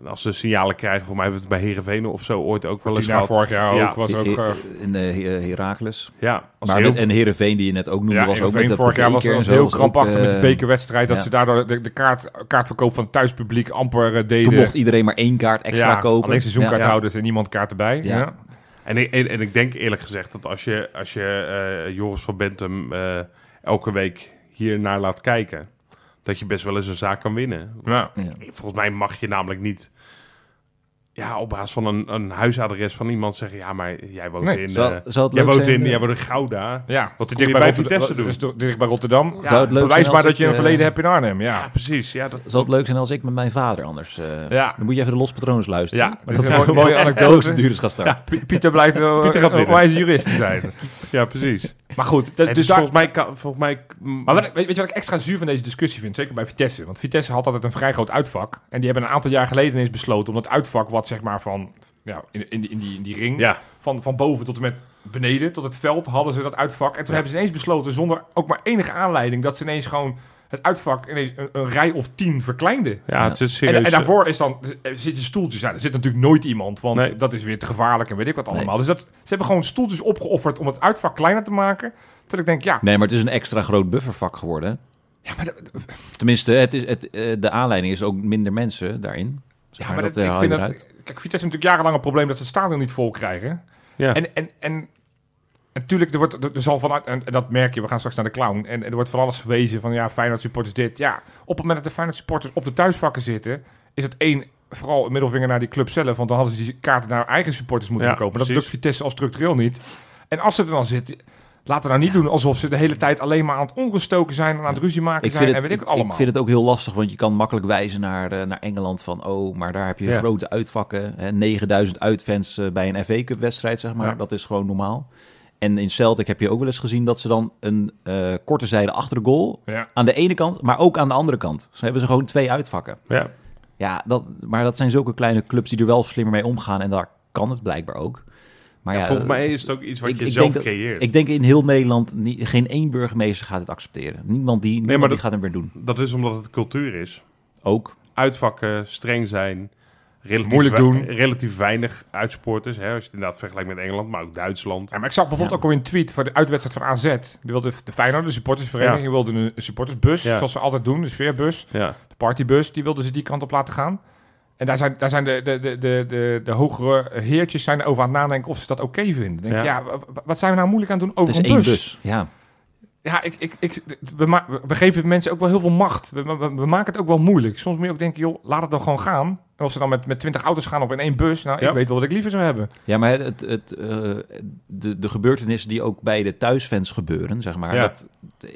A: als ze signalen krijgen, voor mij hebben we het bij Herenveen of zo ooit ook wel eens
C: Tina
A: gehad.
C: vorig jaar
A: Ja.
C: ook was ook. eh,
D: He- he- in eh, Heracles.
A: Ja, als
D: Maar
A: heel
D: met, en Heerenveen, die je net ook noemde,
C: ja,
D: was ook
C: Heerenveen
D: met dat
C: vorig jaar was
D: beker en
C: was
D: zo,
C: heel
D: was ook,
C: krampachtig met de
D: eh,
C: bekerwedstrijd. Dat
D: ja.
C: ze daardoor de, de kaart, kaartverkoop van het thuispubliek amper eh, deden.
D: Toen mocht iedereen maar één kaart extra
C: ja,
D: kopen.
C: Alleen
D: Ja.
C: seizoenkaarthouders en niemand kaart erbij.
D: Ja.
C: Ja.
A: En ik, en, en ik denk eerlijk gezegd dat als je, als je eh, Joris van Bentum eh, elke week hiernaar laat kijken, dat je best wel eens een zaak kan winnen.
C: Ja.
D: Ja.
A: Volgens mij mag je namelijk niet ja, op basis van een, een huisadres van iemand zeggen: Ja, maar jij woont
C: Nee,
A: in.
D: zou-
A: eh,
D: zou het
A: jij
D: leuk
A: woont
D: zijn,
A: in,
D: eh,
A: jij woont in Gouda.
C: Ja,
A: Wat
C: te
A: kom je
C: dicht bij
A: bij
C: Rotterdam-
A: Vitesse doen?
C: dus te dicht bij Rotterdam. Ja,
D: Zou het leuk
C: bewijs
D: zijn
C: maar
D: als
C: dat je
D: ik,
C: een
D: eh,
C: verleden hebt in Arnhem.
A: Ja,
C: Ja,
A: precies. Ja, dat,
D: Zal het leuk zijn als ik met mijn vader anders... eh,
C: Ja.
D: Dan moet je even de Los Patroons luisteren.
C: Ja,
D: maar
C: dit is
D: dat
C: een mooie- mooie anekdote.
D: Procedures gaan starten.
C: Pieter blijft eh,
A: Pieter gaat
C: een
A: winnen.
C: wijze jurist te zijn.
A: ja precies.
C: Maar goed,
A: Het
C: dat,
A: is
C: Eh, dus daar,
A: volgens mij... ka- Volgens mij
C: maar wat, ik- weet, weet je wat ik extra zuur van deze discussie vind? Zeker bij Vitesse. Want Vitesse had altijd een vrij groot uitvak. En die hebben een aantal jaar geleden ineens besloten om dat uitvak wat zeg maar van... Ja, in, in, die- in, die, in die ring.
A: ja,
C: Van, van boven tot en met beneden, tot het veld hadden ze dat uitvak. En toen
A: Ja.
C: hebben ze ineens besloten, zonder ook maar enige aanleiding... dat ze ineens gewoon het uitvak ineens een, een rij of tien verkleinden.
A: ja, het is serieus.
C: En, en daarvoor is dan, er zitten stoeltjes. Ja, er zit natuurlijk nooit iemand, want
A: Nee.
C: dat is weer te gevaarlijk en weet ik wat allemaal. Dus dat, ze hebben gewoon stoeltjes opgeofferd om het uitvak kleiner te maken. Dat ik denk, ja,
D: Nee, maar het is een extra groot buffervak geworden. hè.
C: ja maar, dat,
D: Tenminste, het is, het, eh, de aanleiding is ook minder mensen daarin. Zeg
C: ja, maar dat,
D: eh,
C: ik
D: haal
C: vind
D: je
C: dat...
D: eruit.
C: Kijk, Vitesse heeft natuurlijk jarenlang een probleem dat ze het stadion niet vol krijgen.
A: Ja.
C: En, en, en natuurlijk, er, wordt, er, er zal vanuit, en, en dat merk je, we gaan straks naar de clown. En er wordt van alles verwezen van, ja, Feyenoord supporters dit. Ja, op het moment dat de Feyenoord supporters op de thuisvakken zitten, is het één, vooral een middelvinger naar die club zelf. Want dan hadden ze die kaarten naar eigen supporters moeten
A: Ja,
C: verkopen. Maar Dat lukt
A: precies.
C: Vitesse al structureel niet. En als ze er dan zitten, laten we nou niet doen alsof ze de hele tijd alleen maar aan het ongestoken zijn en aan het ruzie maken
D: Ik
C: zijn.
D: vind,
C: en
D: het,
C: weet ik
D: ik,
C: wat allemaal.
D: ik vind het ook heel lastig, want je kan makkelijk wijzen naar, eh, naar Engeland van... oh, maar daar heb je
A: Ja.
D: grote uitvakken. Hè, 9000 uitfans eh, bij een FA Cup wedstrijd, zeg maar.
A: Ja.
D: Dat is gewoon normaal. En in Celtic heb je ook wel eens gezien dat ze dan een eh, korte zijde achter de goal...
C: Ja.
D: aan de ene kant, maar ook aan de andere kant. Ze hebben ze gewoon twee uitvakken.
A: Ja,
D: Ja, dat, maar dat zijn zulke kleine clubs die er wel slimmer mee omgaan. En daar kan het blijkbaar ook. Maar ja,
A: volgens
D: eh,
A: mij is het ook iets wat
D: ik-
A: je
D: ik
A: zelf
D: denk dat-
A: creëert.
D: Ik denk in heel Nederland niet, geen één burgemeester gaat het accepteren. Niemand die,
A: maar
D: niemand die
A: dat-
D: gaat het meer doen.
A: Dat is omdat het cultuur is.
D: Ook.
A: Uitvakken, streng zijn, relatief,
C: Moeilijk
A: wei-
C: doen.
A: relatief weinig uitsporters. Hè, als je het inderdaad vergelijkt met Engeland, maar ook Duitsland.
C: Ja, maar ik zag bijvoorbeeld ook al een tweet voor de uitwedstrijd van AZ. Die wilde de Feyenoord, de supportersvereniging,
A: Ja.
C: wilde een supportersbus,
A: Ja.
C: zoals ze altijd doen, de sfeerbus,
A: Ja,
C: de partybus, die wilden ze die kant op laten gaan. En daar zijn, daar zijn de, de, de, de, de, de hogere heertjes zijn over aan het nadenken of ze dat oké vinden. Dan Denk
A: Ja.
C: ja. ja, wa- wat zijn we nou moeilijk aan het doen
D: Het
C: over
D: is
C: een
D: één
C: bus?
D: bus. Ja.
C: Ja, ik, ik, ik, we, ma- we geven mensen ook wel heel veel macht. We, we, we maken het ook wel moeilijk. Soms moet je ook denken, joh, laat het dan gewoon gaan. En als ze dan met, met 20 auto's gaan of in één bus, nou,
A: Ja.
C: ik weet wel wat ik liever zou hebben.
D: ja, maar het, het, eh, de, de gebeurtenissen die ook bij de thuisfans gebeuren, zeg maar.
A: Ja.
D: Dat,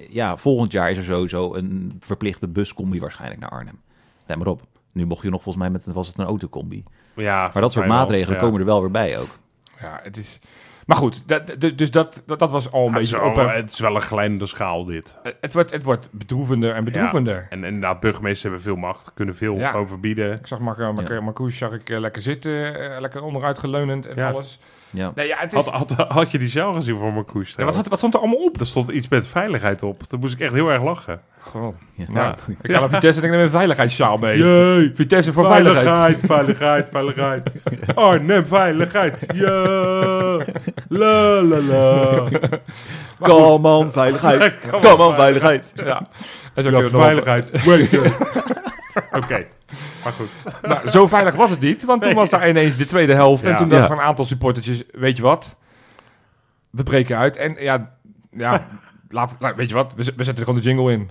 D: ja, volgend jaar is er sowieso een verplichte buscombi waarschijnlijk naar Arnhem. Let maar op. Nu mocht je nog volgens mij met was het een autocombi.
A: ja,
D: Maar dat soort maatregelen komen er wel weer bij ook.
C: Ja, het is... Maar goed, dat, dat- dus dat, dat, dat was al een
A: een
C: beetje ophef.
A: Het is wel een glijdende schaal dit.
C: Eh, Het wordt, het wordt bedroevender en bedroevender.
A: En inderdaad, burgemeesters hebben veel macht, kunnen veel
C: Ja.
A: gewoon verbieden.
C: Ik zag Marco, Marco, Marcouch zag ik eh, lekker zitten, eh, lekker onderuit geleunend en
A: Ja.
C: alles.
D: Ja.
C: Nee, ja, het is,
A: Had, had, had je die cel gezien voor Marcoes?
C: Ja, wat,
A: trouwens?
C: had, wat stond er allemaal op?
A: Er stond iets met veiligheid op. Daar moest ik echt heel erg lachen.
C: Gewoon.
D: Ja.
A: Ja.
C: Nou, Ik ga naar Vitesse en ik neem een veiligheidssjaal mee.
A: Jee,
C: Vitesse voor veiligheid.
A: veiligheid, veiligheid, veiligheid. Arnhem, veiligheid. Ja, la la la.
D: Kom on, veiligheid.
A: Kom Kom on,
D: veiligheid.
C: Ja, dat is ook
A: Ja,
C: heel normaal.
A: veiligheid. Wait, eh. Oké, maar goed.
C: Nou, zo veilig was het niet, want toen was daar ineens de tweede helft.
A: Ja.
C: En toen dachten
D: Ja.
C: van een aantal supportertjes, weet je wat? We breken uit en ja, ja laat, nou, weet je wat? We, zet- we zetten er gewoon de jingle in.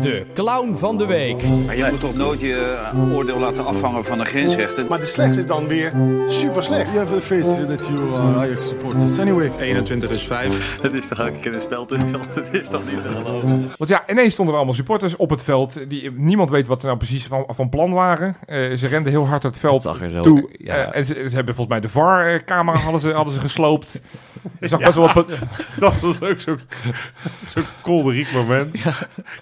E: De clown van de week.
F: Maar je moet toch nooit je oordeel laten afhangen van de grensrechten?
G: Maar de slechtste is dan weer super slecht. You have the face that you are eh, Ajax supporters anyway.
F: 21 is 5. Dat is toch ook een spel tussen? Dat is toch niet te geloven?
C: Want ja, ineens stonden er allemaal supporters op het veld. Die, niemand weet wat er nou precies van, van plan waren. Eh, ze renden heel hard het veld
D: zag er zo-
C: toe.
D: ja.
C: Eh, en ze, ze hebben volgens mij de VAR-camera hadden ze, hadden ze gesloopt. Je zag best wel wat... pe-
A: Dat was ook zo'n zo kolderiek moment.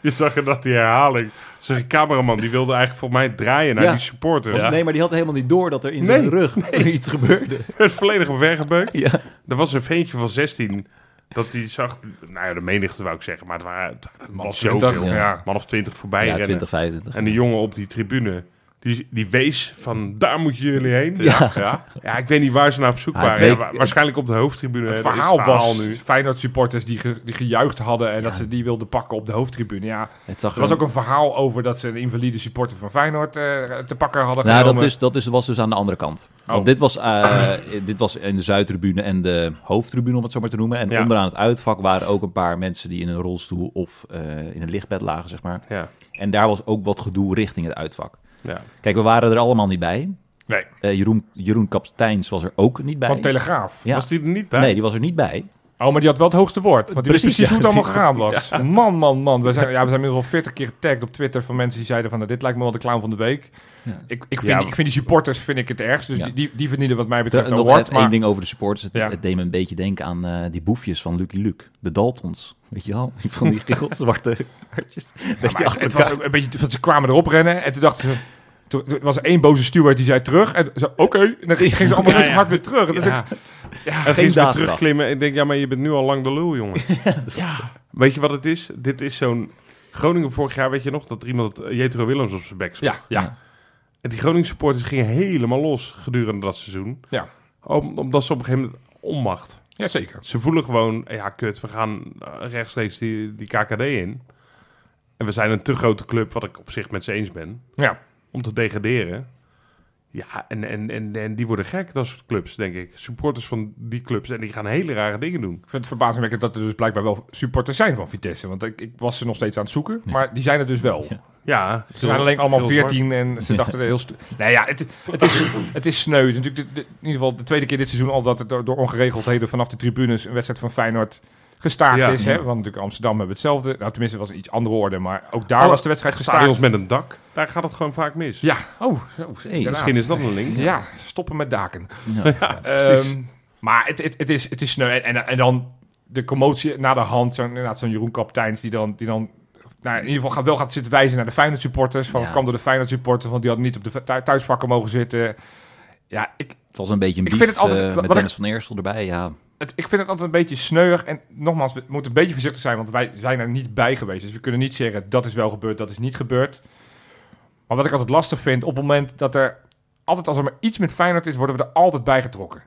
A: Je zag inderdaad die herhaling. Zijn cameraman die wilde eigenlijk voor mij draaien naar
D: Ja.
A: die supporter.
D: Nee, maar die had helemaal niet door dat er in
A: Nee.
D: zijn rug iets gebeurde.
A: werd volledig omvergebeukt.
D: Ja.
A: Er was een ventje van 16 dat die zag... Nou ja, de menigte wou ik zeggen, maar het waren, het waren man,
C: of 20,
A: zoveel.
C: ja.
A: Man of 20 voorbij
D: Ja,
A: rennen.
D: 20, 25.
A: En die jongen op die tribune, die, die wees van daar moeten jullie heen.
D: Ja.
A: ja. Ja, ik weet niet waar ze naar op zoek
D: Ja, het
A: waren.
D: leek-
A: Ja, wa- waarschijnlijk op de hoofdtribune.
C: Het
A: hè, dat is
C: verhaal was
A: nu.
C: Feyenoord supporters die, ge- die gejuicht hadden en dat ze die wilden pakken op de hoofdtribune. Ja,
D: Het zag
C: er was ook een verhaal over dat ze een invalide supporter van Feyenoord eh, te pakken hadden
D: nou, dat,
C: genomen.
D: dus, dat is, was dus aan de andere kant. Want
C: Oh.
D: dit was, eh, dit was in de zuidtribune en de hoofdtribune, om het zo maar te noemen. En
A: Ja.
D: onderaan het uitvak waren ook een paar mensen die in een rolstoel of eh, in een lichtbed lagen, zeg maar.
A: Ja.
D: En daar was ook wat gedoe richting het uitvak.
A: Ja.
D: Kijk, we waren er allemaal niet bij.
C: Nee,
D: Eh, Jeroen, Jeroen Kapteins was er ook niet bij.
C: van Telegraaf.
D: Ja.
A: Was die er niet bij?
D: Nee, die was er niet bij.
C: Oh, maar die had wel het hoogste woord. Want die wist
D: Precies,
C: precies hoe het
D: ja,
C: allemaal
D: die-
C: gegaan was. Man, man, man. We zijn, ja, we zijn inmiddels al 40 keer getagd op Twitter van mensen die zeiden van... nou, dit lijkt me wel de clown van de week.
D: Ja.
C: Ik, ik, vind,
A: Ja.
C: ik vind die supporters vind ik het ergst. Dus
D: Ja.
C: die, die, die verdienen wat mij betreft
D: Ter-
C: een
D: nog
C: award.
D: net
C: Maar
D: één ding over de supporters. Het,
C: Ja.
D: het deed me een beetje denken aan eh, die boefjes van Lucky Luke. De Daltons. Weet je wel? Die Van die geel zwarte hartjes.
C: Ja, maar het, het was ook een beetje, want ze kwamen erop rennen en toen dachten ze... toen- toen was er één boze steward die zei terug. En ze, oké. En dan gingen ze allemaal
A: Ja,
C: best
A: ja.
C: hard weer terug. Dat is ook-
A: en ging ze weer
D: daad
A: terugklimmen. Ik denk, ja, maar je bent nu al lang de lul, jongen. Weet je wat het is? Dit is zo'n... Groningen vorig jaar, weet je nog, dat er iemand eh, Jetro Willems op zijn bek sloeg.
C: ja, ja.
A: En die Groningen supporters gingen helemaal los gedurende dat seizoen.
C: Ja.
A: Om- omdat ze op een gegeven moment onmacht.
C: ja, zeker.
A: Ze voelen gewoon, ja kut, we gaan eh, rechtstreeks die, die KKD in. En we zijn een te grote club, wat ik op zich met ze eens ben,
C: Ja.
A: om te degraderen. Ja, en, en, en, en die worden gek, dat soort clubs, denk ik. Supporters van die clubs, en die gaan hele rare dingen doen.
C: Ik vind het verbazingwekkend dat er dus blijkbaar wel supporters zijn van Vitesse. Want ik, ik was ze nog steeds aan het zoeken, maar die zijn er dus wel.
A: Ja,
C: Ze zijn alleen allemaal
A: heel zwart.
C: 14 en ze dachten er heel... stu- Nou ja, het, het, is, het is sneu. Het is Natuurlijk de- de- in ieder geval de tweede keer dit seizoen al dat er door, door ongeregeldheden vanaf de tribunes een wedstrijd van Feyenoord gestaakt
A: Ja.
C: is. Hè? Want natuurlijk Amsterdam hebben hetzelfde. Nou, tenminste, het was een iets andere orde, maar ook daar
A: Oh,
C: was de wedstrijd gestaakt.
A: Stadions met een dak, daar gaat het gewoon vaak mis.
C: Ja, oh, zo, inderdaad.
A: Misschien is dat een link.
C: Ja, stoppen met daken.
D: Ja.
C: Ehm, maar het, het, het, is, het is sneu. En, en, en dan de commotie na de hand. Zo'n, inderdaad, zo'n Jeroen Kapteins die dan... Die dan nou, in ieder geval gaat, wel gaat zitten wijzen naar de Feyenoord supporters. Van,
D: Ja.
C: Het kwam door de Feyenoord supporters, want die hadden niet op de thu- thuisvakken mogen zitten. Ja, ik,
D: Het was een beetje een
C: Ik
D: beef
C: vind het altijd-
D: eh,
C: wat-
D: met
C: wat ik-
D: Dennis van Eersel erbij. Ja,
C: het, ik vind het altijd een beetje sneuig. En nogmaals, we moeten een beetje voorzichtig zijn, want wij zijn er niet bij geweest. Dus we kunnen niet zeggen, dat is wel gebeurd, dat is niet gebeurd. Maar wat ik altijd lastig vind, op het moment dat er... Altijd als er maar iets met Feyenoord is, worden we er altijd bij getrokken.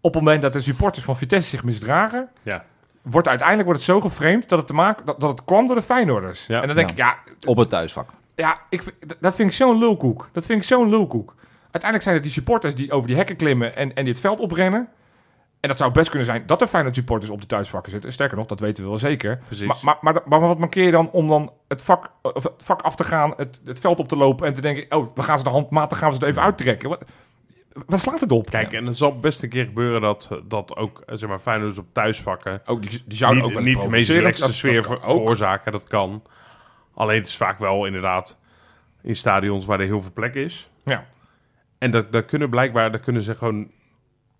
C: Op het moment dat de supporters van Vitesse zich misdragen...
A: Ja.
C: wordt uiteindelijk wordt het zo geframed dat het, te maken, dat, dat het kwam door de Feyenoorders.
A: Ja.
C: en dan denk
D: Ja.
C: ik, ja,
D: op het thuisvak.
C: ja ik, vind- d- dat vind ik zo'n lulkoek. Dat vind ik zo'n lulkoek. Uiteindelijk zijn het die supporters die over die hekken klimmen en, en die het veld oprennen. En dat zou best kunnen zijn dat er Feyenoord supporters op de thuisvakken zitten. Sterker nog, dat weten we wel zeker.
A: Precies.
C: Maar, maar, maar, maar wat markeer je dan om dan het vak, of het vak af te gaan, het, het veld op te lopen en te denken... oh, we gaan ze de handmatig gaan we ze er even uittrekken. Wat, waar slaat het op?
A: Kijk, en het zal best een keer gebeuren dat, dat ook, eh, zeg maar, Feyenoorders op thuisvakken...
C: eh, ook, die, die zouden
A: niet,
C: ook wel eens
A: niet de meest
C: provocerend-
A: relaxte
C: dat-
A: sfeer
C: dat
A: ver-
C: kan ook.
A: veroorzaken, dat kan. Alleen het is vaak wel inderdaad in stadions waar er heel veel plek is.
C: Ja.
A: En dat, dat kunnen blijkbaar, daar kunnen ze gewoon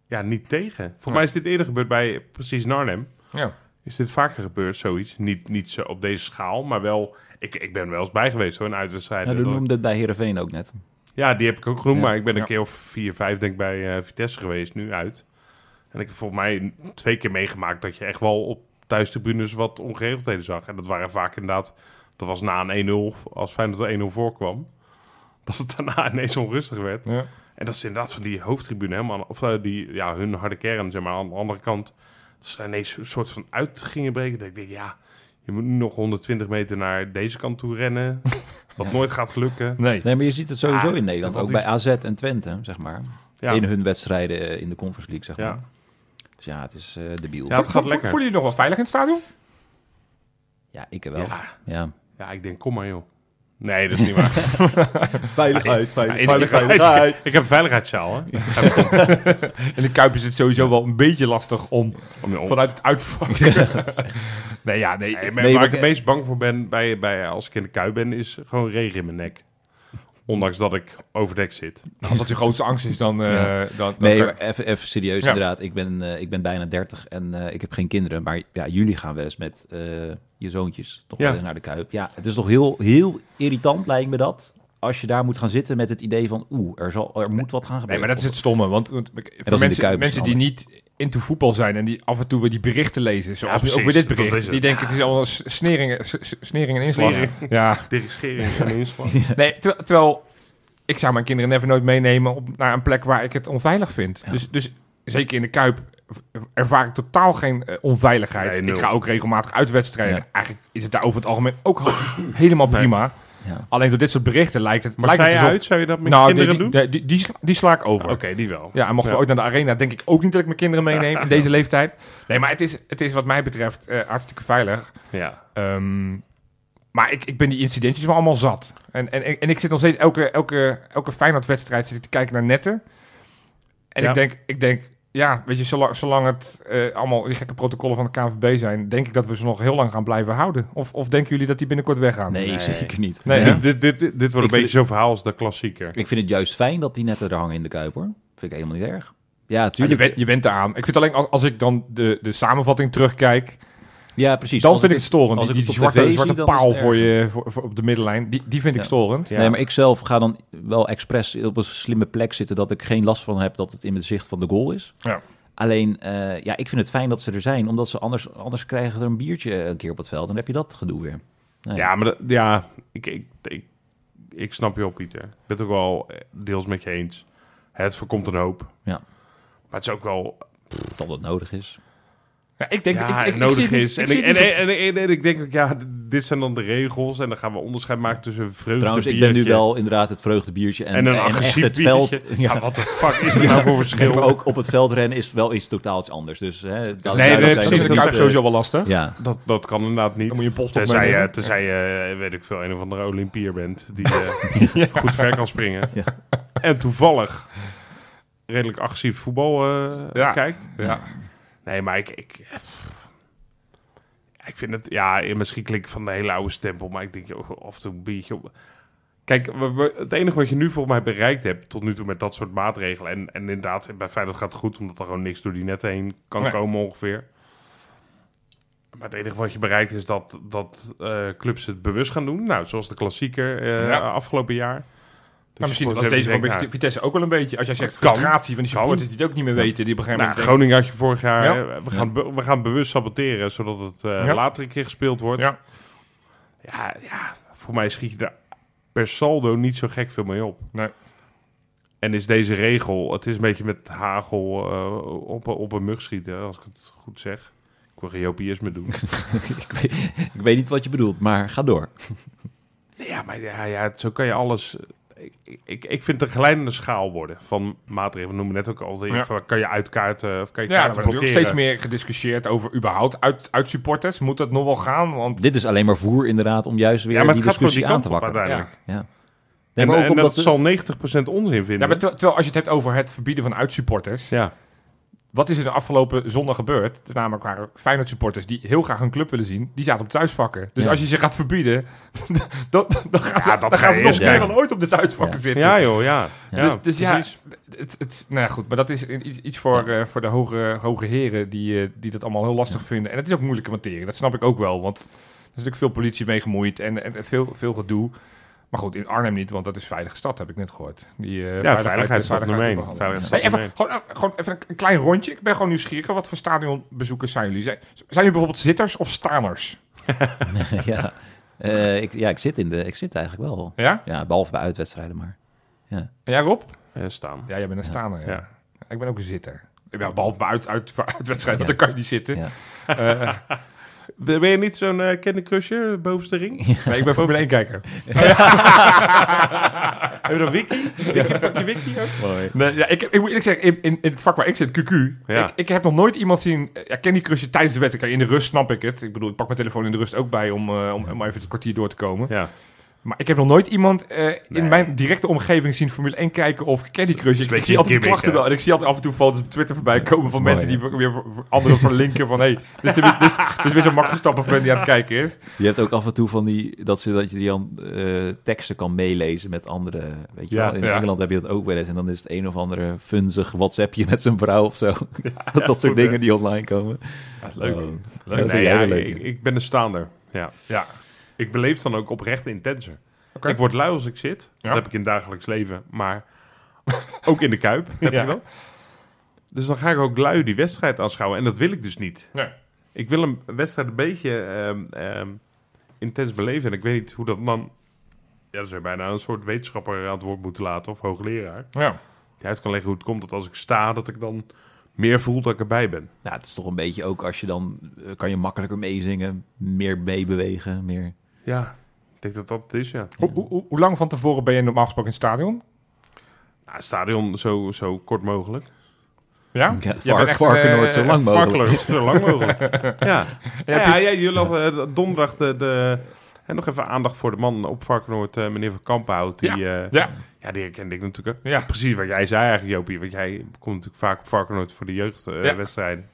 A: ja, niet tegen. Volgens mij is dit eerder gebeurd bij precies Narnem.
C: Ja.
A: Is dit vaker gebeurd, zoiets? Niet, niet zo op deze schaal, maar wel... Ik, ik ben er wel eens bij geweest, hoor, in
D: Ja,
A: uitwedstrijden.
D: dat
A: Dat-
D: noemde het bij Heerenveen ook net.
A: ja, die heb ik ook genoemd,
D: Ja.
A: maar ik ben een
C: Ja.
A: keer of vier, vijf denk ik bij eh, Vitesse geweest, nu uit. En ik heb volgens mij twee keer meegemaakt dat je echt wel op thuistribunes wat ongeregeldheden zag. En dat waren vaak inderdaad, dat was na een 1-0, als Feyenoord 1-0 voorkwam, dat het daarna ineens onrustig werd.
C: Ja.
A: En dat is inderdaad van die hoofdtribune helemaal, aan- of eh, die, ja, hun harde kern, zeg maar, aan de andere kant. Dat ze daar ineens een soort van uit gingen breken. Dat ik denk, ja, je moet nu nog 120 meter naar deze kant toe rennen, wat nooit gaat lukken.
C: Nee.
D: Nee, maar je ziet het sowieso
A: Ja,
D: in Nederland.
A: dat
D: Ook
A: is-
D: bij AZ en Twente, zeg maar.
A: Ja.
D: In hun wedstrijden eh, in de Conference League, zeg
A: Ja.
D: maar. Dus ja, het is eh debiel.
A: Ja.
D: Ja,
A: het gaat lekker.
C: Voel je je nog wel veilig in het stadion?
D: ik wel. Ja.
A: Ja, ik denk, kom maar joh. Nee, dat is niet waar.
B: Veiligheid,
C: in-
B: veiligheid,
A: ik, ik heb een veiligheidszaal, hè.
C: In de Kuip is het sowieso wel een beetje lastig om
A: Om je om-
C: vanuit het uitvakken. nee, ja, nee.
A: Nee,
C: ik-
A: maar waar
D: Nee, maar-
A: ik het meest bang voor ben bij, bij, als ik in de kui ben, is gewoon regen in mijn nek. Ondanks dat ik overdekt zit.
C: Als dat je grootste angst is, dan... eh, dan, dan
D: Nee,
C: kan-
D: maar even, even serieus
C: Ja.
D: inderdaad. Ik ben, eh, ik ben bijna 30 en eh, ik heb geen kinderen. Maar ja, jullie gaan wel eens met eh, je zoontjes toch
A: Ja.
D: wel eens naar de Kuip. Ja, het is toch heel, heel irritant, lijkt me dat. Als je daar moet gaan zitten met het idee van... Oeh, er, zal, er moet wat gaan gebeuren.
C: nee, maar dat is het stomme. Want, want
D: in de Kuip
C: voor mensen,
D: is
C: mensen
D: het
C: die niet into voetbal zijn en die af en toe weer die berichten lezen, zoals nu ook
A: precies,
C: weer dit
A: dat is
C: bericht,
A: het.
C: die denken het is allemaal s- sneringen, s- s- sneringen en inslagen.
A: Snering.
C: Ja,
A: Dirigering en inslag.
C: nee, terwijl, terwijl ik zou mijn kinderen never nooit meenemen op, naar een plek waar ik het onveilig vind. Dus, dus zeker in de Kuip ervaar ik totaal geen eh,
A: Nee,
C: onveiligheid.
A: nul.
C: ik ga ook regelmatig uit wedstrijden.
D: Ja.
C: Eigenlijk is het daar over het algemeen ook helemaal
A: Nee.
C: prima.
D: Ja.
C: Alleen door dit soort berichten lijkt het...
A: Maar
C: lijkt
A: sta
C: het
A: je
C: alsof-
A: uit? Zou je dat met
C: Nou,
A: je kinderen
C: die,
A: doen?
C: die, die, die sla, die sla ik over.
A: Oké, die wel.
C: Ja, en mochten
A: Ja.
C: we ooit naar de arena, denk ik ook niet dat ik mijn kinderen meeneem in deze leeftijd. Nee, maar het is, het is wat mij betreft eh, hartstikke veilig.
A: Ja.
C: Ehm, maar ik, ik ben die incidentjes wel allemaal zat. En, en, en, en ik zit nog steeds elke, elke, elke Feyenoord-wedstrijd zit ik te kijken naar netten. En
A: Ja.
C: ik denk, ik denk ja, weet je, zolang, zolang het eh, allemaal die gekke protocollen van de KNVB zijn, denk ik dat we ze nog heel lang gaan blijven houden. Of, of denken jullie dat die binnenkort weggaan?
D: Nee, zeker niet.
C: Nee, hè?
A: Dit, dit, dit wordt een beetje zo'n verhaal als de klassieker.
D: Ik vind het juist fijn dat die netten er hangen in de Kuip, hoor. Vind ik helemaal niet erg. Ja,
C: Ja, je,
D: tuurlijk.
C: bent, je bent eraan. Ik vind alleen als, als ik dan de, de samenvatting terugkijk,
D: Ja, precies.
C: dan
D: Als
C: vind ik het storend.
D: als
C: Die,
D: ik
C: die
D: het op
C: zwarte,
D: tv
C: zwarte
D: zie, dan is
C: paal
D: het
C: voor je voor, voor op de middenlijn, die, die vind ik
D: Ja.
C: storend.
D: Nee, maar ik zelf ga dan wel expres op een slimme plek zitten dat ik geen last van heb dat het in het zicht van de goal is.
C: Ja.
D: Alleen, eh, ja, ik vind het fijn dat ze er zijn, omdat ze anders, anders krijgen er een biertje eh, een keer op het veld. Dan heb je dat gedoe weer. Nee.
A: Ja, maar dat- ja, ik, ik, ik, ik snap je op, Pieter. Ik ben het ook wel eh, deels met je eens. Het voorkomt een hoop.
D: Ja.
A: Maar het is ook wel
D: Dat dat nodig is.
C: Ja, ik denk,
A: ja,
C: ik, ik, ik
A: nodig
C: zie het niet-
A: is.
C: ik
A: En
C: zie
A: ik,
C: het
A: en,
C: niet
A: en, en- en ik denk ook, ja, d- dit zijn dan de regels. En dan gaan we onderscheid maken tussen vreugde
D: Trouwens, ik ben
A: biertje
D: nu wel inderdaad het vreugdebiertje en,
A: en een
D: en
A: agressief
D: echt het
A: biertje.
D: veld.
A: Ja, wat de fuck is er nou voor verschil?
D: Nee, maar ook op het veld rennen is wel iets totaal iets anders. Dus hè, dat
C: Nee,
D: duidelijk
C: nee,
D: zijn.
C: dat
A: precies,
C: is
A: dat
C: de
D: niet,
C: Kuip
D: eh,
C: sowieso wel lastig.
D: Ja,
A: Dat, dat kan inderdaad niet.
C: Dan moet je een post
A: Tenzij je,
C: opnemen.
A: tenzij je, eh, weet ik veel, een of andere Olympier bent die eh, goed ver kan springen.
D: Ja.
A: En toevallig redelijk agressief voetbal eh,
C: Ja.
A: kijkt.
C: Ja.
A: Nee, maar ik, ik, pff. ik vind het, ja, misschien klink ik van de hele oude stempel, maar ik denk, joh, af en toe een biertje op. Kijk, we- we- het enige wat je nu volgens mij bereikt hebt tot nu toe met dat soort maatregelen, en, en inderdaad, bij Feyenoord gaat het goed, omdat er gewoon niks door die netten heen kan
C: Nee.
A: komen ongeveer. Maar het enige wat je bereikt is dat, dat eh, clubs het bewust gaan doen. Nou, zoals de klassieker eh,
C: Ja.
A: afgelopen jaar.
C: Maar misschien
A: Dus
C: was deze van
A: denken, nou,
C: Vitesse ook wel een beetje. Als jij zegt
A: Kan.
C: frustratie van die
A: Kan.
C: supporters die het ook niet meer weten, die begrijpen
A: Nou, Groningen had je vorig jaar.
C: Ja.
A: hè, We, gaan, be- we gaan bewust saboteren, zodat het eh,
C: Ja.
A: later een keer gespeeld wordt.
C: Ja.
A: ja, ja, voor mij schiet je daar per saldo niet zo gek veel mee op.
C: Nee.
A: En is deze regel, het is een beetje met hagel eh, op, op een mug schieten, als ik het goed zeg. Ik wil geen jopiësme doen.
D: ik, weet, ik weet niet wat je bedoelt, maar ga door.
A: Nee, Ja, maar ja, ja, het- zo kan je alles. Ik, ik, ik vind het een glijdende schaal worden van maatregelen. We noemen net ook al.
C: Ja.
A: Van, Kan je uitkaarten of kan je
C: Ja, er
A: kaarten
C: wordt natuurlijk
A: blokkeren?
C: steeds meer gediscussieerd over überhaupt uit, uit supporters. Moet dat nog wel gaan? Want
D: Dit is alleen maar voer inderdaad om juist weer
A: Ja, maar
D: die
A: het gaat gewoon die
D: discussie aan
A: kant
D: te
A: op
D: wakkeren.
A: uiteindelijk.
D: Ja.
A: En,
D: Nee, maar ook
A: en
D: omdat
A: dat
D: de-
A: zal 90% onzin
C: ja,
A: vinden.
C: maar ter- terwijl als je het hebt over het verbieden van uitsupporters.
A: Ja.
C: Wat is er de afgelopen zondag gebeurd? Namelijk waren Feyenoord supporters die heel graag hun club willen zien. Die zaten op thuisvakken. Dus
D: Ja.
C: als je ze gaat verbieden, dan, dan gaan ze,
A: Ja, dat ga
C: dan gaan ze
A: je
C: nog
A: eerst
C: meer
A: doen.
C: dan ooit op de thuisvakken zitten.
A: Ja, joh, ja.
D: Ja.
A: Ja,
C: dus dus ja,
A: precies.
C: het, het, nou ja, goed. Maar dat is een- iets, iets voor, eh, voor de hoge, hoge heren die, eh, die dat allemaal heel lastig vinden. En het is ook moeilijke materie. Dat snap ik ook wel. Want er is natuurlijk veel politie mee gemoeid en, en veel, veel gedoe. Maar goed, in Arnhem niet, want dat is veilige stad, heb ik net gehoord. Die, eh,
A: Ja, veiligheid is
C: eh,
A: dat nummer één.
C: behandelen.
A: Veiligheid is
C: Hey,
A: dat
C: even,
A: nummer
C: gewoon, eh, gewoon even een klein rondje. Ik ben gewoon nieuwsgierig. Wat voor stadionbezoekers zijn jullie? Zijn, zijn jullie bijvoorbeeld zitters of staaners?
D: ja. Eh, ik, ja, ik zit, in de, ik zit eigenlijk wel.
C: Ja?
D: Ja, behalve bij uitwedstrijden maar.
C: En jij Rob?
A: Eh, staan.
C: Ja, jij bent een staaner. Ja.
A: Ja.
C: Ik ben ook een zitter. Ja, behalve bij uit, uit, uitwedstrijden,
D: Ja.
C: want dan kan je niet zitten.
D: Ja.
C: Eh,
A: Ben ben je niet zo'n eh Candy Crusher, bovenste ring? Heb
C: Nee, ik ben Formule 1-kijker.
A: je dat wiki? Wiki, pak je wiki ook?
C: Nee, ja, ik, heb- ik moet eerlijk zeggen, in, in, in het vak waar ik zit, QQ,
A: Ja.
C: ik, ik heb nog nooit iemand zien... Ja, Candy Crush tijdens de wedstrijd. In de rust snap ik het. Ik bedoel, ik pak mijn telefoon in de rust ook bij om, eh, om, om even het kwartier door te komen.
A: Ja.
C: Maar ik heb nog nooit iemand eh,
A: Nee.
C: in mijn directe omgeving zien Formule 1 kijken of Candy Crush. Ik,
A: beetje
C: ik zie altijd de
A: gimmick,
C: klachten
A: hè?
C: wel. En ik zie altijd af en toe foto's op Twitter voorbij komen van
D: mooi,
C: mensen die weer weer voor- voor anderen verlinken van... Hé, hey, dit, is de- dit, is- dit is weer zo'n Max Verstappen-fan die aan het kijken is.
D: Je hebt ook af en toe van die, dat, ze, dat je die dan eh, teksten kan meelezen met andere, weet je
A: Ja,
D: wel. In
C: ja.
D: Engeland heb je dat ook wel eens. En dan is het een of andere funzig WhatsAppje met zijn vrouw of zo. dat soort
A: goed, hè?
D: dingen die online komen.
C: leuk.
D: Oh.
C: Leuk.
D: Dat
A: Nee,
D: vind
A: ja,
D: jij wel leuk.
A: ik, ik ben een staander. Ja.
C: Ja.
A: Ik beleef dan ook oprecht intenser.
C: Oké.
A: Ik word lui als ik zit. Dat heb ik in het dagelijks leven. Maar ook in de kuip heb
C: Ja.
A: je dat. Dus dan ga ik ook lui die wedstrijd aanschouwen. En dat wil ik dus niet.
C: Nee.
A: Ik wil een wedstrijd een beetje ehm, ehm, intens beleven. En ik weet niet hoe dat dan... Ja, dan zou je bijna een soort wetenschapper aan het woord moeten laten. Of hoogleraar.
C: Ja.
A: Die uit kan leggen hoe het komt dat als ik sta... dat ik dan meer voel dat ik erbij ben.
D: Nou, het is toch een beetje ook als je dan, eh, kan je makkelijker meezingen, meer meebewegen, meer...
A: Ja. Ik denk dat dat het is, ja.
C: Hoe, hoe- hoe, hoe lang van tevoren ben je normaal gesproken in het stadion?
A: Nou, het stadion zo, zo kort mogelijk.
C: Ja?
D: Ja,
C: Jij bent
D: vark,
C: echt
D: varkenoord,
C: een,
D: zo
C: eh,
D: lang mogelijk.
A: Sparkler, zo lang mogelijk. ja. Ja, ja, jullie hadden eh, donderdag de, de, eh, En nog even aandacht voor de man op Varkenoord, eh, meneer Van Kampenhout. Die, ja.
C: Ja.
A: ja, die herkende ik natuurlijk. ook.
C: Ja.
A: Precies wat jij zei eigenlijk, Jopie. Want jij komt natuurlijk vaak op Varkenoord voor de
C: Ja.
A: jeugdwedstrijden.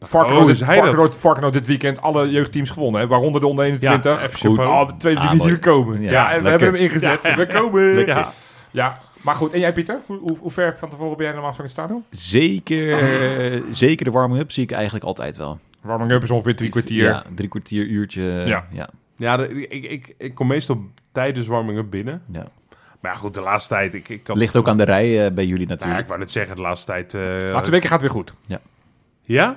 C: Varkenoord,
A: Oh, is hij dat?
C: Varkenoord, Varkenoord dit weekend alle jeugdteams gewonnen. Hè? Waaronder de onder 21.
A: Ja, FC
C: goed.
A: Chapeau.
C: Ah, de tweede
D: Ah,
C: divisie
D: mooi.
C: gekomen. Ja,
D: Ja,
C: en we
D: lekker.
C: hebben hem ingezet. We komen.
A: Lekker.
C: Ja. ja, maar goed. En jij Pieter? Hoe, hoe, hoe ver van tevoren ben jij normaal gesproken in het stadion?
D: Zeker, eh, zeker de warming-up zie ik eigenlijk altijd wel.
C: Warming up is ongeveer drie kwartier.
D: Ja, drie kwartier, uurtje.
C: Ja.
D: Ja.
A: ja, de- ik, ik, ik kom meestal tijdens warming-up binnen.
D: Ja.
A: Maar ja, goed, de laatste tijd... Ik, ik had,
D: Ligt ook aan de rij eh, bij jullie
A: Nou, ik
D: natuurlijk.
A: wou net zeggen, de laatste tijd...
C: De
A: eh,
C: laatste weken gaat het weer goed.
A: Ja?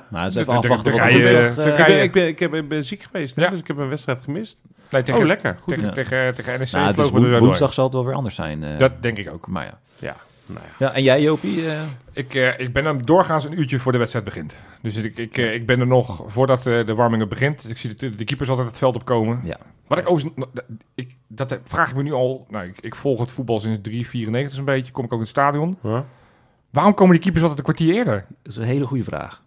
D: Maar het is
C: de-
D: even
C: de- de-
D: afwachten wat
C: Turkije-
D: de woensdag, eh,
C: Turkije-
A: Ik ben, ik, ben, ik, heb, ik ben ziek geweest, hè,
C: Ja.
A: dus ik heb een wedstrijd gemist.
C: Nee, tegen,
A: oh, lekker. Goed.
C: tegen,
D: Ja.
C: tegen, tegen NEC
D: nou, het is
C: vlogen we
D: woen-
C: er door.
D: woensdag zal het wel weer anders zijn. eh,
C: Dat denk ik ook.
D: Maar ja.
A: Ja. Nou ja.
D: ja. En jij Jopie? eh,
C: Ik, eh, ik ben hem doorgaans een uurtje voor de wedstrijd begint. Dus ik, ik, eh, ik ben er nog voordat eh, de warming-up begint. Dus ik zie de, de keepers altijd het veld opkomen.
D: Ja.
C: Wat ik overigens... dat- Ik, dat heb- vraag ik me nu al... Nou, ik, ik volg het voetbal sinds 394 een beetje. Kom ik ook in het stadion.
A: Ja.
C: Waarom komen die keepers altijd een kwartier eerder?
D: dat is een hele goede vraag.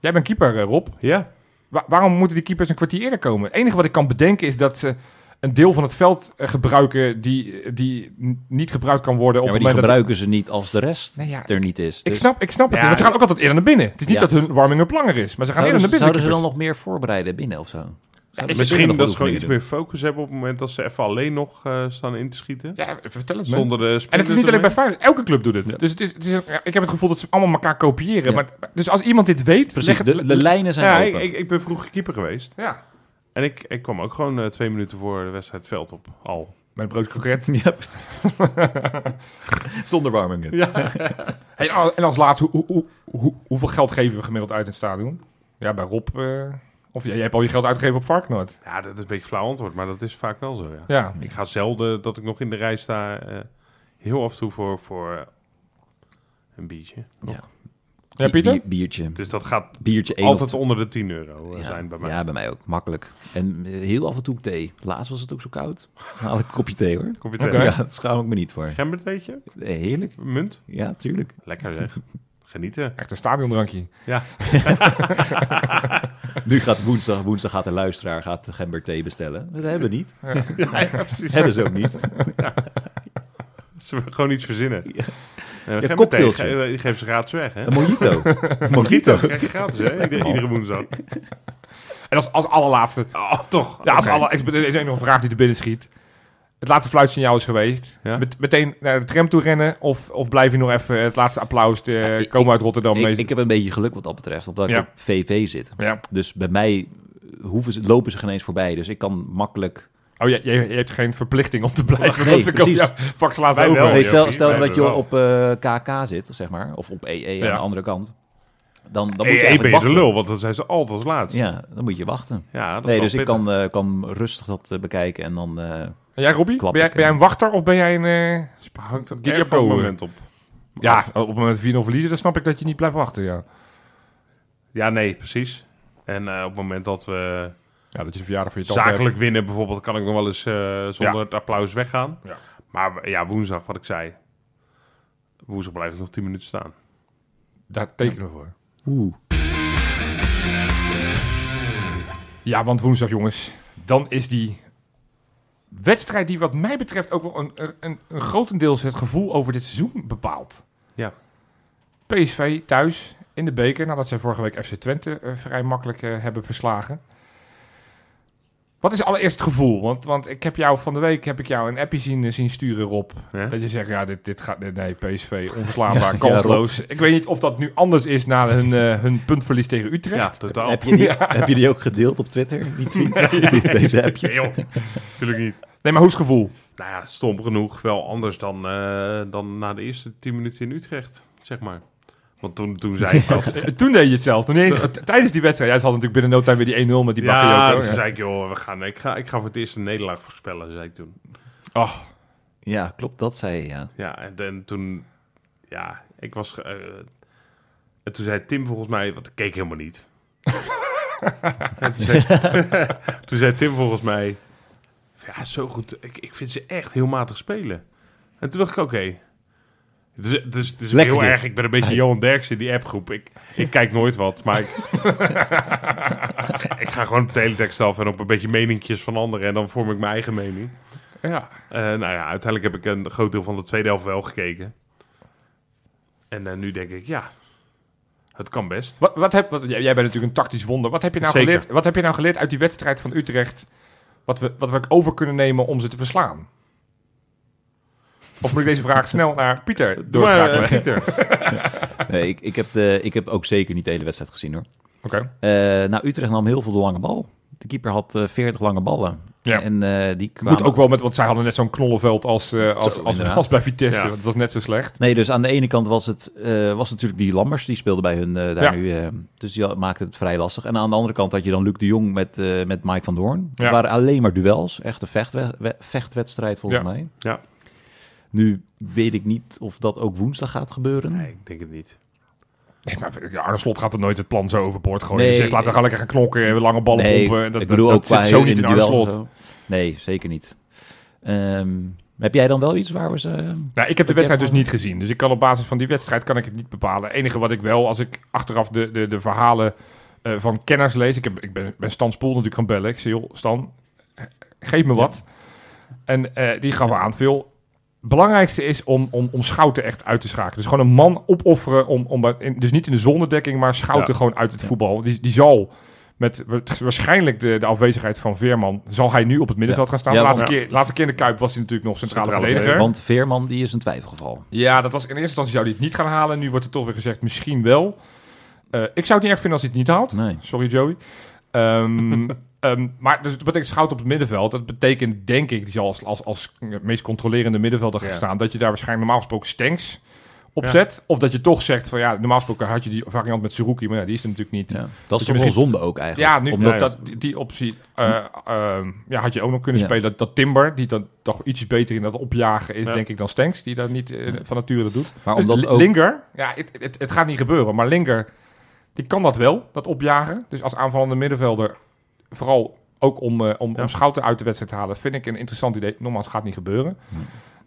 C: Jij bent keeper, eh, Rob.
A: Ja,
C: Wa- waarom moeten die keepers een kwartier eerder komen? Het enige wat ik kan bedenken is dat ze een deel van het veld eh, gebruiken... die, die n- niet gebruikt kan worden op
D: Ja, maar
C: het
D: die
C: moment dat...
D: gebruiken ze niet als de rest
C: Nee, ja,
D: er niet is.
C: Ik
D: Dus
C: snap, ik snap het
A: Ja,
C: niet, want ze gaan ook altijd eerder naar binnen. Het is niet
D: Ja.
C: dat hun warming-up langer is, maar ze gaan
D: zouden,
C: eerder naar
D: ze,
C: binnen. de
D: zouden ze dan nog
C: keepers.
D: meer voorbereiden binnen of zo? Zouden ze binnen
A: misschien
D: nog
A: dat ze gewoon
D: oefeningen
A: iets meer focus hebben op het moment dat ze even alleen nog eh, staan in te schieten.
C: Ja, vertel het me.
A: Zonder de
C: En het is niet alleen
A: eromheen.
C: bij Feyenoord, elke club doet het. Dus het is, het is, ja, ik heb het gevoel dat ze allemaal elkaar kopiëren.
D: Ja.
C: Maar, maar- dus als iemand dit weet,
D: doen?
C: leg het...
D: Precies, de, de lijnen zijn
A: Ja,
D: open.
A: ik, ik, ik ben vroeger keeper geweest.
C: ja,
A: En ik, ik kwam ook gewoon eh, twee minuten voor de wedstrijd het veld op. Al.
C: mijn broodkroket.
D: Ja, precies. Zonder warmingen.
C: Hey, oh, en als laatste, hoe, hoe, hoe, hoeveel geld geven we gemiddeld uit in het stadion? Ja, bij Rob... eh, of jij, jij hebt al je geld uitgegeven op Varkenoord.
A: Ja, dat is een beetje een flauw antwoord, maar dat is vaak wel zo. Ja.
C: Ja.
A: Ik ga zelden dat ik nog in de rij sta. eh, heel af en toe voor, voor eh, een biertje.
C: Ja, Pieter?
D: biertje.
A: Dus dat gaat
D: Biertje één of
A: altijd onder de 10 euro eh, zijn bij mij.
D: Ja, bij mij ook. Makkelijk. En eh, heel af en toe thee. Laatst was het ook zo koud. Dan haal ik een kopje thee hoor.
A: Kom je tegen?
C: Oké.
D: Ja, daar schaam ik me niet voor. Eh,
A: Gembertheetje?
D: Heerlijk.
A: Munt?
D: Ja, tuurlijk.
A: Lekker zeg. Genieten.
C: Echt een stadiondrankje.
A: Ja.
D: Nu gaat woensdag, woensdag gaat de luisteraar gaat gember thee bestellen. Dat hebben we niet. hebben ze ook niet.
A: Ze willen gewoon iets verzinnen. Ja.
D: Ja,
A: Gemberthee,
D: cocktailtje.
A: ge- die geven ze gratis weg, hè?
D: Een mojito. mojito.
A: Dat krijg je gratis, hè?
D: Oh.
A: Ieder- Iedere woensdag.
C: En als, als allerlaatste...
A: Oh, toch?
C: Ja, als alle, ik, er is één nog een vraag die te binnen schiet. Het laatste fluitsignaal is geweest.
A: Ja.
C: Met, meteen naar de tram toe rennen of, of blijf je nog even het laatste applaus eh,
D: ik-
C: komen uit Rotterdam?
D: Ik,
C: mee-
D: ik heb een beetje geluk wat dat betreft, omdat ik
C: Ja.
D: op VV zit.
C: ja.
D: Dus bij mij hoeven ze, lopen ze geen eens voorbij. Dus ik kan makkelijk...
C: Oh, jij, jij, jij hebt geen verplichting om te blijven.
D: Nee,
C: want ze komen
D: precies.
C: jou- Vak slaat
A: Wij
C: over.
A: wel.
D: Nee,
A: Jochie,
D: stel stel
A: wij
D: dat je
A: Oh, hebben
D: op eh, KK zit, zeg maar. Of op EE
C: Ja.
D: aan de andere kant. Dan, dan moet je
A: Hey, hey,
D: eigenlijk
A: E ben je de
D: wachten.
A: Eh, lul, want dan zijn ze altijd als laatst.
D: Ja, dan moet je wachten.
A: Ja, dat is
D: Nee,
A: wel
D: dus ik
A: pittig.
D: kan, eh, kan rustig dat eh, bekijken en dan... eh,
C: En jij, Robbie? Ben
D: Klap
C: jij,
D: ik,
C: ben jij een wachter of ben jij een... eh,
A: Sp- hangt er
C: Giddy
A: erg van het
C: Power.
A: moment op.
C: Ja, op het moment 4-0 verliezen, dan snap ik dat je niet blijft wachten, ja.
A: Ja, nee, precies. En eh, op het moment dat we
C: Ja, dat je de verjaardag voor je tante
A: zakelijk winnen, bijvoorbeeld, kan ik nog wel eens eh, zonder
C: Ja.
A: het applaus weggaan.
C: Ja.
A: Maar ja, woensdag, wat ik zei. Woensdag blijf ik nog 10 minuten staan.
C: hebt. Daar tekenen we voor. Ja, want woensdag, jongens, dan is die wedstrijd die wat mij betreft ook wel een, een, een grotendeels het gevoel over dit seizoen bepaalt.
A: Ja.
C: PSV thuis in de beker, nadat zij vorige week FC Twente eh, vrij makkelijk eh, hebben verslagen. Wat is allereerst het gevoel? Want, want ik heb jou van de week heb ik jou een appje zien, eh, zien sturen, Rob.
A: Ja.
C: Dat je zegt, ja, dit, dit gaat... dit- Nee, PSV, onverslaanbaar, kansloos. ik weet niet of dat nu anders is na hun, eh, hun puntverlies tegen Utrecht.
A: Oh. Ja, totaal.
D: heb, je die, heb je die ook gedeeld op Twitter, die tweets? Die- Deze
A: Nee,
D: appjes?
A: joh. Natuurlijk niet.
C: Nee, maar hoe is het gevoel?
A: Nou ja, stom genoeg wel anders dan, eh, dan na de eerste 10 minuten in Utrecht, zeg maar. Want toen, toen zei ik dat.
C: Eh, Toen deed je het zelf. Toen niet eens, t- tijdens die wedstrijd. Jij had natuurlijk binnen no time weer die 1-0 met die bakken.
A: ja,
C: joker.
A: toen zei ik, joh, we gaan, ik, ga, ik ga voor het eerst een nederlaag voorspellen, zei ik toen.
C: Oh,
D: Ja, klopt, dat zei je, ja.
A: Ja, en, en toen... Ja, ik was... ge- eh, en toen zei Tim volgens mij... Want ik keek helemaal niet. en toen zei, toen zei Tim volgens mij... Ja, zo goed. Ik, ik vind ze echt heel matig spelen. En toen dacht ik, oké. Het is, het is, het is
D: Lekker
A: heel
D: dit.
A: erg. Ik ben een beetje Johan Derksen in die appgroep. Ik, ik kijk nooit wat, maar ik, ik ga gewoon op teletext af en op een beetje meninkjes van anderen. En dan vorm ik mijn eigen mening.
C: Ja.
A: Eh, nou ja, uiteindelijk heb ik een groot deel van de tweede helft wel gekeken. En eh, nu denk ik, ja, het kan best.
C: Wat, wat heb, wat, jij jij bent natuurlijk een tactisch wonder. Wat heb, je nou
A: Zeker.
C: geleerd, wat heb je nou geleerd uit die wedstrijd van Utrecht? Wat we, wat we over kunnen nemen om ze te verslaan? Of moet ik deze vraag snel naar Pieter doorschakelen?
A: Maar, eh,
C: Oké.
A: Pieter.
D: Nee, ik, ik, heb de, ik heb ook zeker niet de hele wedstrijd gezien hoor. Eh, nou, Utrecht nam heel veel de lange bal. De keeper had eh 40 lange ballen.
C: Ja.
D: En eh, die kwamen...
C: Moet ook wel met, want zij hadden net zo'n knollenveld als, eh, als, als, als,
D: inderdaad.
C: bij Vitesse.
A: Ja.
C: want Het was net zo slecht.
D: Nee, dus aan de ene kant was het eh, was natuurlijk die Lammers, die speelde bij hun eh, daar
C: Ja.
D: nu. eh, dus die had- maakte het vrij lastig. En aan de andere kant had je dan Luc de Jong met, eh, met Mike van Doorn. Het
C: Ja.
D: waren alleen maar duels, echt een vechtwe- we- vechtwedstrijd volgens
C: Ja.
D: mij.
A: Ja.
D: Nu weet ik niet of dat ook woensdag gaat gebeuren.
A: Nee, ik denk het niet.
C: Nee, maar ja, Arne Slot gaat er nooit het plan zo overboord gooien.
D: Nee.
C: Je zegt, laten we gaan lekker gaan knokken en lange ballen
D: Nee,
C: pompen. En Dat,
D: ik bedoel
C: dat,
D: ook
C: dat
D: qua
C: zit zo
D: heel
C: niet in Arne
D: individueel en
C: Slot.
D: zo. Nee, zeker niet. Ehm, heb jij dan wel iets waar we ze...
C: Nou, ik heb de
D: Ik heb
C: wedstrijd dus
D: al-
C: niet gezien. Dus ik kan op basis van die wedstrijd kan ik het niet bepalen. Het enige wat ik wel, als ik achteraf de, de, de verhalen eh, van kenners lees. Ik, heb, ik ben, ben Stan Spoel natuurlijk gaan bellen. Ik zei, joh, Stan, eh, geef me wat. En eh, die gaf aan veel. Belangrijkste is om, om, om Schouten echt uit te schakelen. Dus gewoon een man opofferen. Om, om, bij- in- dus niet in de zonnedekking, maar Schouten
A: Ja.
C: gewoon uit het voetbal. Die, die zal met wa- waarschijnlijk de, de afwezigheid van Veerman... zal hij nu op het middenveld gaan staan.
D: Ja,
C: de laatste,
A: want-
C: keer, laatste keer in de Kuip was hij natuurlijk nog centrale,
A: Centrale
C: verdediger.
D: Want Veerman, die is een twijfelgeval.
C: Ja, dat was in eerste instantie zou hij het niet gaan halen. Nu wordt er toch weer gezegd, misschien wel. Eh, ik zou het niet erg vinden als hij het niet haalt.
D: Nee.
C: Sorry, Joey. Ehm, ehm, maar dus, dat betekent schout op het middenveld. Dat betekent, denk ik, die zal als, als, als het meest controlerende middenvelder gaan
A: Ja.
C: staan. Dat je daar waarschijnlijk normaal gesproken Stenks opzet. Of dat je toch zegt van ja, normaal gesproken had je die variant met Suruki. Maar ja, die is er natuurlijk niet.
D: Ja. Dat is
C: je
D: toch wel
C: misschien-
D: zonde ook eigenlijk.
C: Ja, nu,
D: Omdat
C: dat, dat- die- die optie eh, ehm, ja, had je ook nog kunnen
D: Ja.
C: spelen. Dat, dat Timber, die dan toch iets beter in dat opjagen is,
A: Ja.
C: denk ik, dan Stenks. Die dat niet eh, van nature dat doet.
D: Maar
C: Dus
D: omdat
C: Li-
D: ook...
C: Linger, ja, het, het, het gaat niet gebeuren, maar Linger, die kan dat wel, dat opjagen. Dus als aanvallende middenvelder, vooral ook om, eh, om, om Schouten uit de wedstrijd te halen, vind ik een interessant idee. Nogmaals, gaat niet gebeuren.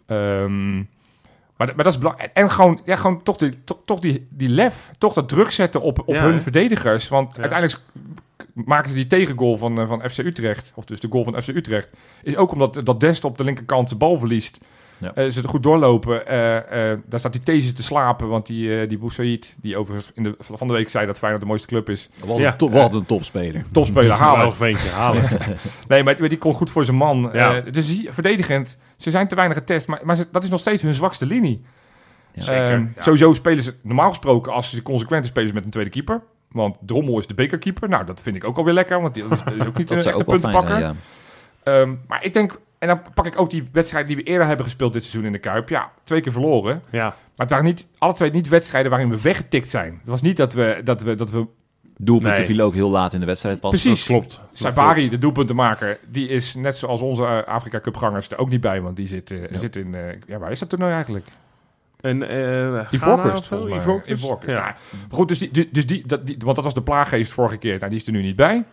C: Ehm, maar, dat- maar dat is belangrijk. En gewoon, ja, gewoon toch, die, toch, toch die, die lef, toch dat druk zetten op, op
A: Ja,
C: hun
A: hè?
C: verdedigers. Want
A: Ja.
C: uiteindelijk k- maken ze die tegengoal van, eh, van FC Utrecht, of dus de goal van FC Utrecht, is ook omdat eh, dat Dest op de linkerkant de bal verliest.
D: Ja.
C: Eh, ze er goed doorlopen. Eh, eh, daar staat die thesis te slapen, want die, eh, die Boussaïd, die overigens in de, van de week zei dat Feyenoord de mooiste club is,
D: Wat,
A: Ja.
D: een top- wat een topspeler.
C: topspeler halen.
A: Nog eentje halen.
C: Nee, maar die- die kon goed voor zijn man.
A: Ja.
C: Eh, dus die- verdedigend, ze zijn te weinig getest, maar, maar ze- dat is nog steeds hun zwakste linie.
A: Zeker,
C: Ehm,
A: ja.
C: Sowieso spelen ze, normaal gesproken, als ze consequente spelen ze met een tweede keeper. Want Drommel is de bekerkeeper. Nou, dat vind ik ook alweer lekker, want die is is ook niet
D: Dat
C: een
D: zou ook
C: echte
D: wel fijn
C: puntenpakker.
D: zijn, ja.
C: Ehm, maar ik denk, en dan pak ik ook die wedstrijd die we eerder hebben gespeeld dit seizoen in de Kuip. Ja, twee keer verloren.
A: Ja,
C: Maar het waren niet, alle twee niet wedstrijden waarin we weggetikt zijn. Het was niet dat we... Dat we, dat we
D: Doelpunt
A: Nee.
D: die viel ook heel laat in de wedstrijd pas.
C: precies.
A: klopt.
C: Saibari, de doelpuntenmaker, die is net zoals onze eh, Afrika Cup gangers er ook niet bij. Want die zit, eh, zit in... eh, ja, waar is dat toernooi eigenlijk?
A: En, eh
C: Die
A: Ghana of
C: voorkust,
A: zo?
C: volgens mij.
A: Ivoorkust?
C: Ivoorkust,
A: Ja.
C: nou, maar goed, dus die, die- dus die, dat, die, want dat was de plaaggeest vorige keer. Nou, die is er nu niet bij.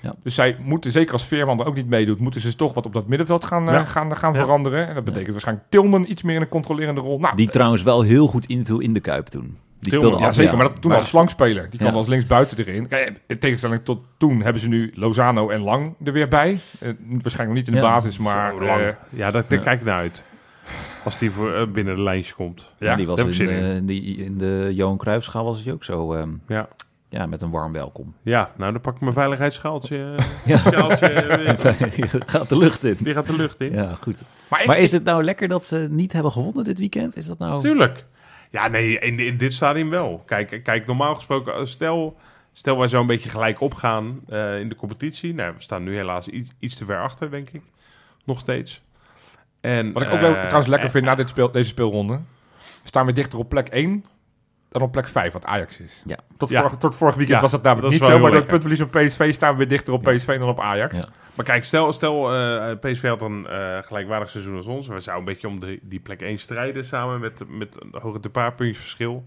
D: Ja.
C: Dus zij moeten, zeker als Veerman er ook niet meedoet, moeten ze toch wat op dat middenveld gaan, eh,
A: Ja.
C: gaan, gaan
A: Ja.
C: veranderen. En dat betekent waarschijnlijk Tilman iets meer in een controlerende rol. Nou,
D: Die trouwens wel heel goed inviel in de Kuip toen. Die
A: Tilman,
D: speelde
C: ja,
D: af,
C: zeker.
D: ja.
C: Maar dat, toen
D: Maar-
C: als flankspeler. Die kwam
D: Ja.
C: als linksbuiten erin. Kijk, in tegenstelling tot toen hebben ze nu Lozano en Lang er weer bij. Eh, waarschijnlijk nog niet in de
D: Ja.
C: basis, maar...
A: Zo Oh, lang.
C: eh,
A: ja, daar, daar kijk ik naar uit. Als die voor, eh, binnen de lijntjes komt.
C: ja,
D: die was
A: daar heb ik
D: in,
A: zin in.
D: eh, in die, in de Johan Cruijffschaal was het ook zo. ehm,
A: Ja.
D: ja, met een warm welkom.
A: ja, nou dan pak ik mijn veiligheidsschaaltje.
D: Ja.
A: sjaaltje, eh,
D: Gaat de lucht in.
A: die gaat de lucht in.
D: Ja, goed.
C: maar ik,
D: Maar is het nou lekker dat ze niet hebben gewonnen dit weekend? Is dat nou...
A: Tuurlijk. Ja, nee, in, in dit stadium wel. Kijk, kijk normaal gesproken, eh, stel, stel wij zo'n beetje gelijk opgaan eh, in de competitie. Nou, we staan nu helaas iets, iets te ver achter, denk ik. Nog steeds. En,
C: Wat ik ook
A: eh,
C: wel, trouwens lekker
A: eh,
C: vind na dit speel, deze speelronde. Staan we dichter op plek 1 dan op plek 5, wat Ajax is.
D: Ja.
C: Tot,
A: Ja.
C: vorig, tot vorig weekend
A: Ja,
C: was dat namelijk
A: dat is
C: niet
A: wel
C: zo,
A: heel
C: maar door het
A: lekker.
C: puntverlies op PSV staan we weer dichter op PSV dan op Ajax.
D: Ja.
A: Maar kijk, stel, stel eh, PSV had een eh, gelijkwaardig seizoen als ons. We zouden een beetje om de, die plek 1 strijden samen met, met een hoger een paar puntjes verschil.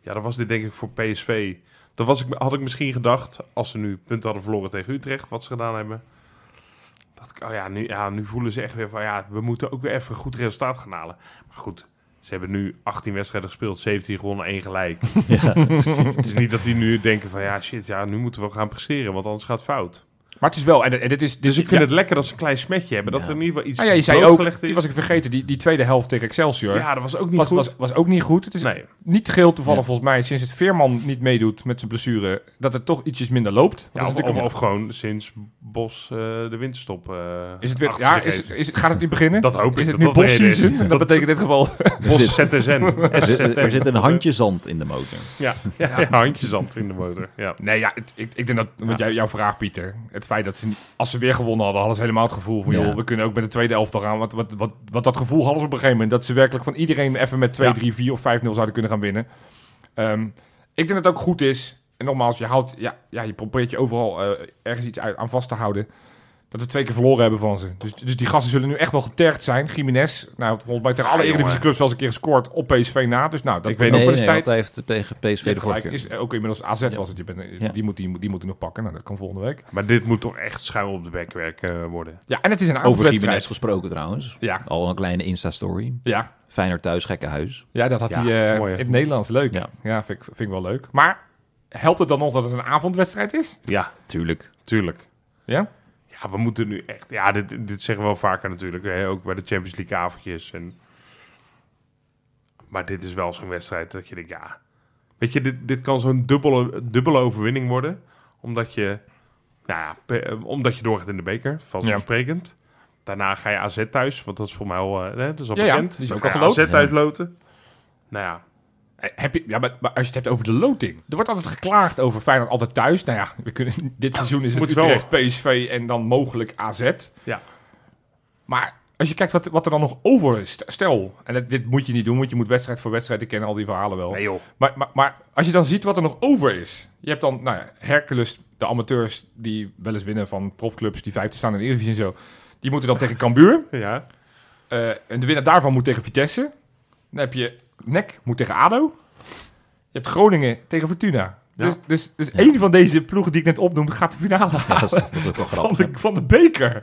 A: Ja, dan was dit denk ik voor PSV. Dan was ik, had ik misschien gedacht, als ze nu punten hadden verloren tegen Utrecht, wat ze gedaan hebben. Dacht ik, oh ja nu, ja, nu voelen ze echt weer van, ja, we moeten ook weer even een goed resultaat gaan halen. Maar goed, Ze hebben nu 18 wedstrijden gespeeld, 17 gewonnen, 1 gelijk. het is niet dat die nu denken van ja shit, ja, nu moeten we gaan presteren, want anders gaat het fout.
C: Maar het is wel, en, en dit is... Dit,
A: Dus ik vind
C: ja.
A: het lekker dat ze een klein smetje hebben, dat er in ieder geval iets
C: Ah, ja, je zei ook,
A: doodgelegd is.
C: die was ik vergeten, die, die tweede helft tegen Excelsior.
A: ja, dat was ook niet
C: was,
A: goed.
C: was, was ook niet goed. Het is
A: nee.
C: niet geheel toevallig volgens mij, sinds het Veerman niet meedoet met zijn blessure, dat het toch ietsjes minder loopt.
A: Ja,
C: Want dat
A: of,
C: is natuurlijk
A: of-
C: een-
A: of gewoon sinds Bos eh, de winterstop eh
C: is het weer,
A: achter
C: ja,
A: zich
C: is,
A: heeft.
C: is, gaat het niet beginnen?
A: Dat hoop ik,
C: Is
A: dat
C: het nu
A: dat de reden is.
C: bosseason? Dat betekent in dit geval...
A: Bos ZSN.
D: Er zit, er zit een
A: SZN.
D: handje zand in de motor.
A: Ja, ja, ja, handjeszand in de motor. Ja.
C: Nee, ja, het- ik, ik denk dat, want jij- jouw vraag Pieter, het feit dat ze, niet- als ze weer gewonnen hadden, hadden ze helemaal het gevoel van,
D: Ja.
C: joh, we kunnen ook met de tweede elftal gaan. Want wat, wat, wat dat gevoel hadden ze op een gegeven moment, dat ze werkelijk van iedereen even met 2,
A: Ja.
C: 3, 4 of 5-0 zouden kunnen gaan winnen. Ehm, ik denk dat het ook goed is, en nogmaals, je, houdt, ja, ja, je probeert je overal eh, ergens iets uit- aan vast te houden, dat we twee keer verloren hebben van ze. Dus, dus die gasten zullen nu echt wel getergd zijn. Jiménez, nou, volgens mij tegen alle
A: Ja, jongen.
C: Eredivisie clubs wel eens een keer gescoord op PSV na. Dus nou, dat
A: Ik weet nog
C: wordt ook wel
D: Nee,
C: eens
D: nee,
C: tijd.
D: want hij heeft tegen PSV
C: Ja,
D: de
C: gelijk.
D: vorige keer.
C: Is eh, ook inmiddels AZ was het. Je bent, eh,
D: Ja.
C: die, moet, die, moet- die moeten nog pakken. Nou, dat kan volgende week.
A: Maar dit moet toch echt schuil op de bek werken eh, worden.
C: Ja, en het is een
D: Over Jiménez
C: avondwedstrijd.
D: gesproken trouwens.
C: Ja,
D: Al een kleine Insta-story.
C: ja,
D: Fijner thuis, gekke huis.
C: ja, dat had
A: Ja,
C: hij eh,
A: mooi,
C: in
A: hè?
C: het Nederlands. Leuk. Ja,
D: Ja.
C: vind, ik, vind ik wel leuk. Maar helpt het dan nog dat het een avondwedstrijd is?
A: Ja,
D: Tuurlijk.
A: tuurlijk.
C: Ja?
A: Ja, we moeten nu echt... Ja, dit, dit zeggen we wel vaker natuurlijk. Hè? Ook bij de Champions League avondjes. En... Maar dit is wel zo'n wedstrijd dat je denkt, ja... Weet je, dit, dit kan zo'n dubbele, dubbele overwinning worden. Omdat je... Nou ja, pe- eh, omdat je doorgaat in de beker. Vanzelfsprekend. Daarna ga je AZ thuis. Want dat is voor mij al... eh, hè, dat is al
C: Ja, ja,
A: bekend.
C: die is
A: Dan
C: ook
A: ga
C: al
A: je
C: geloot.
A: AZ thuis loten. Nou ja,
C: Eh, Heb je, ja maar, maar als je het hebt over de loting. Er wordt altijd geklaagd over Feyenoord altijd thuis. Nou ja, we kunnen, dit seizoen is het
A: Moet wel.
C: Utrecht, PSV en dan mogelijk AZ.
A: Ja.
C: Maar als je kijkt wat, wat er dan nog over is. Stel, en dat- dit moet je niet doen, want je moet wedstrijd voor wedstrijd. Ik ken al die verhalen wel.
A: nee joh.
C: Maar, maar, maar als je dan ziet wat er nog over is. Je hebt dan nou ja, Hercules, de amateurs die wel eens winnen van profclubs die vijfde staan in de Eredivisie en zo. Die moeten dan tegen Cambuur.
A: Ja,
C: Eh, en de winnaar daarvan moet tegen Vitesse. Dan heb je NEC moet tegen ADO. Je hebt Groningen tegen Fortuna. Dus, dus, dus één van deze ploegen die ik net opnoem gaat de finale
D: Ja, dat,
C: halen
D: is, dat is ook wel
C: van,
D: grappig.
C: de, van de beker.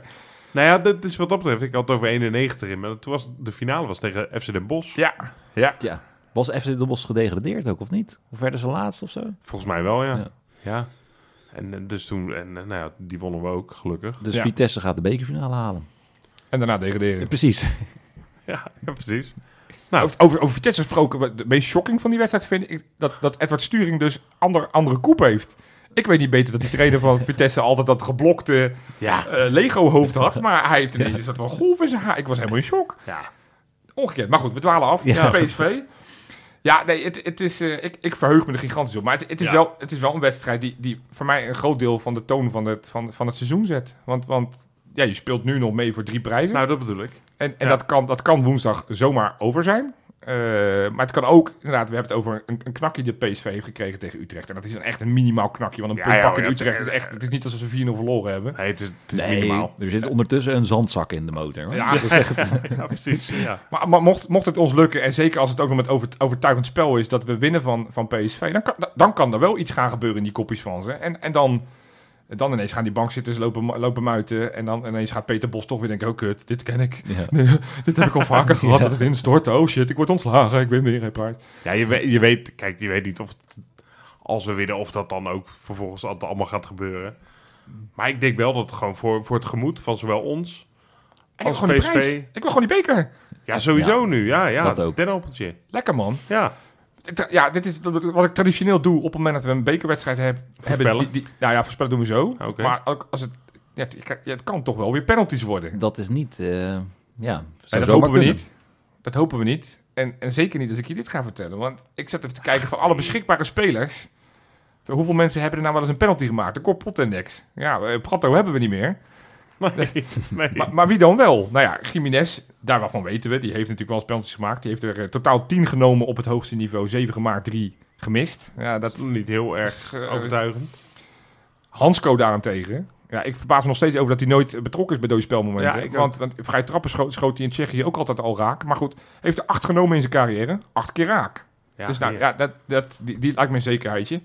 A: Nou ja, dat is wat dat betreft. Ik had het over 91 in, maar toen was de finale was tegen FC Den Bosch.
C: Ja, ja.
D: Ja. Was FC Den Bosch gedegradeerd ook, of niet? Of werden ze laatst of zo?
A: Volgens mij wel, ja. Ja.
D: Ja.
A: En eh, dus toen, en eh, nou ja, die wonnen we ook, gelukkig.
D: Dus
C: Ja.
D: Vitesse gaat de bekerfinale halen.
C: En daarna degraderen.
D: Precies.
A: Ja, ja precies.
C: Nou, Over, over, over Vitesse gesproken, wat de meest shocking van die wedstrijd vind ik dat, dat Edward Sturing dus ander, andere koep heeft. Ik weet niet beter dat die trainer van Vitesse altijd dat geblokte
A: Ja.
C: Lego-hoofd had, maar hij heeft ineens een soort van golf in zijn haar. Ik was helemaal in shock.
A: Ja.
C: Ongekend. Maar goed, we dwalen af.
D: Ja.
C: PSV. Ja, nee, het, het is, eh, ik, ik verheug me er gigantisch op. Maar het, het, is
A: Ja.
C: wel, het is wel een wedstrijd die, die voor mij een groot deel van de toon van het, van, van het seizoen zet. Want, want ja, je speelt nu nog mee voor drie prijzen.
A: Nou, dat bedoel ik.
C: En, en
A: Ja.
C: dat, kan, dat kan woensdag zomaar over zijn. Eh, maar het kan ook, inderdaad, we hebben het over een, een knakje die de PSV heeft gekregen tegen Utrecht. En dat is dan echt een minimaal knakje, want een
A: Ja,
C: punt
A: ja, eh,
C: pakken in
A: ja,
C: Utrecht
A: het-
C: is echt, het is niet alsof ze 4-0 verloren hebben.
A: Nee, het is, het is
D: Nee,
A: minimaal.
D: er zit ondertussen een zandzak in de motor. Hoor.
C: Ja, dus-
A: Ja, precies. Ja.
C: maar, maar mocht, mocht het ons lukken, en zeker als het ook nog met over, overtuigend spel is dat we winnen van, van PSV, dan kan, dan kan er wel iets gaan gebeuren in die kopjes van ze. En, en dan, dan ineens gaan die bankzitters lopen, lopen muiten en dan ineens gaat Peter Bos toch weer denken, oh kut, dit ken ik.
D: Ja.
C: Dit heb ik al vaker gehad, dat het instort. Oh shit, ik word ontslagen, ik win weer geen prijs.
A: ja, je weet, je weet, kijk, je weet niet of het- als we winnen, of dat dan ook vervolgens al- allemaal gaat gebeuren. Maar ik denk wel dat het gewoon voor, voor het gemoed van zowel ons
C: En ik wil
A: als
C: gewoon die
A: PSV...
C: prijs. Ik wil gewoon die beker.
A: Ja, sowieso nu. Ja, ja.
D: Dat ook.
A: Dennenhoppeltje.
C: Lekker man.
A: Ja.
C: Tra- Ja, dit is wat ik traditioneel doe op het moment dat we een bekerwedstrijd heb- hebben.
A: Voorspellen.
C: Die, die, nou ja, voorspellen doen we zo.
A: Oké.
C: Maar ook als het, ja, het, ja, het kan toch wel weer penalties worden.
D: Dat is niet... eh, ja,
C: En
D: zou
C: dat
D: zomaar
C: hopen we
D: kunnen.
C: niet. Dat hopen we niet. En, en zeker niet als ik je dit ga vertellen. Want ik zat even te kijken van alle beschikbare spelers. Van Hoeveel mensen hebben er nou wel eens een penalty gemaakt? De Corpot Index. Ja, eh, Pratto hebben we niet meer.
A: Nee, nee.
C: Maar, maar wie dan wel? Nou ja, Jiménez, daar waarvan weten we. Die heeft natuurlijk wel eens penalties gemaakt. Die heeft er eh, totaal 10 genomen op het hoogste niveau. 7 gemaakt, 3 gemist. Ja,
A: dat
C: dat...
A: is niet heel erg
C: is, eh,
A: overtuigend.
C: Hansco daarentegen. Ja, ik verbaas me nog steeds over dat hij nooit betrokken is bij deze spelmomenten.
A: Ja, ik ook.
C: want, want vrij trappen scho- schoot hij in Tsjechië ook altijd al raak. Maar goed, heeft er 8 genomen in zijn carrière. 8 keer raak.
A: Ja,
C: dus nou,
A: hier.
C: ja, dat, dat, die, die lijkt me een zekerheidje.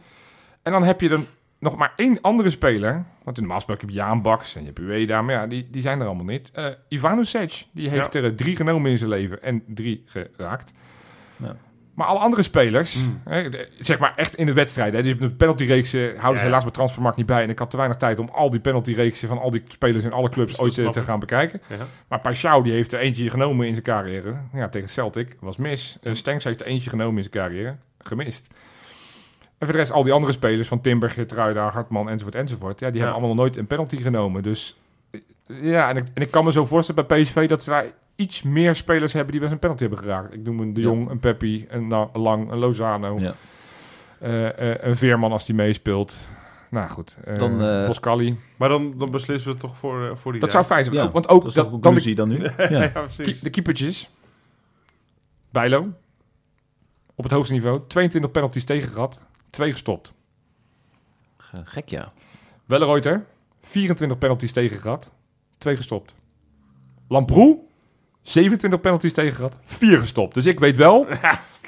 C: En dan heb je dan nog maar één andere speler. Want in de Maasbak heb je Jaan Baks en je hebt Ueda. Maar ja, die, die zijn er allemaal niet. Eh Ivano Sec, die heeft er eh, drie genomen in zijn leven en drie geraakt.
D: Ja.
C: Maar alle andere spelers,
A: Mm.
C: hè, de- zeg maar echt in de wedstrijd. Hè, dus de penaltyreeksen houden
A: Ja,
C: ze
A: ja.
C: helaas bij Transfermarkt niet bij. En ik had te weinig tijd om al die penaltyreeksen van al die spelers in alle clubs
A: Dat
C: ooit eh,
A: snap
C: te
A: ik.
C: gaan bekijken.
A: Ja.
C: Maar Pashao die heeft er eentje genomen in zijn carrière. Ja, tegen Celtic was mis. Eh, Stenks heeft er eentje genomen in zijn carrière. Gemist. En voor de rest al die andere spelers van Timber, Gertruida, Hartman enzovoort enzovoort. Ja, die hebben allemaal nog nooit een penalty genomen. Dus eh, ja, en ik, en ik kan me zo voorstellen bij PSV dat ze daar iets meer spelers hebben die best een penalty hebben geraakt. Ik noem een De
D: Ja.
C: Jong, een Peppi, een Na- een Lang, een Lozano.
D: Ja.
C: Eh, eh, een Veerman als die meespeelt. Nou goed, eh
D: Dan, eh,
C: Boskali.
A: Maar dan, dan beslissen we toch voor, eh, voor die
C: Dat
A: daar.
C: zou fijn zijn.
D: Ja,
C: ook- want ook
D: dat is
C: dat-
D: de
C: dan de
D: conclusie dan nu. Ja.
A: Ja,
C: Ki-
A: precies.
C: de keepertjes. Bijlo. Op het hoogste niveau. 22 penalties tegen gehad. 2 gestopt.
D: Ge- Gek, ja.
C: Welleroyter. 24 penalties tegen gehad. 2 gestopt. Lamproe. 27 penalties tegen gehad. 4 gestopt. Dus ik weet wel.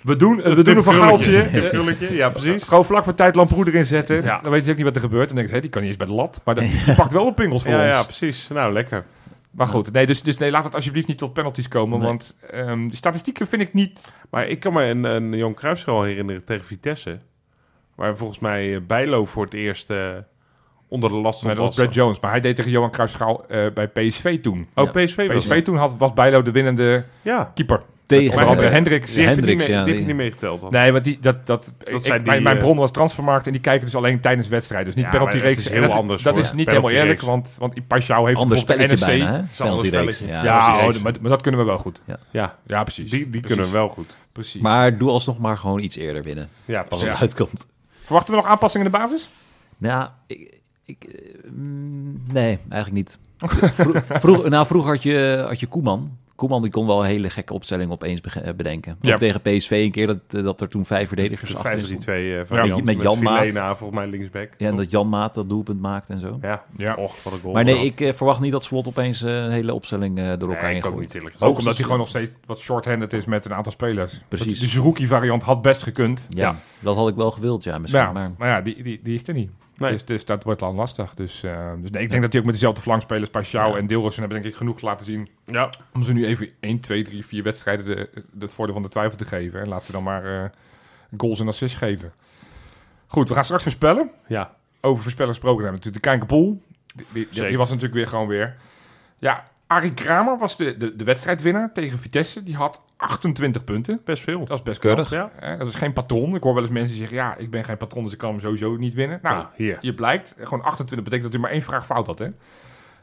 C: We doen, eh, we doen een vergaaltje.
A: Tip Gulletje, ja precies.
C: Gewoon vlak voor tijd Lamproe erin zetten.
A: Ja.
C: Dan weet je ook niet wat er gebeurt. Dan denk je, hé, die kan niet eens bij de lat. Maar dat- die pakt wel de pingels voor
A: Ja,
C: ons.
A: ja, precies. Nou, lekker.
C: Maar goed, nee, dus, dus nee, laat het alsjeblieft niet tot penalties komen.
D: Nee.
C: Want ehm, de statistieken vind ik niet...
A: Maar ik kan me een, een Jan Cruijffschal herinneren tegen Vitesse. Waar volgens mij eh, Bijlo voor het eerst eh, onder de last
C: Nee,
A: van
C: dat was Brad Jones, maar hij deed tegen Johan Cruijffschaal eh bij PSV toen.
A: Oh, PSV was
C: PSV
A: het.
C: toen had, was Bijlo de winnende
A: Ja.
C: keeper.
D: Tegen
C: Onder andere
D: eh,
C: Hendricks.
A: Die heeft er niet
D: Hendricks,
A: mee-
D: ja,
A: die heb
D: die-
A: ik niet meegeteld dan.
C: Nee, want die, dat, dat, ik-
A: zijn
C: ik-
A: die,
C: mijn, mijn
A: eh,
C: bron was transfermarkt en die kijken dus alleen tijdens wedstrijden. Dus niet
A: Ja, maar
C: penalty
A: dat
C: reeks.
A: is
C: En
A: heel
C: dat,
A: anders,
C: Dat
A: hoor.
C: is niet helemaal
A: Penalty
C: eerlijk,
A: reeks.
C: want, want Pashao heeft
D: ander
C: bijvoorbeeld
D: spelletje
C: de NSC.
D: bijna, hè? Penalty reeks.
A: spelletje.
D: Ja,
C: Ja,
D: dat is
C: oh,
D: reeks.
C: maar, maar dat kunnen we wel goed.
A: Ja,
C: Ja, precies.
A: die, die
C: Precies.
A: kunnen we wel goed.
C: Precies.
D: Maar doe alsnog maar gewoon iets eerder winnen.
A: Ja,
D: Als
A: pas
D: het
C: Ja.
D: uitkomt.
C: Verwachten we nog aanpassingen in de basis?
D: Nou, ik, ik, eh, mm, nee, eigenlijk niet. Vro- vroeg, nou, vroeger had je, had je Koeman. Koeman die kon wel een hele gekke opstelling opeens bege- eh, bedenken. Ook
C: Ja.
D: tegen PSV een keer dat, eh, dat er toen vijf verdedigers achter stonden.
A: 5-3-2 eh,
C: Ja,
A: variant.
D: met Jan Maat.
A: Filena, volgens mij linksback.
D: Ja, en dat Jan Maat dat doelpunt maakt en zo.
A: Ja.
C: Ja.
A: Och, wat een goal.
D: maar nee,
A: was dat.
D: ik eh, verwacht niet dat Slot opeens eh, een hele opstelling eh, door elkaar
A: Nee,
D: heen
A: ik ook
D: gooit.
A: niet eerlijk gezegd.
C: Ook omdat hij gewoon nog steeds wat shorthanded is met een aantal spelers.
D: Precies.
C: De Zerouki-variant had best gekund.
D: Ja, dat had ik wel gewild, ja, misschien.
C: Dus Ja,
D: maar,
C: maar, ja, die, die, die is er niet.
A: Nee.
C: Dus, dus dat wordt dan lastig. Dus, eh, dus nee, ik denk dat hij ook met dezelfde flankspelers, Pashao en Deelrossen hebben denk ik genoeg laten zien.
A: Ja,
C: Om ze nu even 1, 2, 3, 4 wedstrijden de, het voordeel van de twijfel te geven. En laat ze dan maar eh, goals en assists geven. Goed, we gaan straks voorspellen.
A: ja.
C: Over voorspellen gesproken hebben we natuurlijk de Kijkenpoel. Die, die, die,
A: Zeker.
C: was natuurlijk weer gewoon weer. Ja, Arie Kramer was de, de, de wedstrijdwinnaar tegen Vitesse. Die had 28 punten.
A: best veel.
C: Dat is best
D: Keurig.
C: knap.
A: Ja.
C: Eh, dat is geen patroon. Ik hoor wel eens mensen die zeggen, ja, ik ben geen patroon, dus ik kan hem sowieso niet winnen. Nou,
A: Nou, hier.
C: je blijkt, eh, gewoon 28 betekent dat u maar één vraag fout had, hè?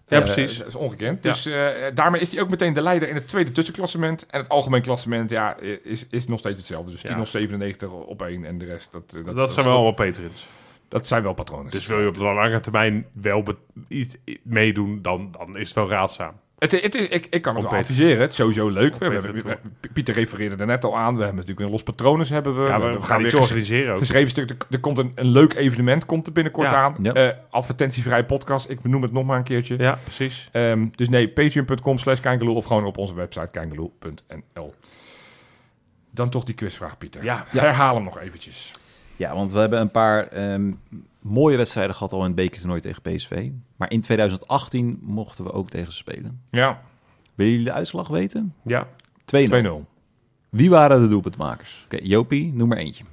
A: Ja,
C: Eh,
A: precies.
C: Dat is ongekend.
A: Ja.
C: Dus eh, daarmee is hij ook meteen de leider in het tweede tussenklassement. En het algemeen klassement ja, is, is nog steeds hetzelfde. Dus
A: Ja.
C: 10 of 97 op één en de rest. Dat, eh,
A: Dat zijn wel allemaal patrons.
C: dat zijn wel patronen.
A: Dus wil je op de lange termijn wel be- iets meedoen, dan, dan is het wel raadzaam.
C: Het, het is, ik, ik kan het
A: Op
C: wel
A: Peter.
C: adviseren. Het is sowieso leuk. We
A: Peter
C: hebben-
A: toe.
C: we- Pieter refereerde er net al aan. We hebben natuurlijk een los patronen. dus Hebben we.
A: Ja,
C: we,
A: we, gaan
C: weer
A: iets organiseren ook.
C: geschreven stuk. Er, er komt een, een leuk evenement komt er binnenkort
A: Ja.
C: aan.
D: Ja.
C: Eh, advertentievrij podcast. Ik benoem het nog maar een keertje.
A: Ja, precies.
C: Ehm, dus nee, patreon.com slash kijngeloel of gewoon op onze website kijngeloel.nl. Dan toch die quizvraag, Pieter.
A: Ja.
C: Herhaal hem nog eventjes.
D: Ja, want we hebben een paar ehm, mooie wedstrijden gehad al in het bekertoernooi tegen PSV. Maar in 2018 mochten we ook tegen ze spelen.
C: Ja, 2-0.
D: Willen jullie de uitslag weten? 2-0.
C: 2-0.
D: Wie waren de doelpuntmakers? Oké, Jopie, noem maar eentje.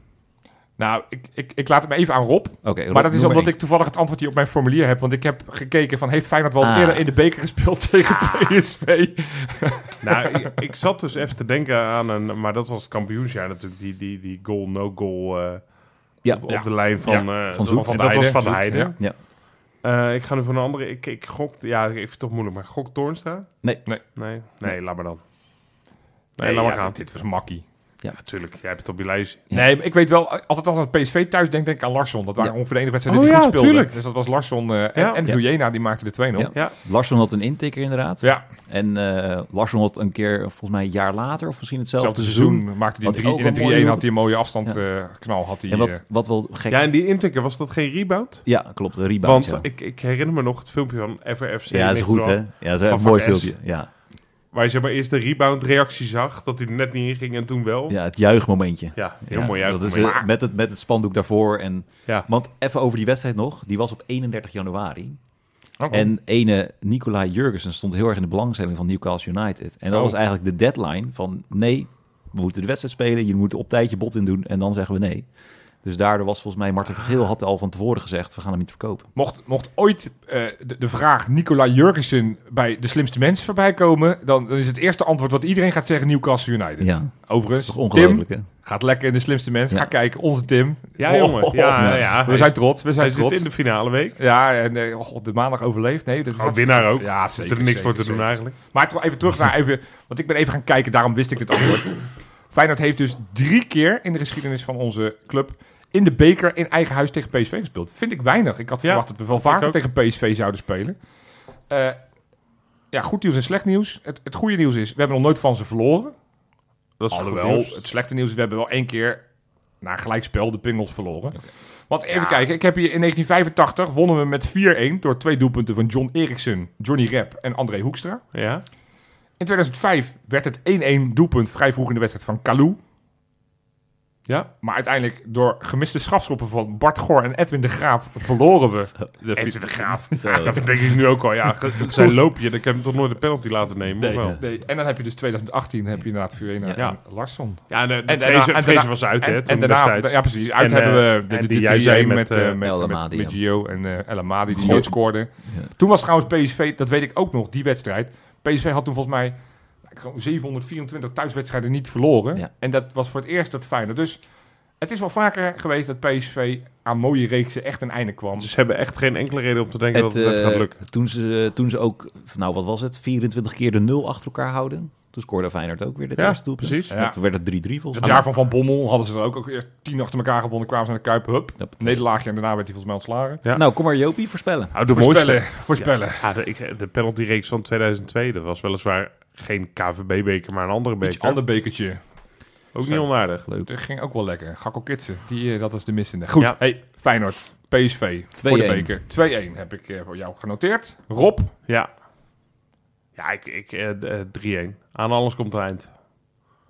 C: Nou, ik, ik, ik laat hem even aan Rob.
D: Oké, Rob,
C: maar dat is
D: noem
C: omdat
D: één.
C: ik toevallig het antwoord hier op mijn formulier heb. Want ik heb gekeken van, heeft Feyenoord wel eens
D: Ah.
C: eerder in de beker gespeeld tegen
A: Ah.
C: PSV?
A: Nou, ik, ik zat dus even te denken aan een... Maar dat was het kampioensjaar natuurlijk. Die, die, die goal, no goal eh,
D: Ja,
A: op,
C: Ja.
A: op de lijn van... eh,
D: Van
A: dat-
D: Zoet.
A: en Dat was Van
C: Zoet,
A: Heijden.
C: ja.
D: Ja.
A: Eh, ik ga nu van een andere... Ik, ik gok... Ja, ik vind het toch moeilijk, maar gok Toornstra?
D: Nee.
C: Nee.
A: Nee, nee laat maar dan. Nee, laat maar
C: ja,
A: gaan.
C: Dit, dit was makkie.
A: Natuurlijk, jij hebt het op je lijst.
D: Ja.
C: Nee, maar ik weet wel, altijd als het PSV thuis denk, denk ik aan Larsson. Dat waren
D: Ja.
C: ongeveer de enige wedstrijden
A: Oh
C: die
A: ja,
C: goed speelden.
A: tuurlijk.
C: Dus dat was Larsson eh, en,
A: Ja.
C: en
D: Ja.
C: Vujena, die maakte de 2-0. Ja.
D: Ja. Larsson had een intikker inderdaad. En eh Larsson had een keer, volgens mij een jaar later, of misschien hetzelfde
C: Hetzelfde
D: seizoen.
C: seizoen, maakte die
D: Had hij
C: drie,
D: ook
C: in de 3-1
D: een mooie
C: had hij een mooie afstand eh, knal. Had hij,
D: En
C: eh,
D: wat, wat wel gek...
A: Ja,
D: Ja,
A: en die intikker, was dat geen rebound?
D: klopt, de rebound.
A: Want
D: ja.
A: ik, ik herinner me nog het filmpje van FRFC.
D: ja, dat is goed, hè? Ja, dat is
A: Van
D: een mooi
A: Van S.
D: filmpje. Ja.
A: Waar je zeg maar eerst de rebound reactie zag, dat hij er net niet in ging en toen wel. Ja,
D: ja, het juichmomentje.
A: heel
D: Ja,
A: mooi
D: dat is,
A: juichmoment.
D: eh, met, het, met het spandoek daarvoor. En,
A: Ja.
D: Want even over die wedstrijd nog. Die was op 31 januari.
C: oh,
D: En ene Nicolai Jurgensen stond heel erg in de belangstelling van Newcastle United. En dat
C: Oh.
D: was eigenlijk de deadline van... Nee, we moeten de wedstrijd spelen, jullie moeten op tijd je bot in doen en dan zeggen we nee. Dus daardoor was volgens mij
A: Ah.
D: Martin van Geel had al van tevoren gezegd, we gaan hem niet verkopen.
C: Mocht, mocht ooit eh, de, de vraag Nicola Jurgensen bij de slimste mensen voorbij komen, dan, dan is het eerste antwoord wat iedereen gaat zeggen Newcastle United.
D: Ja,
C: Overigens,
D: toch
C: Tim
D: ongelooflijk hè?
C: gaat lekker in de slimste mensen.
D: Ja.
C: Ga kijken, onze Tim.
A: Ja,
C: Oh,
A: jongen. Ja, ja.
C: We zijn trots, we
A: Hij
C: zijn
A: zit
C: trots.
A: in de finale week.
C: Ja, en eh, god, de maandag overleefd. Nee, dat is
A: Oh, winnaar ook.
C: Ja,
A: Zit
C: zeker,
A: er niks voor
C: zeker,
A: te doen
C: zeker.
A: eigenlijk.
C: Maar toch even terug naar even, want ik ben even gaan kijken, daarom wist ik dit antwoord. Feyenoord heeft dus drie keer in de geschiedenis van onze club in de beker in eigen huis tegen PSV gespeeld. Vind ik weinig. Ik had
A: Ja,
C: verwacht dat we wel
A: ik
C: vaker
A: ook.
C: tegen PSV zouden spelen. Eh, ja, goed nieuws en slecht nieuws. Het, het goede nieuws is, we hebben nog nooit van ze verloren.
A: Dat is goed
C: Alhoewel,
A: nieuws.
C: het slechte nieuws is, we hebben wel één keer na gelijkspel de Pingels verloren. Want even kijken, ik heb hier in 1985 wonnen we met 4-1 door twee doelpunten van John Eriksen, Johnny Rep en André Hoekstra.
A: Ja.
C: In 2005 werd het 1-1 doelpunt vrij vroeg in de wedstrijd van Kalou.
A: Ja.
C: Maar uiteindelijk door gemiste schafsloppen van Bart Goor en Edwin de Graaf verloren we.
A: De Edwin de Graaf. Ja, Ah, dat denk ik nu ook al. Ja, ge- zijn loopje. Ik heb hem toch nooit de penalty laten nemen,
C: Nee,
A: of wel?
C: nee. En dan heb je dus 2018 heb je inderdaad Furena
A: Ja.
C: en Larsson.
A: Ja, de, de
C: En
A: vrezen,
C: daarna- en
A: vrezen
C: daarna-
A: was uit, hè,
C: en, en
A: toen
C: daarna,
A: destijds.
C: ja precies, uit
A: En, eh,
C: hebben we
A: en
C: de,
A: die
C: de,
A: jij
C: 3-1
A: zei
C: met,
A: met,
C: eh,
A: eh,
C: met,
D: El
C: met,
D: Amadi,
C: met
D: ja.
C: Gio en eh El Amadi die
D: Goh.
C: nooit scoorde. Toen was trouwens PSV, dat weet ik ook nog, die wedstrijd. PSV had toen volgens mij gewoon 724 thuiswedstrijden niet verloren.
D: Ja.
C: En dat was voor het eerst dat Feyenoord. Dus het is wel vaker geweest dat PSV aan mooie reeksen echt een einde kwam.
A: Dus ze hebben echt geen enkele reden om te denken
D: Het,
A: dat het echt gaat
D: eh,
A: lukken.
D: toen, ze, toen ze ook, nou wat was het, 24 keer de nul achter elkaar houden. Toen scoorde Feyenoord ook weer dit
A: Ja,
D: eerste doelpunt.
A: precies.
D: En
C: Ja.
D: Toen werd het 3-3 volgens
C: Het
D: mij.
C: jaar van Van Bommel hadden ze er ook, ook eerst tien achter elkaar gewonnen. Kwamen ze naar de Kuip, hup,
D: Yep.
C: nederlaagje. En daarna werd hij volgens mij ontslagen.
A: Ja.
D: Nou, kom maar Jopie, voorspellen.
A: Nou, de
C: voorspellen,
A: mooiste.
C: voorspellen.
A: Ja, Ah, de, ik- de penaltyreeks van 2002, dat was weliswaar geen KVB-beker, maar een andere beker.
C: Iets ander bekertje.
A: Ook niet onaardig.
C: Dat ging ook wel lekker. Gakko Kitsen, die, eh, dat was de missende. Goed,
A: Ja.
C: hey, Feyenoord, PSV, voor de
D: 2-1.
C: beker. 2-1 heb ik eh, voor jou genoteerd. Rob,
A: Ja. Ja, ik, ik, eh, d- eh, 3-1. Aan alles komt het eind.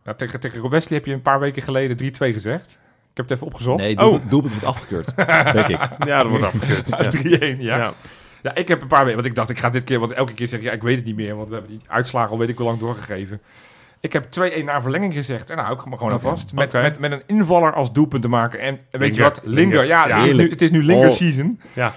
C: nou, tegen, tegen Wesley heb je een paar weken geleden 3-2 gezegd. Ik heb het even opgezocht.
D: Nee,
A: Oh.
D: doelpunt, doelpunt wordt afgekeurd, denk ik.
A: Ja, dat wordt afgekeurd.
C: Ja, 3-1, ja.
A: Ja.
C: ja. ik heb een paar weken, want ik dacht, ik ga dit keer, want elke keer zeg ik, ja, ik weet het niet meer, want we hebben die uitslagen al weet ik wel lang doorgegeven. Ik heb 2-1 na verlenging gezegd en nou hou ik me gewoon aan vast. Met,
A: Oké.
C: met, met een invaller als doelpunt te maken. En weet je
A: Linger.
C: wat? Linger.
A: Linger. Ja.
C: Ja, Het, is nu,
D: Heerlijk.
C: het is nu Linger
D: Oh.
C: season.
A: Ja.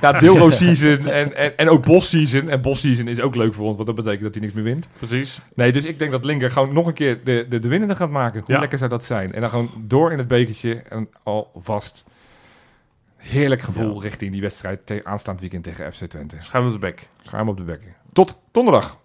C: Na Dilro nou, season en, en, en ook Bos season. En Bos season is ook leuk voor ons, want dat betekent dat hij niks meer wint.
A: Precies.
C: Nee, dus ik denk dat Linker gewoon nog een keer de, de, de winnende gaat maken. Hoe
A: Ja.
C: lekker zou dat zijn? En dan gewoon door in het bekertje en alvast heerlijk gevoel richting die wedstrijd te, aanstaand weekend tegen FC Twente.
A: Schuim op de bek.
C: Schuim op de bekken. Tot donderdag.